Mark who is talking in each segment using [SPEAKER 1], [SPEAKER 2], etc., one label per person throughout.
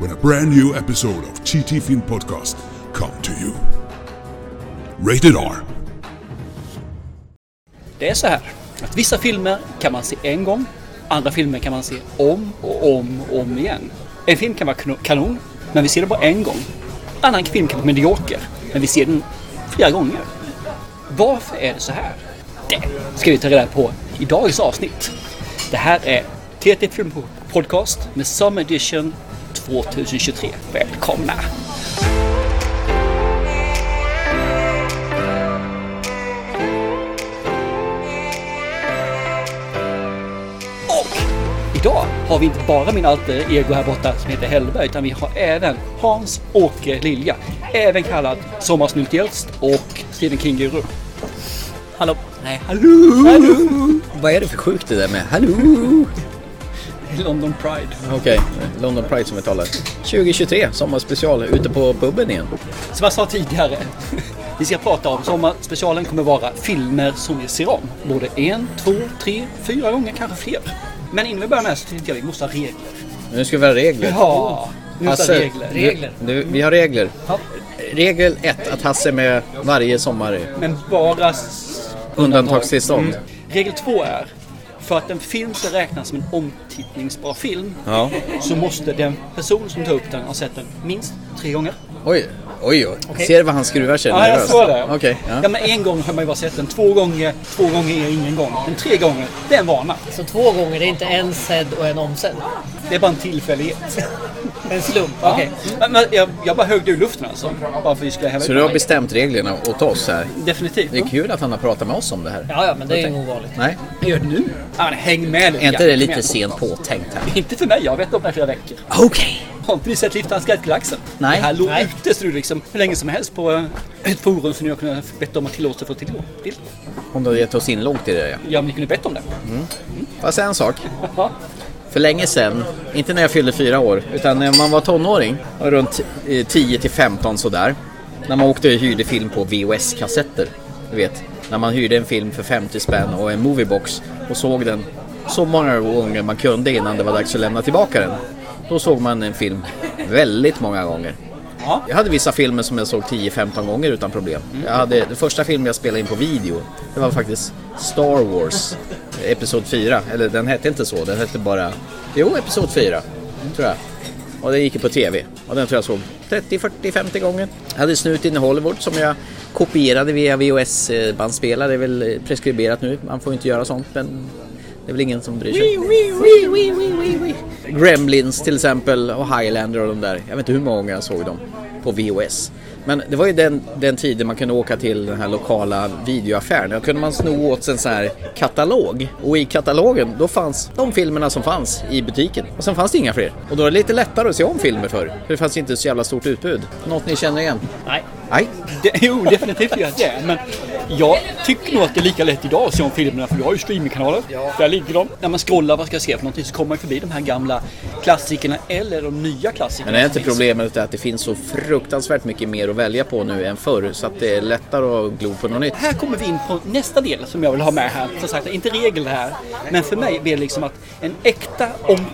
[SPEAKER 1] when a brand new episode of TT Film Podcast come to you. Rated R.
[SPEAKER 2] Det är så här att vissa filmer kan man se en gång, andra filmer kan man se om och om och om igen. En film kan vara kno- kanon, men vi ser den bara en gång. Annan film kan vara medioker, men vi ser den flera gånger. Varför är det så här? Det ska vi ta reda på i dagens avsnitt. Det här är TT Film Podcast med Summer Edition 2023. Välkomna! Och idag har vi inte bara min alter ego här borta som heter Hellberg utan vi har även Hans-Åke Lilja. Även kallad Sommarsnyltjälst och Stephen King-guru.
[SPEAKER 3] Hallå? Nej, hallå? Vad är det för sjukt det där med hallå?
[SPEAKER 2] London Pride.
[SPEAKER 3] Okej, London Pride som vi talar. 2023, sommarspecial, ute på puben igen.
[SPEAKER 2] Som jag sa tidigare, vi ska prata om sommarspecialen kommer vara filmer som vi ser om. Både en, två, tre, fyra gånger, kanske fler. Men innan vi börjar med det så tycker jag vi måste ha regler.
[SPEAKER 3] Nu ska vi ha regler.
[SPEAKER 2] Ja, vi måste ha regler.
[SPEAKER 3] du- Du, vi har regler.
[SPEAKER 2] Ja,
[SPEAKER 3] Regel 1, att Hasse är med varje sommar.
[SPEAKER 2] men bara... s-
[SPEAKER 3] Undantagstillstånd.
[SPEAKER 2] Mm. Regel två är, för att en film ska räknas som en omtittningsbar film
[SPEAKER 3] Ja.
[SPEAKER 2] så måste den person som tar upp den ha sett den minst tre gånger.
[SPEAKER 3] Oj, oj, oj.
[SPEAKER 2] Okej.
[SPEAKER 3] Ser du vad han skruvar sig
[SPEAKER 2] Ja, jag
[SPEAKER 3] nervöst?
[SPEAKER 2] såg det.
[SPEAKER 3] Okej. ja.
[SPEAKER 2] ja, men en gång har man ju bara sett den. Två gånger, två gånger är ingen gång. Men tre gånger, det är en vana.
[SPEAKER 4] Så två gånger, det är inte en sedd och en omsedd.
[SPEAKER 2] Det är bara en tillfällighet.
[SPEAKER 4] En slump.
[SPEAKER 2] Ja.
[SPEAKER 4] Okej.
[SPEAKER 2] Men, men, jag, jag bara högde ur luften alltså. Bara för att vi skulle häva
[SPEAKER 3] Så du har bestämt reglerna åt oss här.
[SPEAKER 2] Definitivt.
[SPEAKER 3] Det är kul att han har pratat med oss om det här.
[SPEAKER 4] Ja, ja, men det är ju ovanligt.
[SPEAKER 3] Nej,
[SPEAKER 2] Jag gör det nu. Ja, men häng med lite
[SPEAKER 3] är inte
[SPEAKER 2] grann.
[SPEAKER 3] det
[SPEAKER 2] Häng
[SPEAKER 3] lite
[SPEAKER 2] med.
[SPEAKER 3] sent påtänkt här?
[SPEAKER 2] Inte för mig, jag vet om det här i flera veckor.
[SPEAKER 3] Okej.
[SPEAKER 2] Har inte ni sett Liftans Galaxen?
[SPEAKER 3] Nej.
[SPEAKER 2] Det här låg
[SPEAKER 4] Nej.
[SPEAKER 2] ute så du liksom, hur länge som helst på eh, ett forum som ni har kunnat bett om att tillåta för till. till.
[SPEAKER 3] Om du har gett oss inlogg till det ja.
[SPEAKER 2] Ja, men ni kunde bett om det.
[SPEAKER 3] Får jag säga en sak?
[SPEAKER 2] Ja.
[SPEAKER 3] För länge sedan, inte när jag fyllde fyra år, utan när man var tonåring, var runt eh, 10 till 15 sådär. När man åkte och hyrde film på VHS-kassetter. Du vet, när man hyrde en film för 50 spänn och en moviebox och såg den så många gånger man kunde innan det var dags att lämna tillbaka den. Då såg man en film väldigt många gånger.
[SPEAKER 2] Ja.
[SPEAKER 3] Jag hade vissa filmer som jag såg 10-15 gånger utan problem. Jag hade, den första filmen jag spelade in på video, det var faktiskt Star Wars, Episod 4. Eller den hette inte så, den hette bara, jo, Episod 4, tror jag. Och den gick ju på TV. Och den tror jag såg 30, 40, 50 gånger. Jag hade Snut in i Hollywood som jag kopierade via VHS-bandspelare. Det är väl eh, preskriberat nu, man får ju inte göra sånt. Men det är väl ingen som bryr sig. Gremlins till exempel och Highlander och de där. Jag vet inte hur många jag såg dem på VHS. Men det var ju den, den tiden man kunde åka till den här lokala videoaffären. Då kunde man sno åt sig en sån här katalog. Och i katalogen då fanns de filmerna som fanns i butiken. Och sen fanns det inga fler. Och då var det lite lättare att se om filmer för. För det fanns inte så jävla stort utbud. Något ni känner igen?
[SPEAKER 2] Nej.
[SPEAKER 3] Nej.
[SPEAKER 2] Det, jo, definitivt gör jag det. Men jag tycker nog att det är lika lätt idag att se om filmerna för du har ju streamingkanaler. Där ligger de. När man scrollar vad ska jag se för någonting så kommer man förbi de här gamla klassikerna eller de nya klassikerna. Liksom.
[SPEAKER 3] Men är
[SPEAKER 2] som
[SPEAKER 3] inte
[SPEAKER 2] finns.
[SPEAKER 3] problemet att det finns så fruktansvärt mycket mer att välja på nu än förr? Så att det är lättare att glo på något nytt.
[SPEAKER 2] Här kommer vi in på nästa del som jag vill ha med här. Som sagt, det är inte regel det här. Men för mig blir det liksom att en äkta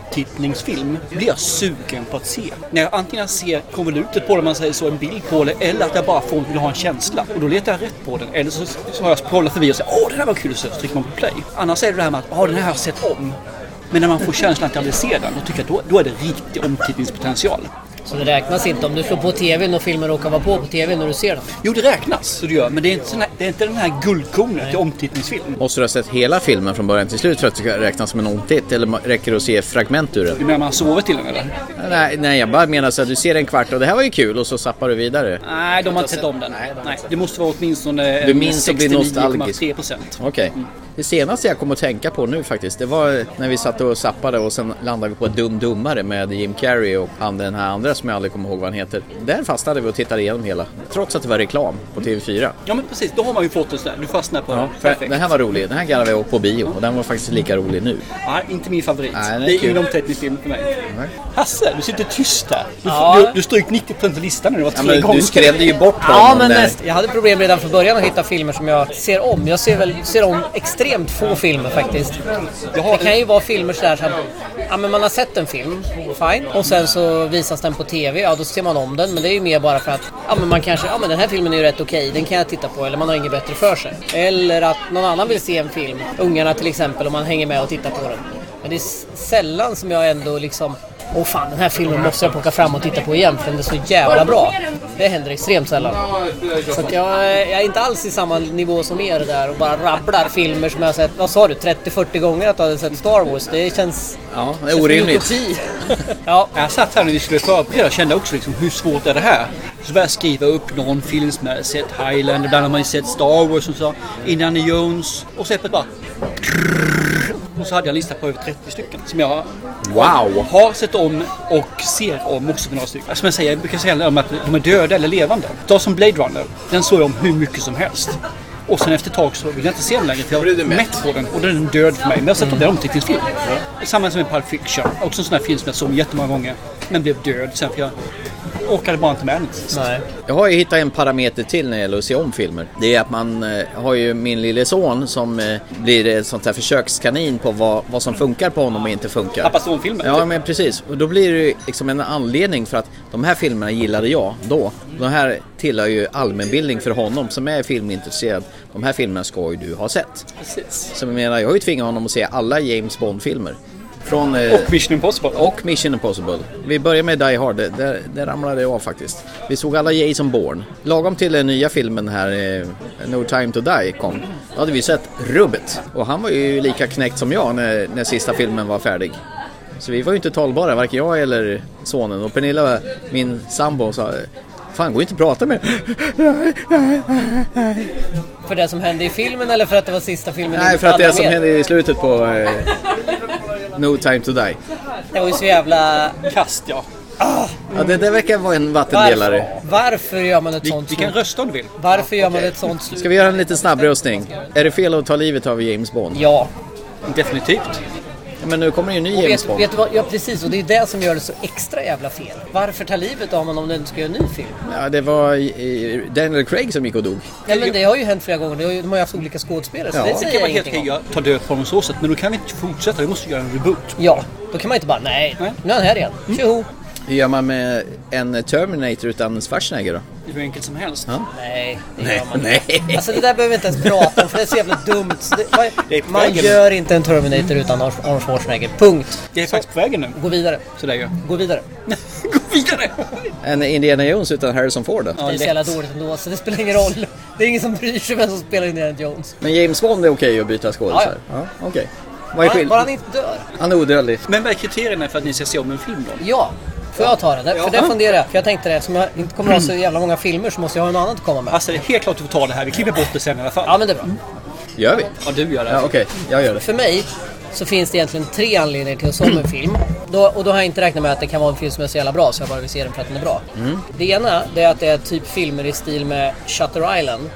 [SPEAKER 2] omtittningsfilm blir jag sugen på att se. När jag antingen ser konvolutet på det, om man säger så, en bild på det, eller att jag bara får, vill ha en känsla. Och då letar jag rätt på den. Eller så, så har jag scrollat förbi och säger åh, den här var kul, så trycker man på play. Annars är det det här med att, åh, den här har jag sett om. Men när man får känslan att jag vill se den, då tycker jag då, då är det riktig omtittningspotential.
[SPEAKER 4] Så det räknas inte om du slår på tvn och filmen råkar vara på på tvn när du ser den.
[SPEAKER 2] Jo, det räknas, så det gör, men det är inte, sån här, det är inte den här guldkornet till omtittningsfilm.
[SPEAKER 3] Måste du ha sett hela filmen från början till slut för att det ska räknas som en omtitt? Eller räcker det att se fragment ur den?
[SPEAKER 2] Du menar man har sovit till den eller?
[SPEAKER 3] Nej, nej jag bara menar så att du ser en kvart och det här var ju kul och så zappar du vidare.
[SPEAKER 2] Nej, de har inte sett om den.
[SPEAKER 3] Nej, de har inte
[SPEAKER 2] Nej,
[SPEAKER 3] sett
[SPEAKER 2] det måste vara åtminstone
[SPEAKER 3] Du minns och blir nostalgisk.
[SPEAKER 2] 69,3 procent.
[SPEAKER 3] Okej. Det senaste jag kom att tänka på nu faktiskt, det var när vi satt och zappade och sen landade vi på Dum Dummare med Jim Carrey och han den här andra som jag aldrig kommer ihåg vad han heter. Där fastnade vi och tittade igenom hela, trots att det var reklam på TV4.
[SPEAKER 2] Ja men precis, då har man ju fått en sån där. Du fastnar på
[SPEAKER 3] Ja,
[SPEAKER 2] den.
[SPEAKER 3] för
[SPEAKER 2] Perfekt.
[SPEAKER 3] den här var rolig, den här gallade jag på bio och den var faktiskt lika rolig nu.
[SPEAKER 2] Nej, inte min favorit.
[SPEAKER 3] Nej, den är
[SPEAKER 2] det är
[SPEAKER 3] kul.
[SPEAKER 2] inom 30 filmer för mig.
[SPEAKER 3] Nej.
[SPEAKER 2] Hasse, du sitter tyst där. Du,
[SPEAKER 4] Ja.
[SPEAKER 2] du, du stryk 90 på listan nu. Det var
[SPEAKER 3] Ja,
[SPEAKER 2] tre
[SPEAKER 3] men
[SPEAKER 2] gånger.
[SPEAKER 3] du skrämde ju bort
[SPEAKER 4] Ja,
[SPEAKER 3] honom
[SPEAKER 4] men
[SPEAKER 3] där.
[SPEAKER 4] näst, jag hade problem redan från början att hitta filmer som jag ser om. Jag ser, väl, ser om extremt få filmer faktiskt. Det kan ju vara filmer sådär som... Ja, men man har sett en film, fine. Och sen så visas den på TV, ja då ser man om den. Men det är ju mer bara för att ja, men man kanske... Ja, men den här filmen är ju rätt okej, den kan jag titta på. Eller man har inget bättre för sig. Eller att någon annan vill se en film. Ungarna till exempel, och man hänger med och tittar på den. Men det är s- sällan som jag ändå liksom... Åh fan, den här filmen måste jag plocka fram och titta på igen för den är så jävla bra. Det händer extremt sällan. Så att jag, jag är inte alls i samma nivå som er där och bara rabblar filmer som jag har sett, vad sa du, 30-40 gånger att du hade sett Star Wars. Det känns...
[SPEAKER 3] Ja, det
[SPEAKER 4] känns som
[SPEAKER 3] är
[SPEAKER 4] en
[SPEAKER 3] orimligt.
[SPEAKER 4] utopi. ja,
[SPEAKER 2] Jag satt här när vi skulle förbereda och kände också liksom, hur svårt är det här? Så började jag skriva upp någon film som jag hade sett, Highland, ibland har man ju sett Star Wars och så, Indiana Jones och så helt bara... Och så hade jag en lista på över 30 stycken som jag
[SPEAKER 3] Wow!
[SPEAKER 2] har sett om och ser om också på några stycken. Som jag säger, jag brukar säga om att de är döda eller levande. Ta som Blade Runner, den såg jag om hur mycket som helst. Och sen efter ett tag så vill jag inte se den längre för jag
[SPEAKER 3] Blev du
[SPEAKER 2] är
[SPEAKER 3] mätt? Mm.
[SPEAKER 2] mätt på den och den är död för mig. Men jag har sett om den omtittningsfilm. Samma som i Pulp Fiction, också en sån här film som jag såg jättemånga gånger. Men blev död sen för jag orkade bara inte med den.
[SPEAKER 4] nej.
[SPEAKER 3] Jag har ju hittat en parameter till när det gäller att se om filmer. Det är att man eh, har ju min lille son som eh, blir ett sånt här försökskanin på vad, vad som funkar på honom och inte funkar.
[SPEAKER 2] Pappa Stone-filmen.
[SPEAKER 3] Ja, men precis. Och då blir det ju liksom en anledning för att de här filmerna gillade jag då. De här tillhör ju allmänbildning för honom som är filmintresserad. De här filmerna ska ju du ha sett.
[SPEAKER 2] Precis.
[SPEAKER 3] Så jag menar, jag har ju tvingat honom att se alla James Bond-filmer. Från... eh,
[SPEAKER 2] Och Mission Impossible.
[SPEAKER 3] och Mission Impossible. Vi börjar med Die Hard, Det- där, där ramlade jag av faktiskt. Vi såg alla Jason Bourne. Lagom till den nya filmen här, eh, No Time To Die, kom. Då hade vi sett rubbet. Och han var ju lika knäckt som jag när, när sista filmen var färdig. Så vi var ju inte talbara, varken jag eller sonen. Och Pernilla, min sambo, sa Fan, går ju inte att prata med
[SPEAKER 4] För det som hände i filmen eller för att det var sista filmen
[SPEAKER 3] Nej,
[SPEAKER 4] ni
[SPEAKER 3] för att det
[SPEAKER 4] alla
[SPEAKER 3] som
[SPEAKER 4] med?
[SPEAKER 3] hände i slutet på eh, No Time To Die.
[SPEAKER 4] Det var ju så jävla...
[SPEAKER 2] Kast, ja.
[SPEAKER 3] Ja, det där verkar vara en vattendelare.
[SPEAKER 4] Varför, varför gör man ett
[SPEAKER 2] Vi,
[SPEAKER 4] sånt
[SPEAKER 2] vi kan
[SPEAKER 4] slut?
[SPEAKER 2] rösta om du vill.
[SPEAKER 4] Varför gör man ett sånt slut?
[SPEAKER 3] Ska vi göra en liten snabbröstning? Är det fel att ta livet av James Bond?
[SPEAKER 4] Ja.
[SPEAKER 2] Definitivt.
[SPEAKER 3] Ja, Men nu kommer ju en ny James
[SPEAKER 4] Vet,
[SPEAKER 3] Bond.
[SPEAKER 4] vet du vad? Ja, precis. Och det är det som gör det så extra jävla fel. Varför ta livet av honom om du inte ska göra en ny film?
[SPEAKER 3] Ja, det var eh, Daniel Craig som gick och dog.
[SPEAKER 4] Nej, men det har ju hänt flera gånger. Det har ju- De har ju haft olika skådespelare, så
[SPEAKER 3] Ja.
[SPEAKER 4] det
[SPEAKER 2] Det
[SPEAKER 4] säger
[SPEAKER 2] kan
[SPEAKER 4] jag
[SPEAKER 2] vara helt okej
[SPEAKER 4] ingenting om.
[SPEAKER 2] att ta död på honom så sätt, men då kan vi inte fortsätta. Vi måste göra en reboot.
[SPEAKER 4] Ja, då kan man inte bara nej,
[SPEAKER 2] Nej.
[SPEAKER 4] nu är han här igen. Tjoho!
[SPEAKER 3] Hur gör man med en Terminator utan Schwarzenegger då?
[SPEAKER 2] Hur enkelt som helst.
[SPEAKER 3] Ja.
[SPEAKER 4] Nej, det gör
[SPEAKER 3] Nej,
[SPEAKER 4] man inte.
[SPEAKER 3] nej.
[SPEAKER 4] Alltså det där behöver vi inte ens prata om för det är så jävla dumt. Så det,
[SPEAKER 2] Det är på
[SPEAKER 4] man, man
[SPEAKER 2] vägen.
[SPEAKER 4] gör inte en Terminator utan Arnold Arnold Schwarzenegger. Punkt.
[SPEAKER 2] Jag är faktiskt på vägen nu.
[SPEAKER 4] Gå vidare.
[SPEAKER 2] Så där ju.
[SPEAKER 4] Gå vidare.
[SPEAKER 2] Gå vidare!
[SPEAKER 3] En Indiana Jones utan Harrison Ford då?
[SPEAKER 4] Det är så jävla dåligt ändå så det spelar ingen roll. Det är ingen som bryr sig vem som spelar Indiana Jones.
[SPEAKER 3] Men James Bond är okej att byta skådisar? Ja, okej. Vad är
[SPEAKER 4] Bara, bara han
[SPEAKER 3] skillnaden?
[SPEAKER 4] inte dör.
[SPEAKER 3] Han är odödlig.
[SPEAKER 2] Men vad är kriterierna för att ni ska se om en film då?
[SPEAKER 4] Ja. Får jag ta det? Där, För där funderar jag. För jag tänkte det, eftersom jag inte kommer att ha så
[SPEAKER 3] Mm.
[SPEAKER 4] jävla många filmer så måste jag ha något annat att komma med.
[SPEAKER 2] Alltså det är helt klart att du får ta det här. Vi klipper bort det sen i alla fall.
[SPEAKER 4] Ja men det är bra.
[SPEAKER 3] Gör vi?
[SPEAKER 2] Ja, du gör det.
[SPEAKER 3] Ja, okej. Jag gör det.
[SPEAKER 4] För mig så finns det egentligen tre anledningar till att se om en film. Då, och då har jag inte räknat med att det kan vara en film som är så jävla bra så jag bara vill se den för att den är bra.
[SPEAKER 3] Mm.
[SPEAKER 4] Det ena det är att det är typ filmer i stil med Shutter Island.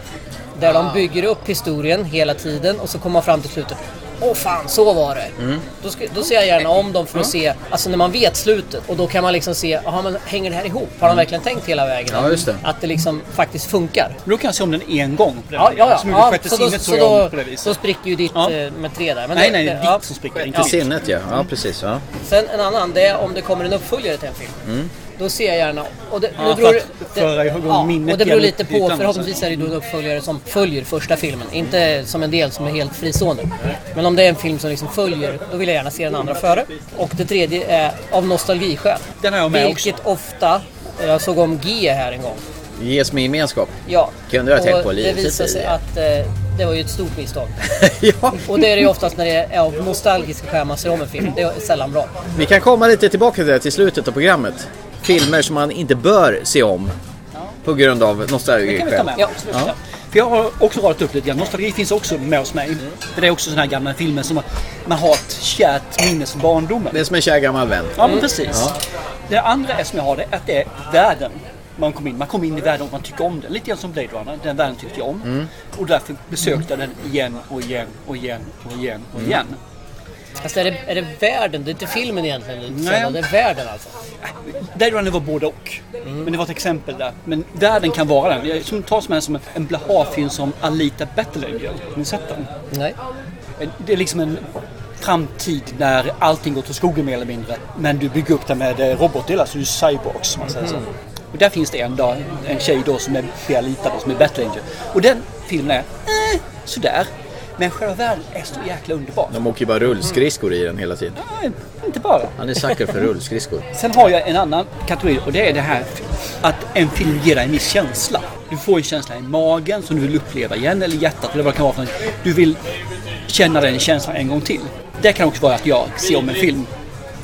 [SPEAKER 4] Där
[SPEAKER 3] Ah.
[SPEAKER 4] de bygger upp historien hela tiden och så kommer man fram till slutet. Åh fan, så var det.
[SPEAKER 3] Mm.
[SPEAKER 4] Då, ska, då ser jag gärna om dem för att se, alltså när man vet slutet och då kan man liksom se, jaha men hänger det här ihop? Har de verkligen tänkt hela vägen?
[SPEAKER 3] Mm. Ja, just det.
[SPEAKER 4] Att det liksom faktiskt funkar.
[SPEAKER 2] Men då kan jag se om den en gång.
[SPEAKER 4] Ja, ja,
[SPEAKER 2] Som
[SPEAKER 4] ja.
[SPEAKER 2] gjorde sjätte
[SPEAKER 4] ja så, då,
[SPEAKER 2] sinnet
[SPEAKER 4] så,
[SPEAKER 2] såg jag om
[SPEAKER 4] då,
[SPEAKER 2] på det viset.
[SPEAKER 4] då spricker ju ditt
[SPEAKER 2] Ja.
[SPEAKER 4] eh, med tre där. Men
[SPEAKER 2] Nej,
[SPEAKER 4] det-
[SPEAKER 2] nej, det
[SPEAKER 4] det-
[SPEAKER 2] är
[SPEAKER 4] ja.
[SPEAKER 2] ditt som spricker. Inte
[SPEAKER 3] I
[SPEAKER 2] mitt.
[SPEAKER 3] sinnet ja. Ja, precis. Ja.
[SPEAKER 4] Sen en annan, det är om det kommer en uppföljare till en film. Då ser jag gärna... Och det,
[SPEAKER 2] Mm. Ja, för
[SPEAKER 4] beror,
[SPEAKER 2] att föra igång minnet
[SPEAKER 4] och det beror
[SPEAKER 2] igen
[SPEAKER 4] lite
[SPEAKER 2] i
[SPEAKER 4] på.
[SPEAKER 2] ytan.
[SPEAKER 4] Förhoppningsvis är det då en uppföljare som följer första filmen. Inte som en del som är helt fristående. Men om det är en film som liksom följer, då vill jag gärna se den andra före. Och det tredje är av nostalgiskäl.
[SPEAKER 2] Den har jag med
[SPEAKER 4] Vilket ofta... Jag såg om G här en gång.
[SPEAKER 3] Ges med gemenskap.
[SPEAKER 4] Ja.
[SPEAKER 3] Kunde jag ha tänkt på
[SPEAKER 4] och det
[SPEAKER 3] lite
[SPEAKER 4] visade sig
[SPEAKER 3] tidigare.
[SPEAKER 4] att eh, det var ju ett stort misstag.
[SPEAKER 3] ja.
[SPEAKER 4] Och det är det ju oftast när det är av nostalgiska skäl man ser om en film. Det är sällan bra.
[SPEAKER 3] Vi kan komma lite tillbaka till det till slutet av programmet. Filmer som man inte bör se om. På grund av
[SPEAKER 2] Det kan vi ta
[SPEAKER 3] nostalgiskäl.
[SPEAKER 2] med.
[SPEAKER 4] Ja.
[SPEAKER 2] Absolut, Ja. För jag har också radat upp lite grann. Nostalgi finns också med hos mig.
[SPEAKER 4] Mm.
[SPEAKER 2] För det är också sådana här gamla filmer som man- man har ett kärt minne från barndomen.
[SPEAKER 3] Det är som en kär gammal vän.
[SPEAKER 2] Ja, men precis. Det andra är som jag har det, att det är världen man kom in. Man kom in i världen och man tycker om den. Lite grann som Blade Runner, den världen tyckte jag om. Och därför besökte jag den igen och igen och igen och igen och igen.
[SPEAKER 4] Fast är det, är det världen? Det är inte filmen egentligen du
[SPEAKER 2] Nej.
[SPEAKER 4] sällan, det är världen alltså.
[SPEAKER 2] Blade Runner var både och. Men det var ett exempel där. Men världen kan vara den. Jag som tar som en, som en, en Blaha-film som Alita Battle Angel. Har ni sett den?
[SPEAKER 4] Nej.
[SPEAKER 2] Det är liksom en framtid när allting går till skogen mer eller mindre. Men du bygger upp det med eh, robotdelar, så du är cyborgs. om Man säger så. Och där finns det en, då, en tjej då som är Bealita, då, som är Battle Angel. Och den filmen är eh, sådär. Men själva världen är så jäkla underbar.
[SPEAKER 3] De åker ju bara rullskridskor i den hela tiden.
[SPEAKER 2] Nej, inte bara.
[SPEAKER 3] Han är sucker för rullskridskor.
[SPEAKER 2] Sen har jag en annan kategori och det är det här att en film ger dig en viss känsla. Du får en känsla i magen som du vill uppleva igen eller i hjärtat eller vad det kan vara för något. Du vill känna den känslan en gång till. Det kan också vara att jag ser om en film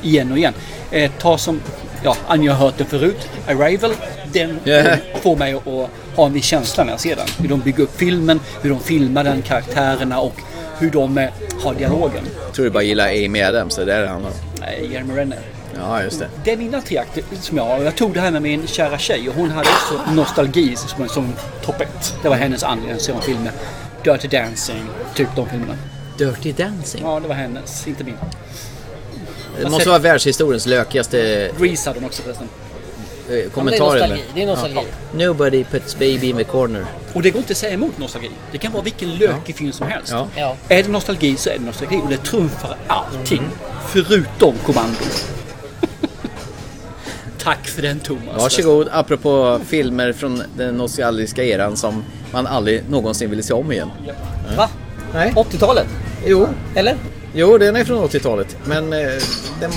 [SPEAKER 2] igen och igen. Eh, ta som, ja, Anja har hört den förut, Arrival. Den
[SPEAKER 3] Yeah.
[SPEAKER 2] får mig att ha en viss känsla när jag ser den. Hur de bygger upp filmen, hur de filmar den, karaktärerna och hur de eh, har dialogen.
[SPEAKER 3] Jag tror du bara gillar Amy Adams, det är det det handlar om.
[SPEAKER 2] Eh, Jeremy Renner.
[SPEAKER 3] Ja, just det.
[SPEAKER 2] Det är mina tre akter som jag har. Jag tog det här med min kära tjej och hon hade också nostalgi som, som topp ett. Det var hennes anledning att se de filmer. Dirty Dancing, typ de filmerna.
[SPEAKER 3] Dirty Dancing.
[SPEAKER 2] Ja, det var hennes, inte min.
[SPEAKER 3] Det måste vara världshistoriens lökigaste
[SPEAKER 2] Grease hade hon också förresten.
[SPEAKER 3] eh,
[SPEAKER 4] Men det är
[SPEAKER 3] kommentarer.
[SPEAKER 4] nostalgi. Det är nostalgi.
[SPEAKER 3] Nobody puts baby in the corner.
[SPEAKER 2] Och det går inte att säga emot nostalgi. Det kan vara vilken lökig film som helst.
[SPEAKER 3] Ja.
[SPEAKER 4] Ja.
[SPEAKER 2] Är det nostalgi så är det nostalgi och det trumfar allting. Förutom kommando. Tack för den Thomas.
[SPEAKER 3] Varsågod, apropå filmer från den nostalgiska eran som man aldrig någonsin ville se om igen.
[SPEAKER 4] Va?
[SPEAKER 3] Nej.
[SPEAKER 4] 80-talet?
[SPEAKER 3] Jo,
[SPEAKER 4] Eller?
[SPEAKER 3] jo den är från 80-talet. Men eh, den,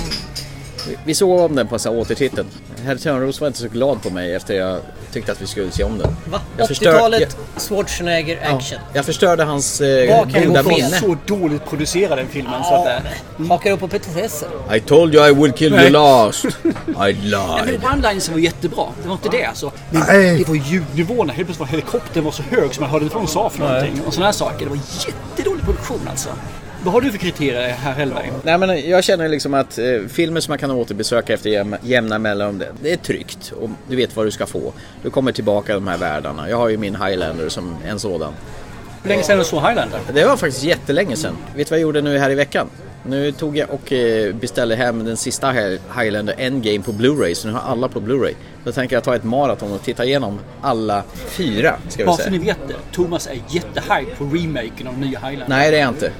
[SPEAKER 3] vi- vi såg om den på en sån här återtitten. Herr Törnros var inte så glad på mig efter jag tyckte att vi skulle se om den.
[SPEAKER 4] Va?
[SPEAKER 3] Jag förstör-
[SPEAKER 4] 80-talet, Schwarzenegger,
[SPEAKER 3] Ja,
[SPEAKER 4] action.
[SPEAKER 3] jag förstörde hans eh,
[SPEAKER 4] Vad kan jag
[SPEAKER 3] goda
[SPEAKER 4] gå från
[SPEAKER 3] minne.
[SPEAKER 2] Så dåligt producerad den filmen så att
[SPEAKER 4] Ja.
[SPEAKER 2] det...
[SPEAKER 4] Hakar upp på petitesser.
[SPEAKER 3] I told you I will kill you
[SPEAKER 2] Nej.
[SPEAKER 3] last. I
[SPEAKER 2] Nej, men
[SPEAKER 3] lied.
[SPEAKER 2] one-linesen var jättebra. Det var inte det alltså. Men
[SPEAKER 1] Nej.
[SPEAKER 2] det var ljudnivåerna. Helt plötsligt var helikoptern var så hög så man hörde inte vad hon sa för någonting. Och sådana här saker. Det var jättedålig produktion alltså. Vad har du för kriterier här Hellberg?
[SPEAKER 3] Nej men jag känner liksom att eh, filmer som man kan återbesöka efter jäm- jämna mellanrum, det, det är tryggt och du vet vad du ska få. Du kommer tillbaka de här världarna. Jag har ju min Highlander som en sådan.
[SPEAKER 2] Hur länge sedan du såg Highlander?
[SPEAKER 3] Det var faktiskt jättelänge sedan. Vet du vad jag gjorde nu här i veckan? Nu tog jag och eh, beställde hem den sista Hi- Highlander Endgame på Blu-ray, så nu har jag alla på Blu-ray. Då tänker jag ta ett maraton och titta igenom alla fyra, ska vi
[SPEAKER 2] Bara så ni
[SPEAKER 3] säga.
[SPEAKER 2] vet det. Thomas är jättehype på remaken av nya Highlander.
[SPEAKER 3] Nej, det är jag inte.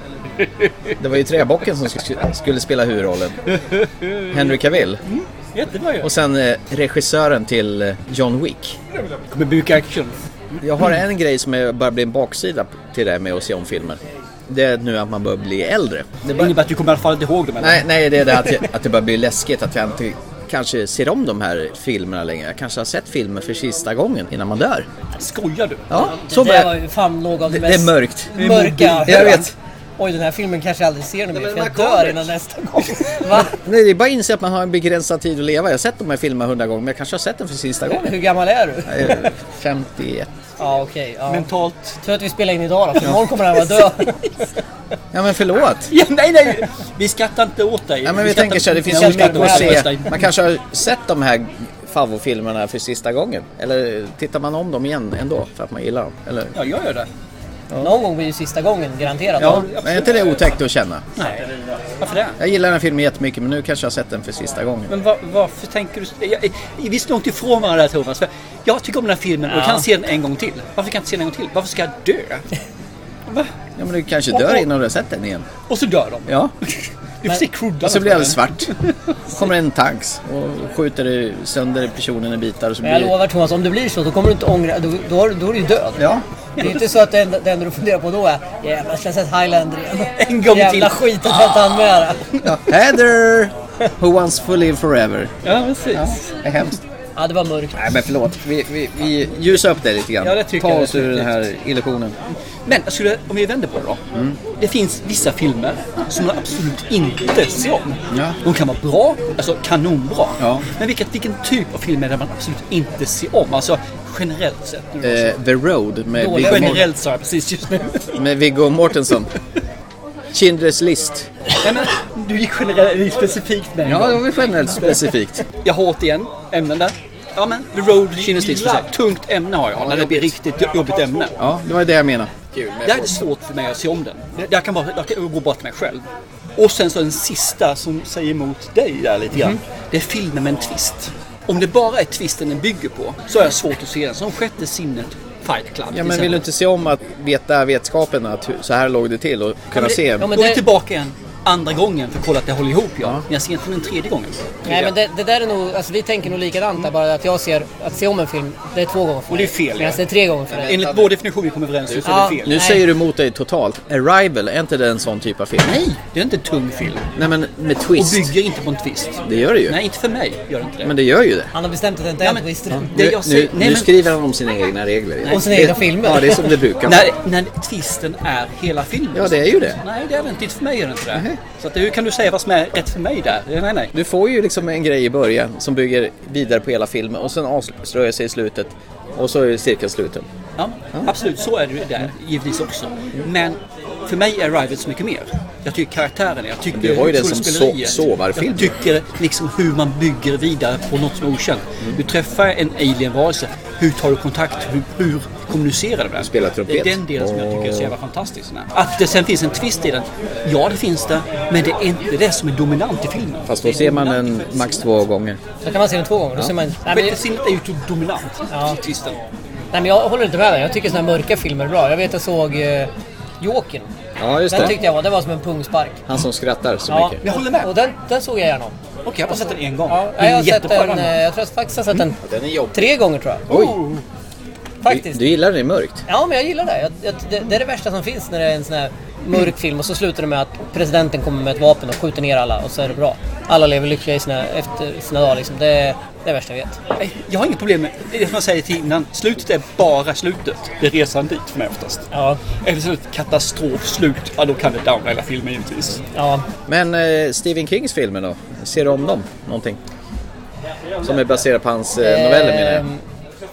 [SPEAKER 3] Det var ju träbocken som sk- skulle spela huvudrollen. Henry Cavill.
[SPEAKER 2] Jättebra ju.
[SPEAKER 3] Och sen eh, regissören till eh, John Wick.
[SPEAKER 2] Kommer mycket action.
[SPEAKER 3] Jag har en grej som är, bara blir en baksida p- till det här med att se om filmer. Det är nu att man börjar bli äldre. Det
[SPEAKER 2] Det
[SPEAKER 3] bör...
[SPEAKER 2] innebär att du kommer i alla fall inte ihåg dem eller?
[SPEAKER 3] nej, nej, det är det att, jag, att det börjar bli läskigt att jag inte kanske ser om de här filmerna längre. Jag kanske har sett filmer för sista gången innan man dör.
[SPEAKER 2] Skojar du?
[SPEAKER 3] Ja,
[SPEAKER 4] Det
[SPEAKER 3] så
[SPEAKER 4] där var
[SPEAKER 3] börjar...
[SPEAKER 4] ju fan något av det,
[SPEAKER 3] Det, det
[SPEAKER 4] mest
[SPEAKER 3] är mörkt.
[SPEAKER 4] mörka.
[SPEAKER 3] Jag vet.
[SPEAKER 4] Oj, den här filmen kanske jag aldrig ser nu mer
[SPEAKER 3] men
[SPEAKER 4] för jag
[SPEAKER 3] när kommer
[SPEAKER 4] dör
[SPEAKER 3] det?
[SPEAKER 4] innan nästa gång. Va?
[SPEAKER 3] Nej, det är bara att inse att man har en begränsad tid att leva. Jag har sett de här filmerna hundra gånger, men jag kanske har sett den för sista gången.
[SPEAKER 4] Hur gammal är du?
[SPEAKER 3] Eh, 51.
[SPEAKER 4] Ja, okej. ja.
[SPEAKER 2] Mentalt.
[SPEAKER 4] Tur att vi spelar in idag då, för imorgon kommer den här vara död.
[SPEAKER 3] Ja, men förlåt.
[SPEAKER 2] Ja, nej, nej! Vi skrattar inte åt dig.
[SPEAKER 3] Ja, men vi
[SPEAKER 2] skrattar
[SPEAKER 3] tänker
[SPEAKER 2] inte-
[SPEAKER 3] så här, det finns
[SPEAKER 2] Nej, vi
[SPEAKER 3] ju mycket
[SPEAKER 2] skrattar
[SPEAKER 3] att
[SPEAKER 2] åt
[SPEAKER 3] se.
[SPEAKER 2] dig.
[SPEAKER 3] Man kanske har sett de här favvofilmerna för sista gången. Eller tittar man om dem igen ändå för att man gillar dem? Eller?
[SPEAKER 2] Ja, jag gör det.
[SPEAKER 4] Någon gång blir ju sista gången, garanterat.
[SPEAKER 3] Ja, men är inte det otäckt att känna?
[SPEAKER 2] Nej. Varför det?
[SPEAKER 3] Jag gillar den här filmen jättemycket men nu kanske jag har sett den för sista gången.
[SPEAKER 2] Men va- varför tänker du... Jag, jag, vi står inte ifrån varandra där Thomas. För jag tycker om den här filmen och jag kan se den en gång till. Varför kan jag inte se den en gång till? Varför ska jag dö? Va?
[SPEAKER 3] Ja, men du kanske dör innan du har sett den igen.
[SPEAKER 2] Och så dör de.
[SPEAKER 3] Ja.
[SPEAKER 2] Du får se cruddarna.
[SPEAKER 3] Och så blir det
[SPEAKER 2] på
[SPEAKER 3] alldeles svart. Så kommer en tanks och skjuter sönder personen i bitar och så
[SPEAKER 4] Men jag
[SPEAKER 3] blir
[SPEAKER 4] lovar Thomas, om det blir så, då kommer du inte ångra Då, då, har du- då är du ju död.
[SPEAKER 3] Ja.
[SPEAKER 4] Det är ju inte så att det enda, det enda du funderar på då är jävlar, jag ska jag sett Highlander igen?
[SPEAKER 2] En gång
[SPEAKER 4] Jävla
[SPEAKER 2] till.
[SPEAKER 4] skit att jag inte hann med det.
[SPEAKER 3] ja. Heather! Who wants to live forever?
[SPEAKER 2] den. Ja, precis.
[SPEAKER 3] Det är hemskt.
[SPEAKER 4] Ja, det var mörkt.
[SPEAKER 3] Nej men förlåt, vi, vi, vi ljusar upp det lite grann.
[SPEAKER 4] Ja, det tycker
[SPEAKER 3] Ta
[SPEAKER 4] jag
[SPEAKER 3] oss ur den här
[SPEAKER 4] definitivt.
[SPEAKER 3] illusionen.
[SPEAKER 2] Men jag skulle, om vi vänder på det då.
[SPEAKER 3] Mm.
[SPEAKER 2] Det finns vissa filmer som man absolut inte ser om.
[SPEAKER 3] Ja.
[SPEAKER 2] De kan vara bra, alltså kanonbra.
[SPEAKER 3] Ja.
[SPEAKER 2] Men vilken, vilken typ av film är det man absolut inte ser om? Alltså generellt sett. Nu då.
[SPEAKER 3] Eh, The Road med
[SPEAKER 4] Dåliga
[SPEAKER 3] Viggo, Mort-
[SPEAKER 2] generellt sa jag precis just nu.
[SPEAKER 3] med Viggo Mortensen. Schindler's list.
[SPEAKER 2] Nej, men, du gick generellt specifikt med en
[SPEAKER 3] Ja,
[SPEAKER 2] gång.
[SPEAKER 3] det var generellt specifikt.
[SPEAKER 2] Jag har återigen ämnen där. Ja men, The Road, Kinesisk List. Tungt ämne har jag, när det blir riktigt jobbigt ämne.
[SPEAKER 3] Ja, det var det jag menade.
[SPEAKER 2] Där är det svårt för mig att se om den. Det- Jag kan bara, jag kan gå bara till mig själv. Och sen så den sista som säger emot dig där lite grann. Det är filmen med en twist. Om det bara är twisten den bygger på så har jag svårt att se den. Som sjätte sinnet, Fight Club.
[SPEAKER 3] Ja, men vill du inte se om att veta vetskapen att hur, så här låg det till och kunna se?
[SPEAKER 4] ja, men
[SPEAKER 2] Då är
[SPEAKER 4] det-
[SPEAKER 2] jag tillbaka igen andra gången för att kolla att det håller ihop ja. Men jag ser inte den tredje gången.
[SPEAKER 4] Nej, men det, det där är nog... Alltså, vi tänker nog likadant där, bara att jag ser... Att se om en film, det är två gånger för
[SPEAKER 2] Och det är fel,
[SPEAKER 4] Men jag
[SPEAKER 2] ja.
[SPEAKER 4] ser tre gånger för dig.
[SPEAKER 2] Enligt vår definition vi kommer överens om så är
[SPEAKER 4] Ja.
[SPEAKER 2] det fel.
[SPEAKER 3] nu
[SPEAKER 4] Nej.
[SPEAKER 3] säger du emot dig totalt. Arrival, är inte det en sån typ av film?
[SPEAKER 2] Nej, det är inte en tung film.
[SPEAKER 3] Nej, men med
[SPEAKER 2] Och
[SPEAKER 3] twist.
[SPEAKER 2] bygger inte på en twist.
[SPEAKER 3] Det gör det ju.
[SPEAKER 2] Nej, inte för mig gör det inte det.
[SPEAKER 3] Men det gör ju det.
[SPEAKER 4] Han har bestämt att det inte
[SPEAKER 2] Ja,
[SPEAKER 4] är
[SPEAKER 2] men-
[SPEAKER 4] en twist.
[SPEAKER 2] Det
[SPEAKER 3] Nu,
[SPEAKER 2] jag säger-
[SPEAKER 3] nu,
[SPEAKER 2] nej,
[SPEAKER 3] nu
[SPEAKER 2] men-
[SPEAKER 3] skriver han om sina egna regler. igen.
[SPEAKER 4] Och sina egna filmer.
[SPEAKER 3] Ja, det är som det brukar vara.
[SPEAKER 2] När, när twisten är hela filmen.
[SPEAKER 3] Ja, det är ju det.
[SPEAKER 2] Nej, det är det inte. Inte för mig är det inte det. Så att, hur kan du säga vad som är rätt för mig där? Nej, nej.
[SPEAKER 3] Du får ju liksom en grej i början som bygger vidare på hela filmen och sen avslöjar sig i slutet och så är cirkeln sluten.
[SPEAKER 2] Ja, Absolut, så är det ju där givetvis också. Men för mig är Arrival så mycket mer. Jag tycker karaktären, jag tycker
[SPEAKER 3] Du har ju det som
[SPEAKER 2] skådespeleriet.
[SPEAKER 3] so- sovarfilm.
[SPEAKER 2] Jag tycker liksom hur man bygger vidare på något som är okänt.
[SPEAKER 3] Mm.
[SPEAKER 2] Du träffar en alien-varelse. Hur tar du kontakt? Hur, hur kommunicerar du med den?
[SPEAKER 3] Spelar trumpet.
[SPEAKER 2] Det är den delen som jag tycker är så jävla fantastisk. Att det sen finns en twist i den. Ja, det finns det. Men det är inte det som är dominant i filmen.
[SPEAKER 3] Fast då ser man den max två gånger.
[SPEAKER 4] Då kan man se den två gånger. Då ser man... Nej, men,
[SPEAKER 2] Sjätte sinnet är ju to- dominant.
[SPEAKER 4] Ja.
[SPEAKER 2] Twisten.
[SPEAKER 4] nej, men jag håller inte med dig. Jag tycker såna här mörka filmer är bra. Jag vet jag såg eh, Jokern.
[SPEAKER 3] Ja, just
[SPEAKER 4] Den
[SPEAKER 3] det.
[SPEAKER 4] tyckte jag var... Det var som en pungspark.
[SPEAKER 3] Han som skrattar så
[SPEAKER 4] Ja,
[SPEAKER 3] mycket.
[SPEAKER 2] Jag håller med.
[SPEAKER 4] Och den, den såg jag gärna om.
[SPEAKER 2] Okej, jag har bara sett den en gång.
[SPEAKER 4] Ja,
[SPEAKER 2] Men
[SPEAKER 4] jag, har sett
[SPEAKER 2] jättebra
[SPEAKER 4] den, eh,
[SPEAKER 2] den.
[SPEAKER 4] jag tror jag faktiskt har sett den
[SPEAKER 3] Den är jobbig.
[SPEAKER 4] tre gånger tror jag.
[SPEAKER 3] Oj, du,
[SPEAKER 4] Faktiskt.
[SPEAKER 3] du gillar det mörkt.
[SPEAKER 4] Ja, men jag gillar det. Jag, jag, det. Det är det värsta som finns när det är en sån här mörk film och så slutar det med att presidenten kommer med ett vapen och skjuter ner alla och så är det bra. Alla lever lyckliga i sina, efter sina dagar liksom. Det är det är värsta jag vet.
[SPEAKER 2] Nej, Jag har inget problem med det är det som jag säger till innan. Slutet är bara slutet. Det är resan dit för mig oftast.
[SPEAKER 4] Ja,
[SPEAKER 2] Eller så är det ett katastrofslut. Ja, då kan det downa hela filmen givetvis.
[SPEAKER 4] ja.
[SPEAKER 3] Men eh, Stephen Kings filmer då? Ser du om dem någonting? Som är baserat på hans eh, noveller menar jag.
[SPEAKER 4] Ehm,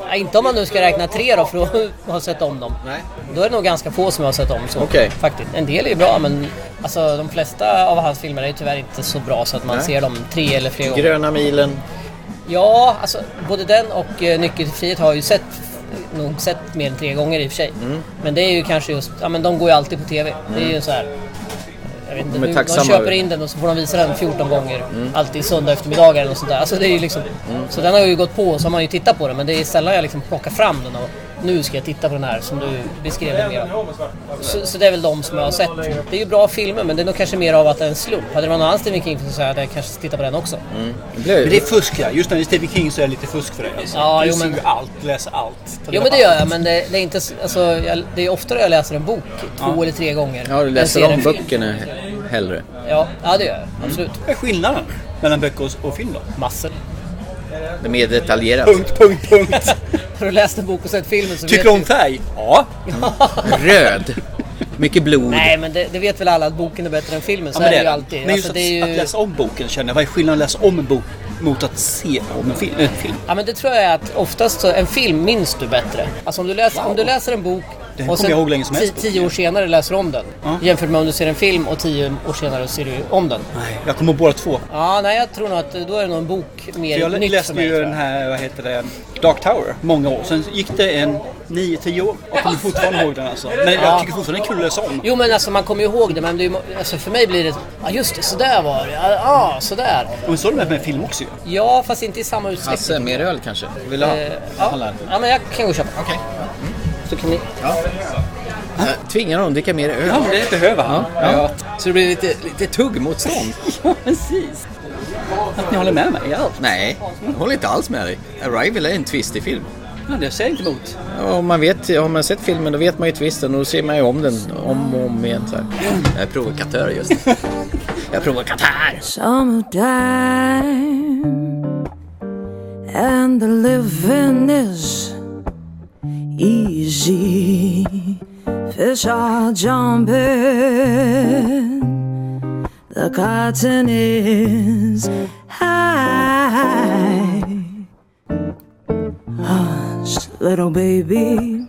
[SPEAKER 4] nej, inte om man nu ska räkna tre då för att ha sett om dem.
[SPEAKER 3] Nej.
[SPEAKER 4] Då är det nog ganska få som jag har sett om så.
[SPEAKER 3] Okej.
[SPEAKER 4] Faktiskt. En del är ju bra men alltså, de flesta av hans filmer är ju tyvärr inte så bra så att man
[SPEAKER 3] Nej.
[SPEAKER 4] ser dem tre eller flera gånger.
[SPEAKER 3] Gröna milen.
[SPEAKER 4] Ja, alltså både den och eh, Nyckel till frihet har jag ju sett nog sett mer än tre gånger i och för sig.
[SPEAKER 3] Mm.
[SPEAKER 4] Men det är ju kanske just, ja men de går ju alltid på TV. Det är ju så här. Jag vet inte,
[SPEAKER 3] De är
[SPEAKER 4] de, de
[SPEAKER 3] tacksamma
[SPEAKER 4] köper
[SPEAKER 3] över- Mm.
[SPEAKER 4] in den och så får de visa den 14 gånger. Alltid söndag eftermiddagar eller något sånt där. Alltså det är ju liksom, Så den har jag ju gått på och så har man ju tittat på den men det är sällan jag liksom plockar fram den och nu ska jag titta på den här som du beskrev den mer. av. Så, så det är väl de som jag har sett. Det är ju bra filmer men det är nog kanske mer av att det är en slump. Hade det varit någon annan Stephen King-film så hade jag kanske tittat på den också.
[SPEAKER 3] Det blev-
[SPEAKER 2] Men det är fusk där. Just när det är Stephen King så är det lite fusk för dig. Alltså.
[SPEAKER 4] Ja,
[SPEAKER 2] du
[SPEAKER 4] jo,
[SPEAKER 2] ser
[SPEAKER 4] men-
[SPEAKER 2] ju allt, läser allt. tar
[SPEAKER 4] Jo
[SPEAKER 2] reda
[SPEAKER 4] men
[SPEAKER 2] på
[SPEAKER 4] det gör
[SPEAKER 2] allt.
[SPEAKER 4] jag, men det, det är inte... s- Alltså, jag, det är oftare jag läser en bok två eller tre gånger.
[SPEAKER 3] Ja, du
[SPEAKER 4] än
[SPEAKER 3] läser
[SPEAKER 4] ser en
[SPEAKER 3] om
[SPEAKER 4] film.
[SPEAKER 3] böckerna hellre.
[SPEAKER 4] Ja, ja, det gör jag. Absolut.
[SPEAKER 2] Vad är skillnaden mellan böcker och- och film då?
[SPEAKER 4] Massor.
[SPEAKER 3] Det är mer detaljerat.
[SPEAKER 2] Punkt, punkt, punkt.
[SPEAKER 4] Har du läst en bok och sett filmen så
[SPEAKER 2] Tycker
[SPEAKER 4] vet
[SPEAKER 2] du om färg? Ja.
[SPEAKER 3] Röd. Mycket blod.
[SPEAKER 4] Nej, men det, det vet väl alla att boken är bättre än filmen. Så
[SPEAKER 2] men
[SPEAKER 4] är det ju
[SPEAKER 2] det.
[SPEAKER 4] alltid.
[SPEAKER 2] Men just
[SPEAKER 4] alltså,
[SPEAKER 2] att,
[SPEAKER 4] det är
[SPEAKER 2] att
[SPEAKER 4] ju...
[SPEAKER 2] läsa om boken känner jag. Vad är skillnaden att läsa om en bok mot att se om en film? En film?
[SPEAKER 4] Ja, men det tror jag är att oftast så, en film minns du bättre. Alltså om du läser, om du läser en bok
[SPEAKER 2] Den kommer jag ihåg länge som helst,
[SPEAKER 4] ti- tio år senare läser om den.
[SPEAKER 2] Ja.
[SPEAKER 4] Jämfört med om du ser en film och tio år senare ser du om den.
[SPEAKER 2] Nej, jag kommer ihåg båda två.
[SPEAKER 4] Ja, nej jag tror nog att då är det nog en bok mer
[SPEAKER 2] För jag
[SPEAKER 4] nytt
[SPEAKER 2] läste
[SPEAKER 4] för mig,
[SPEAKER 2] ju
[SPEAKER 4] tror jag.
[SPEAKER 2] den här, vad heter det, Dark Tower många år. Sen gick det en 9-10 år. Jag kommer fortfarande ihåg den alltså. Men jag tycker fortfarande den är kul att läsa om.
[SPEAKER 4] Jo men alltså man kommer ju ihåg det men det är ju, alltså, för mig blir det ja just det, sådär var det, ja ah, sådär.
[SPEAKER 2] Och så är det med en film också ju.
[SPEAKER 4] Ja fast inte i samma utsträckning.
[SPEAKER 3] Hasse, mer öl kanske? Vill du ha?
[SPEAKER 4] Eh, ja. ja men jag kan gå och köpa.
[SPEAKER 3] Okej.
[SPEAKER 4] Så kan ni...
[SPEAKER 3] Jag tvingar honom att dricka mer öl.
[SPEAKER 2] Ja, det behöver han.
[SPEAKER 3] Ja. Så det blir lite, lite tuggmotstånd?
[SPEAKER 2] Ja, precis. Att ni håller med mig i allt.
[SPEAKER 3] Nej, jag håller inte alls med dig. Arrival är en twistig film.
[SPEAKER 2] Ja, det säger jag inte emot.
[SPEAKER 3] Ja, Om man, vet, om man sett filmen då vet man ju twisten och då ser man ju om den om och om igen. Så här. Jag är provokatör just Jag är provokatör!
[SPEAKER 5] Summertime and the living is easy. Fish are jumping, the cotton is high. Hush, little baby.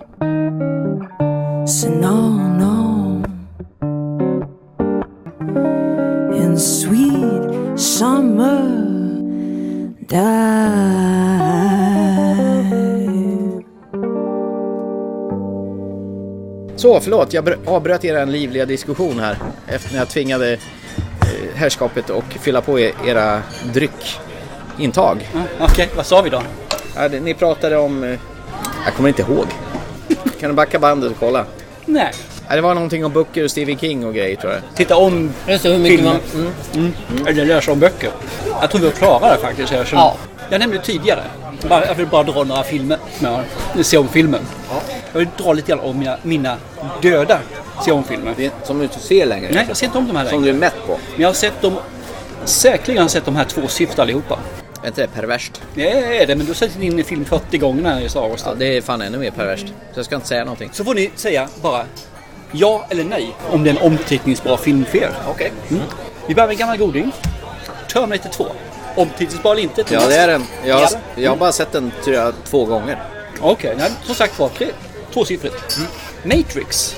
[SPEAKER 5] So no, no. In sweet summer die.
[SPEAKER 3] Så, förlåt. Jag br- avbröt er en livliga diskussion här. Efter när jag tvingade eh, herrskapet och fylla på er, era dryckintag.
[SPEAKER 2] Ja, Okej, vad sa vi då?
[SPEAKER 3] Ja, det- Ni pratade om... eh, Jag kommer inte ihåg. Kan du backa bandet och kolla?
[SPEAKER 2] Nej.
[SPEAKER 3] Ja, det var någonting om böcker och Stephen King och grejer tror jag.
[SPEAKER 2] Titta om
[SPEAKER 4] Just det, hur mycket
[SPEAKER 2] Filmer.
[SPEAKER 4] man... Mm.
[SPEAKER 2] Mm. Eller läsa om böcker. Jag tror vi var klara där faktiskt. Jag, känner,
[SPEAKER 4] Ja.
[SPEAKER 2] jag nämnde det tidigare. Bara, jag vill bara dra några filmer som jag har. Se om filmen. Jag vill dra lite grann om mina, mina döda se om filmer.
[SPEAKER 3] Det är- Som du inte ser längre.
[SPEAKER 2] Nej, jag ser inte om de här
[SPEAKER 3] Som
[SPEAKER 2] längre.
[SPEAKER 3] du är mätt på.
[SPEAKER 2] Men jag har sett dem. Säkerligen har jag sett de här två sista allihopa.
[SPEAKER 3] Är inte det perverst?
[SPEAKER 2] Nej, det är det, men du har sett in i film 40 gånger när jag är i Star Wars.
[SPEAKER 3] Ja, det är fan ännu mer perverst. Så jag ska inte säga någonting.
[SPEAKER 2] Så får ni säga bara ja eller nej om det är en omtittningsbar film för er.
[SPEAKER 3] Okej.
[SPEAKER 2] Mm. Vi börjar med en gammal goding. Terminator 2. Omtittningsbar eller inte?
[SPEAKER 3] Ja,
[SPEAKER 2] Thomas?
[SPEAKER 3] det är den. Jag, har-
[SPEAKER 2] Ja.
[SPEAKER 3] jag har bara sett den tror jag, två gånger.
[SPEAKER 2] Okej, okay, som sagt var, tre- tvåsiffrigt.
[SPEAKER 3] Mm.
[SPEAKER 2] Matrix.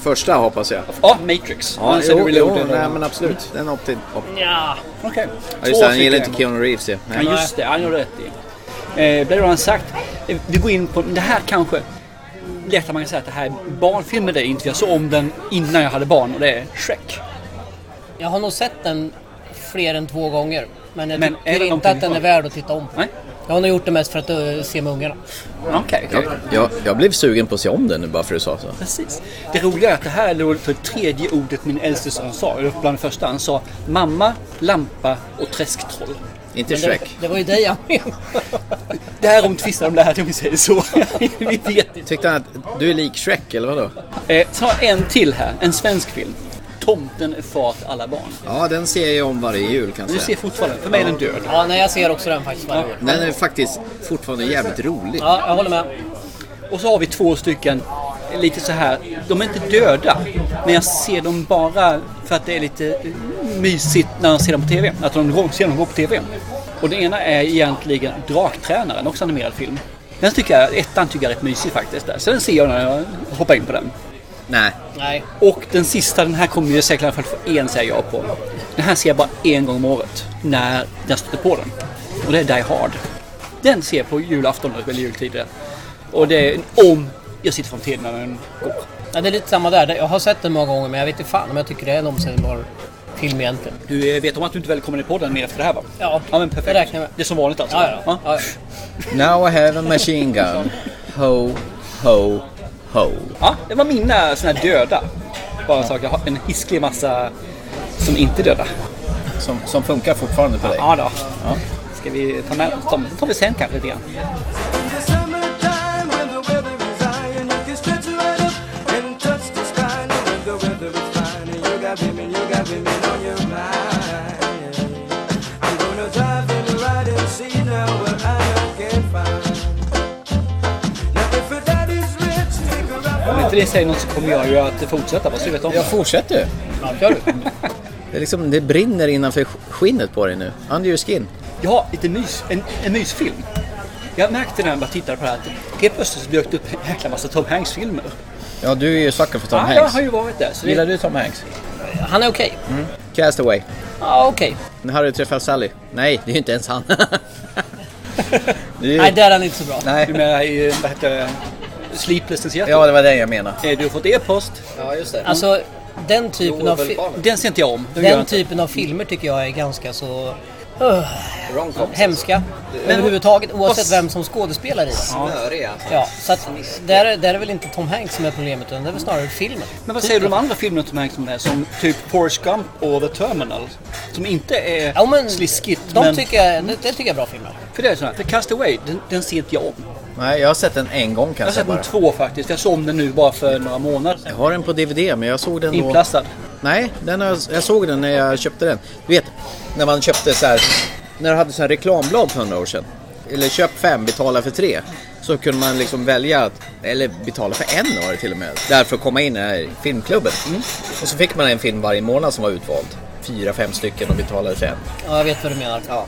[SPEAKER 3] Första hoppas jag.
[SPEAKER 2] Ja, Matrix.
[SPEAKER 3] Ja,
[SPEAKER 2] Men sen
[SPEAKER 3] jo,
[SPEAKER 2] är det
[SPEAKER 3] jo,
[SPEAKER 2] reloaded.
[SPEAKER 3] nej men absolut. Den optin. Op.
[SPEAKER 4] Ja.
[SPEAKER 2] Okej.
[SPEAKER 3] Ja, just det, han
[SPEAKER 2] Två
[SPEAKER 3] gillar
[SPEAKER 2] stycken.
[SPEAKER 3] inte Keanu Reeves ju.
[SPEAKER 2] Ja,
[SPEAKER 3] Nej.
[SPEAKER 2] just det. Han gör rätt i. Eh, Blade Runner sagt. eh, Vi går in på det här kanske. Lättare man kan säga att det här är barnfilmer. Det är inte. Jag såg om den innan jag hade barn och det är Shrek.
[SPEAKER 4] Jag har nog sett den fler än två gånger. Men jag
[SPEAKER 2] Men är
[SPEAKER 4] tycker
[SPEAKER 2] det
[SPEAKER 4] inte att
[SPEAKER 2] någonting
[SPEAKER 4] den är
[SPEAKER 2] kvar?
[SPEAKER 4] värd att titta om på.
[SPEAKER 2] Nej?
[SPEAKER 4] Jag har nog gjort det mest för att eh, se med ungarna.
[SPEAKER 2] Okej, okej.
[SPEAKER 3] Jag, jag, jag blev sugen på att se om den nu bara för att du sa så.
[SPEAKER 2] Precis. Det roliga är att det här är för tredje ordet min äldste son sa. Eller bland det första. Han sa mamma, lampa och träsktroll.
[SPEAKER 3] Inte
[SPEAKER 4] Det,
[SPEAKER 3] Shrek.
[SPEAKER 4] det var ju dig jag menade.
[SPEAKER 2] Därom tvistar de lärde, om vi säger så. vi vet inte.
[SPEAKER 3] Tyckte han att du är lik Shrek eller vadå?
[SPEAKER 2] Eh, så har jag en till här, en svensk film. Tomten är far till alla barn.
[SPEAKER 3] Ja, den ser jag om varje jul kan
[SPEAKER 2] Du
[SPEAKER 3] jag
[SPEAKER 2] ser
[SPEAKER 3] säga.
[SPEAKER 2] fortfarande, för mig är den död.
[SPEAKER 4] Ja, nej, jag ser också den faktiskt varje år.
[SPEAKER 3] Den är faktiskt fortfarande jävligt rolig.
[SPEAKER 4] Ja, jag håller med.
[SPEAKER 2] Och så har vi två stycken eh, lite så här, de är inte döda, men jag ser dem bara för att det är lite eh, mysigt när jag ser dem på TV. Att de går- ser dem gå på TV. Och den ena är egentligen Draktränaren, också animerad film. Den tycker jag, ettan tycker jag är rätt mysig faktiskt. Där. Så den ser jag när jag hoppar in på den.
[SPEAKER 3] Nej,
[SPEAKER 4] Nej.
[SPEAKER 2] Och den sista, den här kommer ju säkert i alla fall få en säger jag på. Den här ser jag bara en gång om året när jag stöter på den. Och det är Die Hard. Den ser jag på julafton eller jultider. Och det är om jag sitter fram till när den går.
[SPEAKER 4] Ja, det är lite samma där. Jag har sett den många gånger men jag vet inte fan om jag tycker det är en omsättningsbar film egentligen.
[SPEAKER 2] Du eh, vet om att du inte välkommen i podden mer efter det här va?
[SPEAKER 4] Ja,
[SPEAKER 2] Ja men perfekt.
[SPEAKER 4] det räknar jag med.
[SPEAKER 2] Det är som vanligt alltså?
[SPEAKER 4] Ja, ja. ja.
[SPEAKER 3] Now I have a machine gun. Ho, ho, ho.
[SPEAKER 2] Ja, det var mina såna här döda. Bara så att jag har en hisklig massa som inte är döda.
[SPEAKER 3] Som, som funkar fortfarande på dig.
[SPEAKER 2] Ja då. Ska vi ta med dem? tar vi sen kanske lite grann.
[SPEAKER 6] In the summertime when the weather is high and you can stretch right up and touch the sky. Now when the weather is fine and you got women, you got women on your mind. I'm gonna drive and ride and see now what I can find. Now if her daddy's rich, take her out.
[SPEAKER 2] Om inte det säger något så kommer jag ju att fortsätta. Vad ska du veta om?
[SPEAKER 3] Jag fortsätter ju.
[SPEAKER 4] ja kör du.
[SPEAKER 3] Det, är liksom, det brinner innanför skinnet på dig nu. Under your skin.
[SPEAKER 2] Jag har lite mys, en, en mysfilm. Jag märkte när jag bara tittade på det här att helt plötsligt så dök det upp en jäkla massa Tom Hanks-filmer.
[SPEAKER 3] Ja, du är ju sucker för Tom
[SPEAKER 2] Ja, jag
[SPEAKER 3] Hanks.
[SPEAKER 2] har ju varit där. Så det,
[SPEAKER 3] Gillar du Tom Hanks?
[SPEAKER 4] Han är okej.
[SPEAKER 2] Mm.
[SPEAKER 3] Castaway.
[SPEAKER 4] Ja, okej.
[SPEAKER 3] Harry träffar Sally. Nej, det är ju inte ens han. Det är ju-
[SPEAKER 4] Nej, där är han inte så bra.
[SPEAKER 2] du
[SPEAKER 3] Nej.
[SPEAKER 2] menar i, vad heter det, Sleepless in Seattle?
[SPEAKER 3] Ja, det var den jag menade.
[SPEAKER 2] Eh, Du har fått e-post.
[SPEAKER 3] Ja, just det.
[SPEAKER 4] Alltså, den typen av, fi-
[SPEAKER 2] Den ser inte jag om. Den gör jag
[SPEAKER 4] den
[SPEAKER 2] inte.
[SPEAKER 3] typ-
[SPEAKER 4] typen av filmer tycker jag är ganska så... öh,
[SPEAKER 3] Romcoms.
[SPEAKER 4] hemska. Överhuvudtaget, oavsett vem som skådespelar i den.
[SPEAKER 3] Snöriga.
[SPEAKER 4] Ja, så att där, är- där är väl inte Tom Hanks som är problemet utan det är väl snarare filmen.
[SPEAKER 2] Men vad säger du om de andra filmerna Tom Hanks med? Som typ Forrest Gump och The Terminal. Som inte är
[SPEAKER 4] Ja, men
[SPEAKER 2] sliskigt.
[SPEAKER 4] De
[SPEAKER 2] men,
[SPEAKER 4] tycker jag, det, det tycker jag är bra filmer.
[SPEAKER 2] För det är så här, för Castaway, den, den ser inte jag om.
[SPEAKER 3] Nej, jag har sett den en gång
[SPEAKER 2] Jag har
[SPEAKER 3] kanske
[SPEAKER 2] sett den
[SPEAKER 3] bara.
[SPEAKER 2] två faktiskt. Jag såg om den nu bara för några månader
[SPEAKER 3] Jag
[SPEAKER 2] sedan.
[SPEAKER 3] har den på DVD, men jag såg den då...
[SPEAKER 2] Inplastad.
[SPEAKER 3] Nej, den har, jag- jag såg den när jag köpte den. Du vet, när man köpte så här... När du hade så här reklamblad för hundra år sedan. eller köp fem, betala för tre. Så kunde man liksom välja, att- eller betala för en var det till och med, därför att komma in i den här filmklubben.
[SPEAKER 4] Mm.
[SPEAKER 3] Och så fick man en film varje månad som var utvald. Fyra, fem stycken och betalade för en.
[SPEAKER 4] Ja, jag vet vad du menar.
[SPEAKER 3] Ja.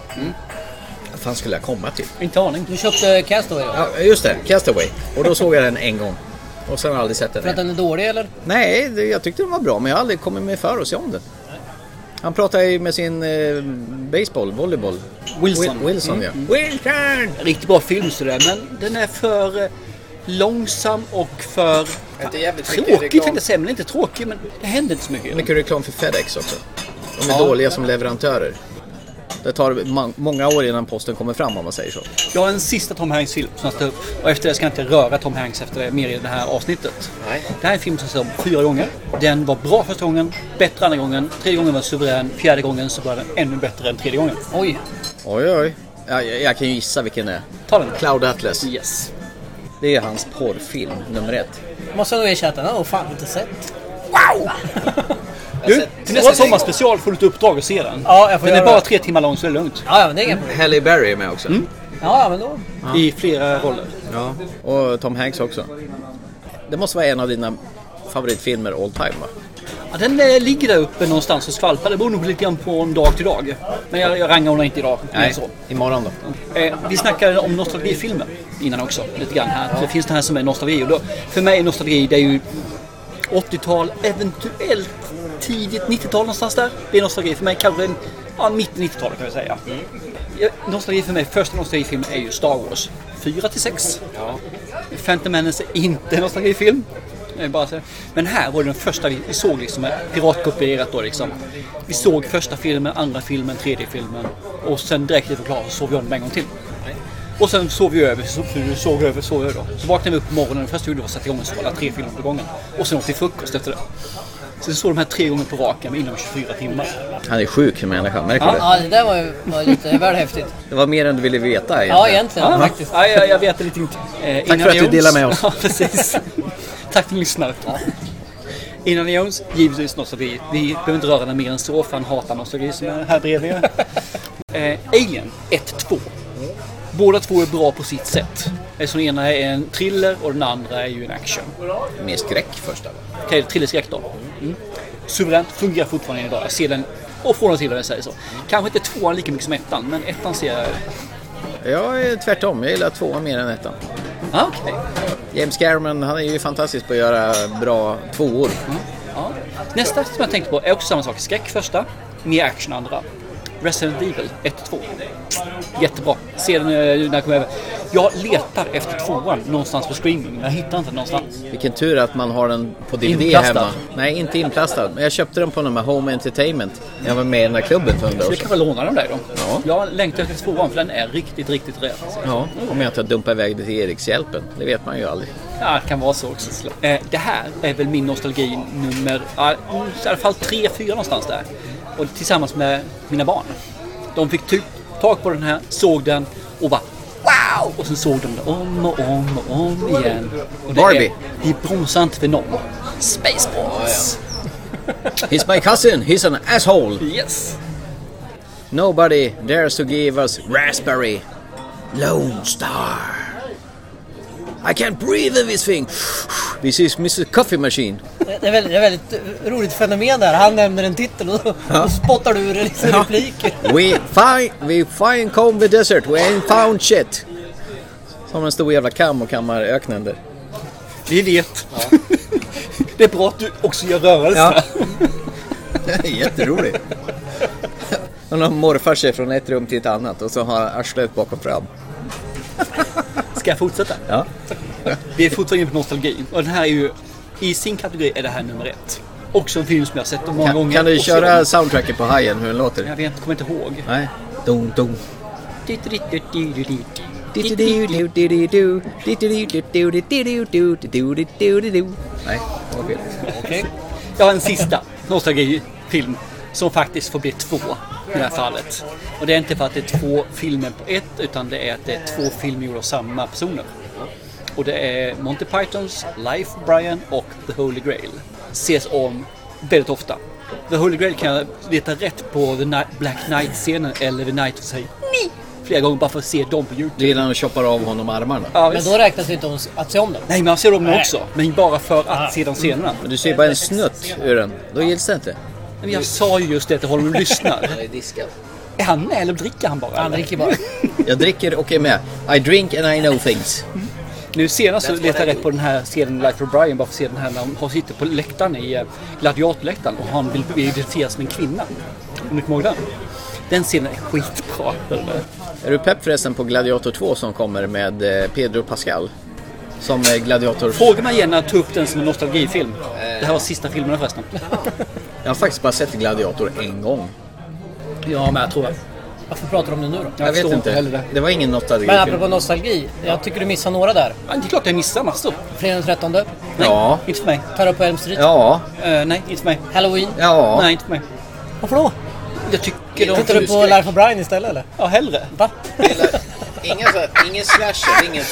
[SPEAKER 3] Vad fan skulle jag komma till?
[SPEAKER 2] Mm, Inte aning.
[SPEAKER 4] Du köpte Castaway då?
[SPEAKER 3] Ja, just det, Castaway. Och då såg jag den en gång. Och sen har jag aldrig sett den
[SPEAKER 4] För att
[SPEAKER 3] igen.
[SPEAKER 4] den är dålig eller?
[SPEAKER 3] Nej, det- jag tyckte den var bra men jag har aldrig kommit mig för att se om den. Han pratar ju med sin eh, baseball, volleyboll.
[SPEAKER 2] Wilson. Mm.
[SPEAKER 3] Wil- Wilson Mm. ja. Wilson!
[SPEAKER 2] Riktigt bra film sådär, men den är för eh, långsam och för...
[SPEAKER 3] Inte jävligt mycket
[SPEAKER 2] Tråkig
[SPEAKER 3] reklam.
[SPEAKER 2] tänkte jag säga, men inte tråkig. Men det händer inte så mycket.
[SPEAKER 3] Mycket reklam för FedEx också. De är dåliga som leverantörer. Det tar ma- många år innan posten kommer fram om man säger så.
[SPEAKER 2] Jag har en sista Tom Hanks-film som jag ska ta upp. Och efter det ska jag inte röra Tom Hanks efter det, mer i det här avsnittet.
[SPEAKER 3] Nej.
[SPEAKER 2] Det här är en film som jag såg fyra gånger. Den var bra första gången, bättre andra gången, tredje gången var suverän, fjärde gången så var den ännu bättre än tredje gången.
[SPEAKER 4] Oj.
[SPEAKER 3] Oj, oj. Ja, jag, jag kan ju gissa vilken det är.
[SPEAKER 2] Ta den.
[SPEAKER 3] Cloud Atlas.
[SPEAKER 2] Yes.
[SPEAKER 3] Det är hans porrfilm nummer ett.
[SPEAKER 4] Måste jag nog erkänna att den har jag fan inte sett.
[SPEAKER 2] Du, till nästa sommarspecial får du ett uppdrag att se den.
[SPEAKER 4] Ja, jag får
[SPEAKER 2] den är
[SPEAKER 4] göra
[SPEAKER 2] bara
[SPEAKER 4] det.
[SPEAKER 2] tre timmar lång så det är lugnt.
[SPEAKER 4] Ja, ja, men det är inga problem.
[SPEAKER 3] Halle Berry är med också.
[SPEAKER 4] Ja, ja, men då.
[SPEAKER 2] I flera roller.
[SPEAKER 3] Ja. Och Tom Hanks också. Det måste vara en av dina favoritfilmer all time va?
[SPEAKER 2] Ja, den eh, ligger där uppe någonstans och skvalpar. Det beror nog lite grann på en dag till dag. Men jag, jag rangar honom inte idag. mer än Så.
[SPEAKER 3] Imorgon då?
[SPEAKER 2] Eh, vi snackade om nostalgifilmer innan också, lite grann här. Det finns det här som är nostalgi. Och då, för mig är nostalgi, det är ju 80-tal, eventuellt tidigt 90-tal någonstans där. Det är nostalgi för mig. Kanske en- ja, mitt 90-tal kan jag säga. Ja, Nostalgi för mig, första nostalgifilmen är ju Star Wars 4 till 6. Phantom Menace är inte en nostalgifilm. Det är Bara så. Men här var det den första vi, vi såg liksom, eh, piratkopierat då liksom. Vi såg första filmen, andra filmen, tredje filmen och sen direkt efter klar så såg vi om dem en gång till. Och sen sov vi över, så, så- såg över, såg över då. Så vaknade vi upp på morgonen och det första vi gjorde var att sätta igång och se alla tre filmer på gången. Och sen åt vi frukost efter det. Så vi såg de här tre gånger på raken inom 24 timmar.
[SPEAKER 3] Han är sjuk människa, märker du det?
[SPEAKER 4] Ja, det där var ju var lite väl häftigt.
[SPEAKER 3] Det var mer än du ville veta egentligen.
[SPEAKER 4] Ja, egentligen faktiskt.
[SPEAKER 2] Ja, jag, jag vet det lite inte. Eh,
[SPEAKER 3] Tack för att du delar med oss.
[SPEAKER 2] Ja, precis. Tack för att ni lyssnar. Innan Jones, givetvis nostalgi. Vi behöver inte röra den mer än så, för han hatar nostalgi som är här bredvid er. Eh, Alien 1-2. Båda två är bra på sitt sätt. Eftersom den ena är en thriller och den andra är ju en action.
[SPEAKER 3] Mer skräck första. va?
[SPEAKER 2] Okej, thrillerskräck då. Mm. Suveränt, fungerar fortfarande idag. Jag ser den och får den till vad jag säger så. Kanske inte tvåan lika mycket som ettan, men ettan ser jag...
[SPEAKER 3] Jag är tvärtom, jag gillar tvåan mer än ettan.
[SPEAKER 2] Ah, okej.
[SPEAKER 3] James Cameron, han är ju fantastisk på att göra bra tvåor.
[SPEAKER 2] Ja. Nästa som jag tänkte på är också samma sak. Skräck första, mer action andra. Resident Evil 1-2. Jättebra. Se den eh, när jag kommer över. Jag letar efter tvåan någonstans på streaming, men jag hittar inte den någonstans.
[SPEAKER 3] Vilken tur att man har den på DVD
[SPEAKER 2] Inplastad.
[SPEAKER 3] hemma. Nej, inte inplastad. Men jag köpte den på den här Home Entertainment. Jag var med i den här klubben för hundra
[SPEAKER 2] Så
[SPEAKER 3] år
[SPEAKER 2] jag
[SPEAKER 3] sedan.
[SPEAKER 2] kanske lånar den där då.
[SPEAKER 3] Ja.
[SPEAKER 2] Jag längtar efter tvåan för den är riktigt, riktigt rejäl.
[SPEAKER 3] Ja, om jag inte dumpar iväg det till Erikshjälpen. Det vet man ju aldrig.
[SPEAKER 2] Ja, det kan vara så också. Eh, det här är väl min nostalgi nummer, ja, i alla fall tre, fyra någonstans där. Och tillsammans med mina barn. De fick typ tag på den här, såg den och bara Wow! Och sen såg de den om och om och om igen. Och det
[SPEAKER 3] Barbie.
[SPEAKER 2] Är, vi bromsar inte för någon. Spaceballs!
[SPEAKER 3] He's my cousin, he's an asshole.
[SPEAKER 2] Yes!
[SPEAKER 3] Nobody dares to give us raspberry. Lone Star. I can't breathe in this thing. This is Mr Coffee Machine.
[SPEAKER 4] Det är väldigt, det är väldigt roligt fenomen där. Han nämner en titel och, och spottar du ur en liksom replik.
[SPEAKER 3] We find, we find comb the desert, we ain't found shit. Som en stor jävla kam och kammar öknen där.
[SPEAKER 2] Vi vet. det är bra att du också gör rörelser.
[SPEAKER 3] Jätterolig. Hon har morfar sig från ett rum till ett annat och så har han arslet bakom fram.
[SPEAKER 2] Ska jag fortsätta?
[SPEAKER 3] Ja.
[SPEAKER 2] Vi är fortfarande inne på nostalgin och den här är ju, i sin kategori är det här nummer ett. Också en film som jag har sett många
[SPEAKER 3] Kan,
[SPEAKER 2] gånger.
[SPEAKER 3] kan du
[SPEAKER 2] och ser
[SPEAKER 3] köra soundtracken på hajen hur den
[SPEAKER 2] om.
[SPEAKER 3] låter?
[SPEAKER 2] Jag vet, kommer inte ihåg.
[SPEAKER 3] Nej. Dum, dum. Nej, det var fel.
[SPEAKER 4] Okej.
[SPEAKER 2] Jag har en sista nostalgifilm som faktiskt får bli två i det här fallet. Och det är inte för att det är två filmer på ett utan det är att det är två filmer gjorda av samma personer. Och det är Monty Pythons Life of Brian och The Holy Grail. Ses om väldigt ofta. The Holy Grail kan jag leta rätt på The Ni- Black Knight-scenen eller The Night of Say flera gånger bara för att se dem på YouTube.
[SPEAKER 3] Det är när de choppar av honom armarna.
[SPEAKER 2] Ja,
[SPEAKER 4] Men
[SPEAKER 2] visst.
[SPEAKER 4] då räknas det inte om s- att se om den.
[SPEAKER 2] Nej, Ah. man ser dem nu också. Men bara för att se dem senare.
[SPEAKER 3] Men du ser ju bara en snutt ur den. Då gills det inte.
[SPEAKER 2] Men jag sa ju just det till honom, lyssna. Är han med eller dricker han bara?
[SPEAKER 4] Han
[SPEAKER 2] eller?
[SPEAKER 4] dricker bara.
[SPEAKER 3] Jag dricker och är med. I drink and I know things.
[SPEAKER 2] Nu senast så letade jag rätt på den här scenen i Life of Brian bara för att se den här när hon sitter på läktaren i eh, gladiatorläktaren och han vill identifiera som en kvinna. Om ni kommer ihåg den? Den scenen är skitbra.
[SPEAKER 3] Är du pepp förresten på Gladiator 2 som kommer med eh, Pedro Pascal? Som eh, gladiator...
[SPEAKER 2] Fråga mig igen när jag tar upp den som en nostalgifilm. Det här var sista filmen förresten.
[SPEAKER 3] Jag har faktiskt bara sett Gladiator en gång.
[SPEAKER 2] Ja, men jag tror jag.
[SPEAKER 4] Varför pratar du om det nu då?
[SPEAKER 3] Jag, vet
[SPEAKER 2] förstår
[SPEAKER 3] inte.
[SPEAKER 2] inte heller det.
[SPEAKER 3] Det var ingen nostalgi.
[SPEAKER 4] Men apropå nostalgi. Jag tycker du missar några där.
[SPEAKER 2] Ja, Det är klart jag missar massor.
[SPEAKER 4] Fredag den 13.
[SPEAKER 2] Nej,
[SPEAKER 3] Ja.
[SPEAKER 2] inte för mig.
[SPEAKER 4] Terror på Elm Street.
[SPEAKER 3] Ja,
[SPEAKER 2] Eh, nej, inte för mig.
[SPEAKER 4] Halloween.
[SPEAKER 3] ja.
[SPEAKER 2] Nej, inte för mig.
[SPEAKER 4] Varför då?
[SPEAKER 2] Jag tycker de...
[SPEAKER 4] Tittar du på Life of Brian istället eller?
[SPEAKER 2] Ja, hellre.
[SPEAKER 4] Va?
[SPEAKER 3] Ingen, ingen slasher, ingen...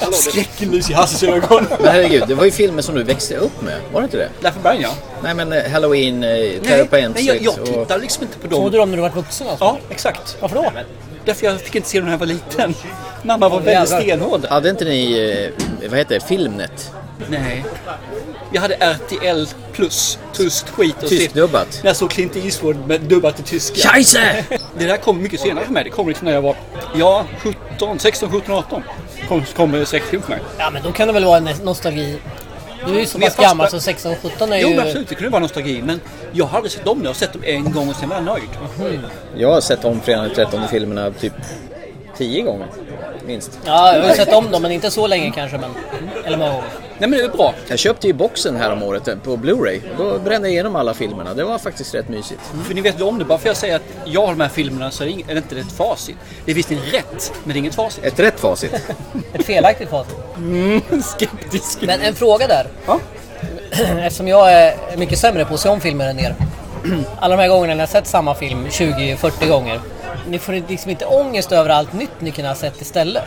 [SPEAKER 2] VA? Skräcklys i Hasses ögon.
[SPEAKER 3] Men herregud, det var ju filmer som du växte upp med. Var det inte det?
[SPEAKER 2] Life of Brian, ja.
[SPEAKER 3] Nej men eh, Halloween, eh, Terror
[SPEAKER 2] Nej,
[SPEAKER 3] på Elm
[SPEAKER 2] nej jag,
[SPEAKER 3] Street
[SPEAKER 2] jag
[SPEAKER 3] och...
[SPEAKER 2] tittar liksom inte på
[SPEAKER 4] Såg
[SPEAKER 2] dem.
[SPEAKER 4] du dem när du var vuxen alltså?
[SPEAKER 2] Ja, exakt.
[SPEAKER 4] Varför då?
[SPEAKER 2] Därför jag fick inte se dem när jag var liten. Mamma var väldigt
[SPEAKER 4] jävlar.
[SPEAKER 2] stenhård.
[SPEAKER 3] Hade inte ni, eh, vad heter det, Filmnet?
[SPEAKER 2] Nej. Jag hade RTL plus, tyskt skit och
[SPEAKER 3] Tyskt
[SPEAKER 2] se-
[SPEAKER 3] dubbat?
[SPEAKER 2] När jag såg Clint Eastwood med dubbat till tyska.
[SPEAKER 3] Scheisse!
[SPEAKER 2] Det där kom mycket senare för mig. Det kom liksom när jag var, ja, 17, 16, 17, 18. Kom, kom det säkert till mig.
[SPEAKER 4] Ja men då kan det väl vara en nostalgi. Du är ju så
[SPEAKER 2] Men
[SPEAKER 4] pass
[SPEAKER 2] fast-
[SPEAKER 4] gammal så 16 och 17 är
[SPEAKER 2] Jo,
[SPEAKER 4] ju...
[SPEAKER 2] men absolut. Det kunde vara nostalgi. Men jag har aldrig sett dem. Jag har sett dem en gång och sen var jag nöjd.
[SPEAKER 3] Jag har sett om Fredag den 13 filmerna typ tio gånger, minst.
[SPEAKER 4] Ja, jag har ju sett om dem men inte så länge kanske. Men... Eller många gånger.
[SPEAKER 2] Nej, men det är bra.
[SPEAKER 3] Jag köpte ju boxen här om året eh, på Blu-ray. Och Då brände jag igenom alla filmerna. Det var faktiskt rätt mysigt.
[SPEAKER 2] För ni vet ju om det. Bara för jag säger att jag har de här filmerna så är det, ing- är det inte ett facit. Det är visserligen rätt, men det är inget facit.
[SPEAKER 3] Ett rätt facit.
[SPEAKER 4] Ett felaktigt facit.
[SPEAKER 2] Skeptisk.
[SPEAKER 4] Men en fråga där.
[SPEAKER 2] Ja.
[SPEAKER 4] Eftersom jag är mycket sämre på att se om filmer än er. Alla de här gångerna när jag sett samma film 20-40 gånger. Ni får liksom inte ångest över allt nytt ni kunde ha sett istället.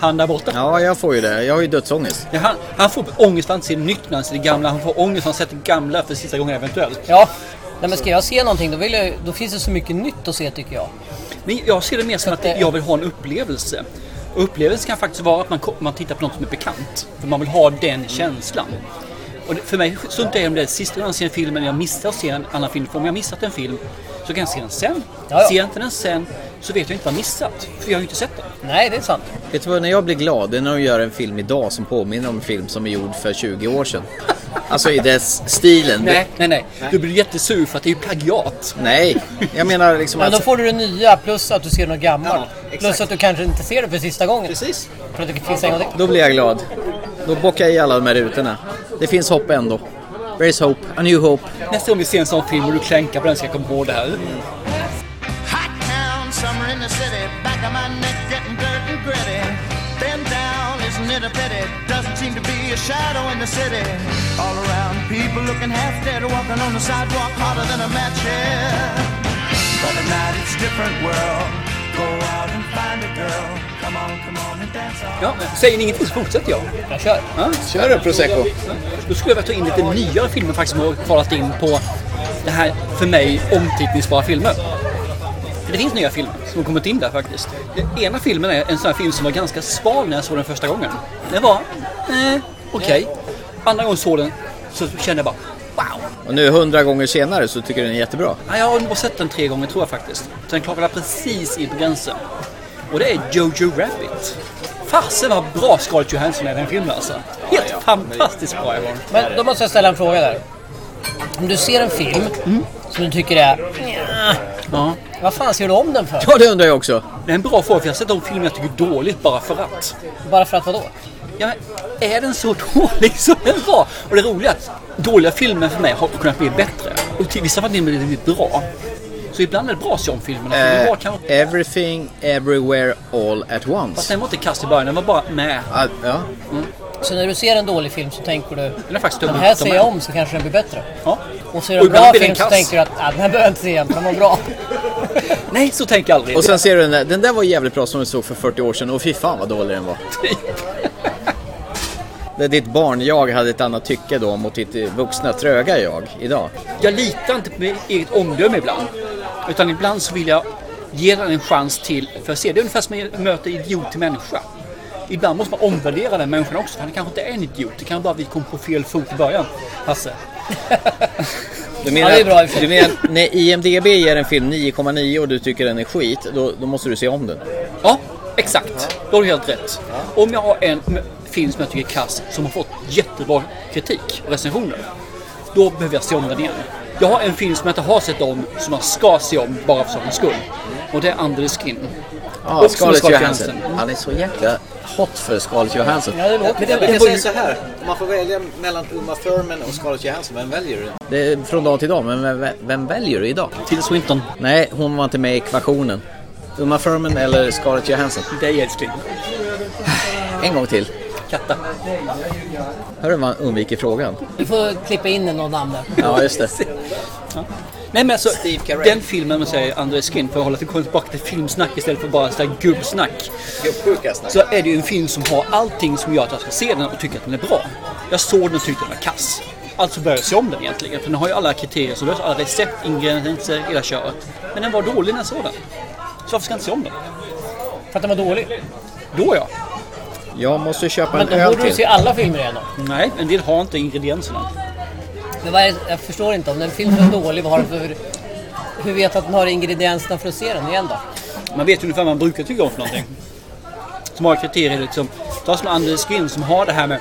[SPEAKER 2] Han där borta.
[SPEAKER 3] Ja, jag får ju det. Jag har ju dödsångest.
[SPEAKER 2] Ja, han, han får ångest för att han ser nytt när han ser det gamla. Han får ångest för att han sett det gamla för sista gången eventuellt.
[SPEAKER 4] Ja. Nej, men ska jag se någonting då, vill jag, ju- då finns det så mycket nytt att se tycker jag.
[SPEAKER 2] Men jag ser det mer som att
[SPEAKER 4] det-
[SPEAKER 2] jag vill ha en upplevelse. Och upplevelsen kan faktiskt vara att man, ko- man tittar på något som är bekant. För man vill ha den känslan. Och det, för mig struntar jag i om det är sista gången jag ser filmen jag missar att se en annan film. För om jag missat en film så kan jag se den sen.
[SPEAKER 4] Ja, ja.
[SPEAKER 2] Ser jag inte den sen så vet jag inte vad jag missat. För jag har ju inte sett den.
[SPEAKER 4] Nej, det är sant.
[SPEAKER 3] Vet du vad, när jag blir glad, det är när de gör en film idag som påminner om en film som är gjord för 20 år sedan. Alltså i dess stilen.
[SPEAKER 2] Nej, nej, nej. Du blir jättesur för att det är ju plagiat.
[SPEAKER 3] Nej, jag menar liksom...
[SPEAKER 4] Men då
[SPEAKER 3] Alltså,
[SPEAKER 4] får du det nya plus att du ser något gammalt.
[SPEAKER 3] Ja, exakt.
[SPEAKER 4] plus att du kanske inte ser det för sista gången.
[SPEAKER 2] Precis.
[SPEAKER 4] För att det finns en gång till.
[SPEAKER 3] då blir jag glad. Då bockar jag i alla de här rutorna. Det finns hopp ändå. There is hope, a new hope.
[SPEAKER 2] Nästa gång vi ser en sån film och du klänkar på den ska jag komma ihåg det här.
[SPEAKER 7] Hot town, summer in the city, back of my neck getting dirt and gritty. Bend down, isn't it a pity? Doesn't seem to be a shadow in the city. All around, people looking half dead, walking on the sidewalk harder than a match here. But at night it's a different world. Go out and find a girl. Come on, come on and dance all
[SPEAKER 2] Ja, men säger ni ingenting så fortsätter jag.
[SPEAKER 4] Jag kör.
[SPEAKER 2] Ja.
[SPEAKER 3] Kör du Prosecco?
[SPEAKER 2] Då skulle jag vilja ta in lite nyare filmer faktiskt som har kvalat in på det här för mig omtittningsbara filmer. För det finns nya filmer som har kommit in där faktiskt. Den ena filmen är en sån här film som var ganska sval när jag såg den första gången. Den var eh, okej. Andra gången jag såg den så kände jag bara wow.
[SPEAKER 3] Och nu hundra gånger senare så tycker jag den är jättebra.
[SPEAKER 2] Ja, jag har nog bara sett den tre gånger tror jag faktiskt. Så den klarar precis in på gränsen. Och det är Jojo Rabbit. Fasen vad bra Scarlett Johansson är i den filmen alltså. Helt fantastiskt bra är hon.
[SPEAKER 4] Men då måste jag ställa en fråga där. Om du ser en film som du tycker är... "Nja,
[SPEAKER 2] Ja.
[SPEAKER 4] Vad fan ser du om den för?
[SPEAKER 3] Ja, det undrar jag också.
[SPEAKER 2] Det är en bra fråga för jag har sett de filmer jag tycker är dåligt bara för att.
[SPEAKER 4] Bara för att vadå?
[SPEAKER 2] Ja, men är den så dålig som den var? Och det roliga är att dåliga filmer för mig har kunnat bli bättre. Och till vissa fall blir det blivit bra. Så ibland är det bra att se om filmerna. för det var kanske-
[SPEAKER 3] Eh, everything, everywhere, all at
[SPEAKER 2] Fast
[SPEAKER 3] once.
[SPEAKER 2] den var inte kast i början, den var bara med.
[SPEAKER 3] Ah, ja.
[SPEAKER 4] Så när du ser en dålig film så tänker du...
[SPEAKER 2] Den är faktiskt dum.
[SPEAKER 4] Den här ser jag om så kanske den blir bättre.
[SPEAKER 2] Ja.
[SPEAKER 4] Och ser du en
[SPEAKER 2] ibland
[SPEAKER 4] bra
[SPEAKER 2] blir den
[SPEAKER 4] film så
[SPEAKER 2] kass.
[SPEAKER 4] tänker du att ah, den här behöver jag inte se igen, för den var bra.
[SPEAKER 2] Nej, så tänker jag aldrig.
[SPEAKER 3] Och sen ser du den där, den där var jävligt bra som du såg för 40 år sedan och fy fan vad dålig den var. Där ditt barn jag hade ett annat tycke då mot ditt eh, vuxna tröga jag idag.
[SPEAKER 2] jag litar inte på mitt eget omdöme ibland. Utan ibland så vill jag Ge den en chans till för att se. Det är ungefär som att möta idiot till människa. Ibland måste man omvärdera den människan också. för Han kanske inte är en idiot. Det kan vara att vi kom på fel fot i början. Hasse.
[SPEAKER 3] Du menar,
[SPEAKER 4] Ja, det är bra i och för sig.
[SPEAKER 3] du menar att när IMDB ger en film 9,9 och du tycker den är skit, då, då måste du se om den.
[SPEAKER 2] Ja, exakt. Då har du helt rätt. Om jag har en m- film som jag tycker är kass som har fått jättebra kritik och recensioner. Då behöver jag se om den igen. Jag har en film som jag inte har sett om som jag ska se om bara för sakens skull. Och det är Under the Skin.
[SPEAKER 3] Ja,
[SPEAKER 2] Och som
[SPEAKER 3] Scarlett
[SPEAKER 2] Scarlett
[SPEAKER 3] Johansson.
[SPEAKER 2] Johansson.
[SPEAKER 3] Han är så jäkla hot för Scarlett Johansson.
[SPEAKER 4] Ja, det låter
[SPEAKER 8] Men
[SPEAKER 4] så.
[SPEAKER 8] jag brukar
[SPEAKER 4] Det var ju-
[SPEAKER 8] säga så här. Om man får välja mellan Uma Thurman och Scarlett Johansson, vem väljer du?
[SPEAKER 3] Det är från dag till dag, men vem, vem väljer du idag?
[SPEAKER 2] Tilda Swinton.
[SPEAKER 3] Nej, hon var inte med i ekvationen. Uma Thurman eller Scarlett Johansson?
[SPEAKER 2] Dig älskling.
[SPEAKER 3] En gång till.
[SPEAKER 2] Katta.
[SPEAKER 3] Hörru vad han undviker frågan.
[SPEAKER 4] Vi får klippa in någon namn där.
[SPEAKER 3] Ja, just det.
[SPEAKER 2] Nej men alltså,
[SPEAKER 8] Steve Carell.
[SPEAKER 2] den filmen man säger Under the Skin, för att hålla till- komma tillbaka till filmsnack istället för bara sådär gubbsnack.
[SPEAKER 8] Gubbsjuka snack.
[SPEAKER 2] Så är det ju en film som har allting som gör att jag ska se den och tycka att den är bra. Jag såg den och tyckte den var kass. Alltså började jag se om den egentligen. För den har ju alla kriterier som löser alla recept, ingredienser, hela köret. Men den var dålig när jag såg den. Så varför ska jag inte se om den?
[SPEAKER 4] För att den var dålig.
[SPEAKER 2] Då ja.
[SPEAKER 3] Jag måste köpa
[SPEAKER 4] Men
[SPEAKER 3] en
[SPEAKER 4] då
[SPEAKER 3] öl
[SPEAKER 4] borde du se
[SPEAKER 3] till.
[SPEAKER 4] alla filmer igen då.
[SPEAKER 2] Nej, en del har inte ingredienserna.
[SPEAKER 4] Men vad är, jag förstår inte, om den filmen är dålig, vad har den för... Hur vet du att den har ingredienserna för att se den igen då?
[SPEAKER 2] Man vet ju ungefär vad man brukar tycka om för någonting. Som har kriterier liksom. Ta som Anders Skin som har det här med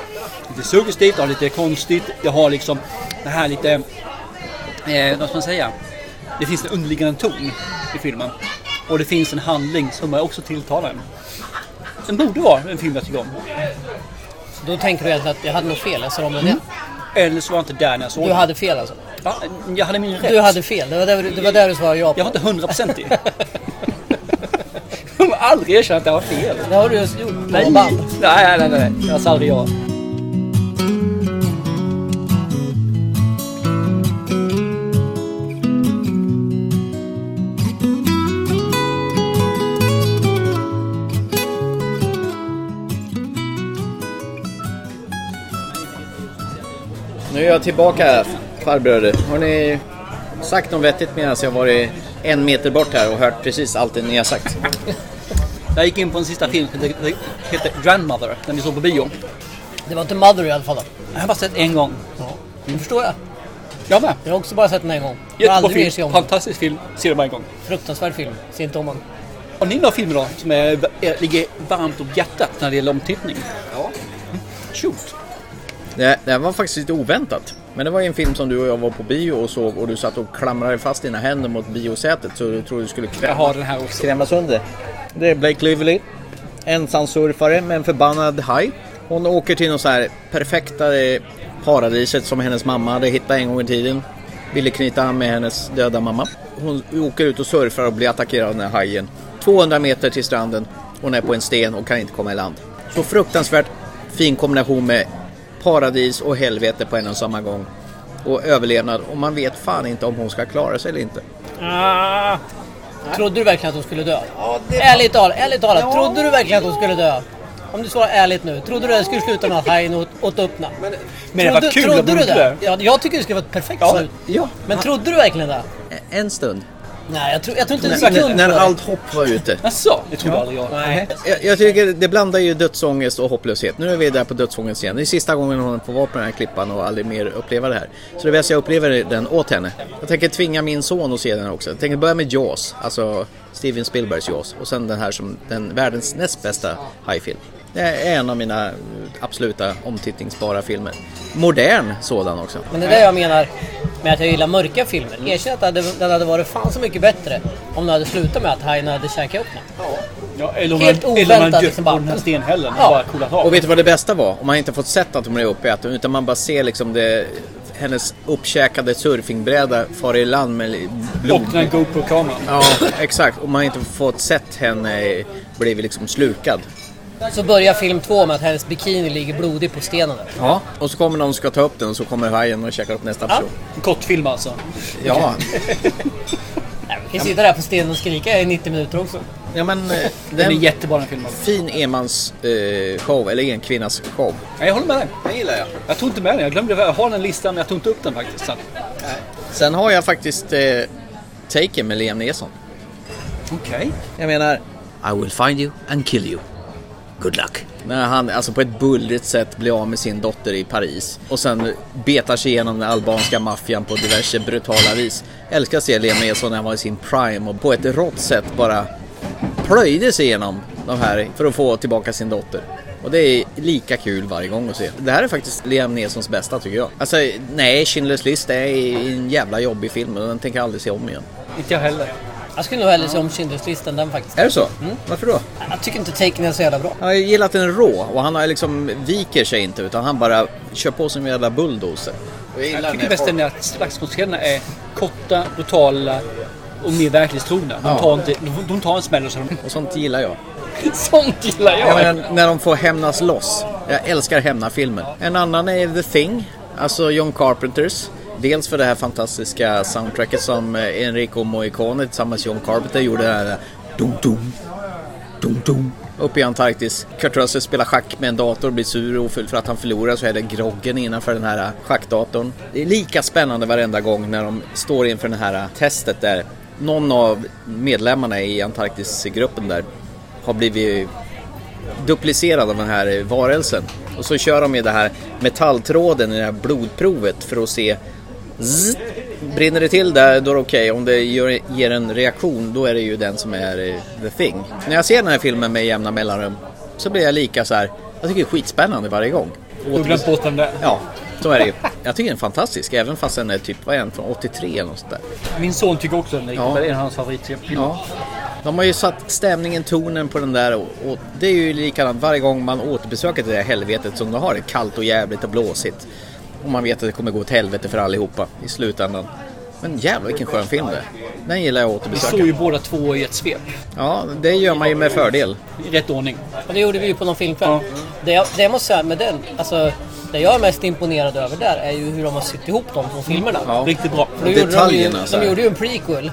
[SPEAKER 2] lite suggestivt, jag har lite konstigt, jag har liksom det här lite, eh, vad ska man säga? Det finns en underliggande ton i filmen. Och det finns en handling som är också tilltalar en. Den borde vara en film jag tycker om.
[SPEAKER 4] Då tänker du egentligen att jag hade nog fel, jag sa om den igen.
[SPEAKER 2] Mm. Eller så var jag inte där när jag såg
[SPEAKER 4] Du
[SPEAKER 2] den.
[SPEAKER 4] hade fel alltså?
[SPEAKER 2] Ja, jag hade min rätt.
[SPEAKER 4] Du hade fel, det var där, du- det var där du svarade ja på.
[SPEAKER 2] Jag var inte hundraprocentig. jag har aldrig erkänt att jag har fel.
[SPEAKER 4] Det har du just gjort på
[SPEAKER 2] Nej,
[SPEAKER 4] band.
[SPEAKER 2] nej, nej, nej. Jag sa aldrig ja.
[SPEAKER 3] Nu är jag tillbaka här, farbröder. Har ni sagt något vettigt medan jag varit en meter bort här och hört precis allt det ni har sagt?
[SPEAKER 2] Jag gick in på en sista film som hette- hette Grandmother, den vi såg på bio.
[SPEAKER 4] Det var inte Mother i alla fall då.
[SPEAKER 2] Jag har bara sett en gång.
[SPEAKER 4] Det förstår jag.
[SPEAKER 2] Jag med.
[SPEAKER 4] Jag har också bara sett den en gång. Jag
[SPEAKER 2] Jättebra
[SPEAKER 4] har aldrig mer se
[SPEAKER 2] film.
[SPEAKER 4] om den.
[SPEAKER 2] Fantastisk film. Ser den bara en gång.
[SPEAKER 4] Fruktansvärd film. Se inte om den.
[SPEAKER 2] Har ni några filmer då som är, är, ligger varmt om hjärtat när det gäller omtittning? Mm.
[SPEAKER 8] Ja.
[SPEAKER 2] Shoot.
[SPEAKER 3] Det, det här var faktiskt lite oväntat. Men det var ju en film som du och jag var på bio och såg och du satt och klamrade fast dina händer mot biosätet så du trodde du skulle
[SPEAKER 2] Jag
[SPEAKER 3] kräma,
[SPEAKER 2] har den här också.
[SPEAKER 3] krämas under. Det är Blake Lively, ensamsurfare med en förbannad haj. Hon åker till något så här perfekta eh, paradiset som hennes mamma hade hittat en gång i tiden. Ville knyta an med hennes döda mamma. Hon åker ut och surfar och blir attackerad av den här hajen. 200 meter till stranden, hon är på en sten och kan inte komma i land. Så fruktansvärt fin kombination med paradis och helvete på en och samma gång. Och överlevnad och man vet fan inte om hon ska klara sig eller inte.
[SPEAKER 4] Trodde du verkligen att hon skulle dö? Ärligt talat, ärligt talat. Trodde du verkligen att hon skulle dö? Om du svarar ärligt nu. Trodde du att det skulle sluta med att hajen åt, åt upp den? Men,
[SPEAKER 2] Men det var kul om
[SPEAKER 4] Trodde
[SPEAKER 2] hon
[SPEAKER 4] du
[SPEAKER 2] inte
[SPEAKER 4] det?
[SPEAKER 2] dör.
[SPEAKER 4] Ja, jag tycker det skulle vara ett perfekt slut.
[SPEAKER 3] ja.
[SPEAKER 4] Men trodde du verkligen det?
[SPEAKER 3] En stund.
[SPEAKER 4] Nej, jag tror, jag tror inte en
[SPEAKER 3] När,
[SPEAKER 4] sekund
[SPEAKER 3] när
[SPEAKER 4] på det.
[SPEAKER 3] allt hopp var ute.
[SPEAKER 2] Jaså? Det trodde aldrig jag.
[SPEAKER 4] Nej.
[SPEAKER 3] Jag, jag tycker det blandar ju dödsångest och hopplöshet. Nu är vi där på dödsångest igen. Det är sista gången hon får vara på den här klippan och aldrig mer uppleva det här. Så det bästa jag upplever är den åt henne. Jag tänker tvinga min son att se den också. Jag tänker börja med Jaws, alltså Steven Spielbergs Jaws. Och sen den här som den världens näst bästa hajfilm. Det är en av mina eh, absoluta omtittningsbara filmer. Modern sådan också.
[SPEAKER 4] Men det är det jag menar med att jag gillar mörka
[SPEAKER 2] Mm.
[SPEAKER 4] filmer. Erkänn att det hade- den hade varit fan så mycket bättre om den hade slutat med att hajen hade käkat upp den.
[SPEAKER 2] Ja, eller om
[SPEAKER 4] Helt
[SPEAKER 2] man- eller om man
[SPEAKER 4] oväntat,
[SPEAKER 2] dött
[SPEAKER 4] liksom
[SPEAKER 2] på
[SPEAKER 4] bara-
[SPEAKER 2] den här stenhällen och
[SPEAKER 4] Ja.
[SPEAKER 2] bara coolat av.
[SPEAKER 3] Och vet du vad det bästa var? Om man inte fått sett att hon blev uppäten utan man bara ser liksom det, hennes uppkäkade surfingbräda fara i land med li-
[SPEAKER 2] Och
[SPEAKER 3] blod.
[SPEAKER 2] den här GoPro-kameran.
[SPEAKER 3] Ja, exakt. Om man inte fått sett henne blivit liksom slukad.
[SPEAKER 4] Så börjar film två med att hennes bikini ligger blodig på stenen. där.
[SPEAKER 3] Ja. Och så kommer någon som ska ta upp den och så kommer hajen och käkar upp nästa person.
[SPEAKER 2] En kortfilm alltså.
[SPEAKER 3] Ja.
[SPEAKER 4] Nej, vi kan sitta där på stenen och skrika i 90 minuter också.
[SPEAKER 3] ja, men eh,
[SPEAKER 2] Den är
[SPEAKER 3] den
[SPEAKER 2] jättebra den filmen.
[SPEAKER 3] fin enmans eh, show, eller en kvinnas show.
[SPEAKER 2] Nej, jag håller med dig.
[SPEAKER 8] Den gillar jag.
[SPEAKER 2] Jag tog inte med den. Jag glömde Jag har den listan men jag tog inte upp den faktiskt. Så.
[SPEAKER 3] Sen har jag faktiskt eh, Taken med Liam Neeson.
[SPEAKER 2] Okej.
[SPEAKER 3] Jag menar, I will find you and kill you. Good luck. När han alltså på ett bullrigt sätt blir av med sin dotter i Paris och sen betar sig igenom den albanska maffian på diverse brutala vis. Jag älskar att se Liam Neeson när han var i sin prime och på ett rått sätt bara plöjde sig igenom de här för att få tillbaka sin dotter. Och det är lika kul varje gång att se. Det här är faktiskt Liam Neesons bästa tycker jag. Alltså nej, Schindler's list är en jävla jobbig film och den tänker jag aldrig se om igen.
[SPEAKER 2] Inte jag heller.
[SPEAKER 4] Jag skulle nog hellre se om Schindler's list än den faktiskt.
[SPEAKER 3] Är det så? Varför då?
[SPEAKER 4] Jag tycker inte Taken är så jävla bra.
[SPEAKER 3] Han har ju gillat den rå och han har liksom viker sig inte utan han bara kör på som en jävla bulldozer.
[SPEAKER 2] Jag tycker bäst är att slagsmålsscenerna är korta, brutala och mer verklighetstrogna. De tar, inte, de, de tar en smäll och så de...
[SPEAKER 3] Och sånt gillar jag.
[SPEAKER 2] Sånt gillar jag!
[SPEAKER 3] jag menar, när de får hämnas loss. Jag älskar hämnafilmer. En annan är The Thing, alltså John Carpenters. Dels för det här fantastiska soundtracket som eh, Enrico Moicone tillsammans med John Carpenter gjorde. Det här eh, dum, dum, dum, dum. Uppe i Antarktis. Kurt Russell spelar schack med en dator och blir sur och ofull för att han förlorar så är det groggen innanför den här eh, schackdatorn. Det är lika spännande varenda gång när de står inför det här eh, testet där någon av medlemmarna i Antarktisgruppen där har blivit duplicerad av den här varelsen. Och så kör de med det här metalltråden i det här blodprovet för att se zzz, Brinner det till där, då är det okej. Om det gör, ger en reaktion, då är det ju den som är eh, the thing. När jag ser den här filmen med jämna mellanrum så blir jag lika så här. Jag tycker det är skitspännande varje gång.
[SPEAKER 2] Du har glömt bort den där.
[SPEAKER 3] Ja, så är det ju. Jag tycker den är fantastisk, även fast den är typ, vad är den, från 83 eller något sånt där.
[SPEAKER 2] Min son tycker också om den.
[SPEAKER 3] Ja.
[SPEAKER 2] Det är en av hans favoritfilmer.
[SPEAKER 3] Ja. De har ju satt stämningen, tonen på den där och, och det är ju likadant varje gång man återbesöker det där helvetet som de har det kallt och jävligt och blåsigt. Och man vet att det kommer gå åt helvete för allihopa i slutändan. Men jävlar vilken skön film det är. Den gillar jag att
[SPEAKER 2] Vi såg ju
[SPEAKER 3] återbesöka.
[SPEAKER 2] båda två i ett svep.
[SPEAKER 3] Ja, det gör man ju med fördel.
[SPEAKER 2] I rätt ordning.
[SPEAKER 4] Och det gjorde vi ju på någon filmkväll. Det, jag, det jag måste säga med den, alltså det jag är mest imponerad över där är ju hur de har sytt ihop de två filmerna.
[SPEAKER 3] Ja.
[SPEAKER 2] Riktigt bra.
[SPEAKER 4] För då gjorde de, ju,
[SPEAKER 3] Detaljerna, så här. Mm.
[SPEAKER 4] de gjorde ju en prequel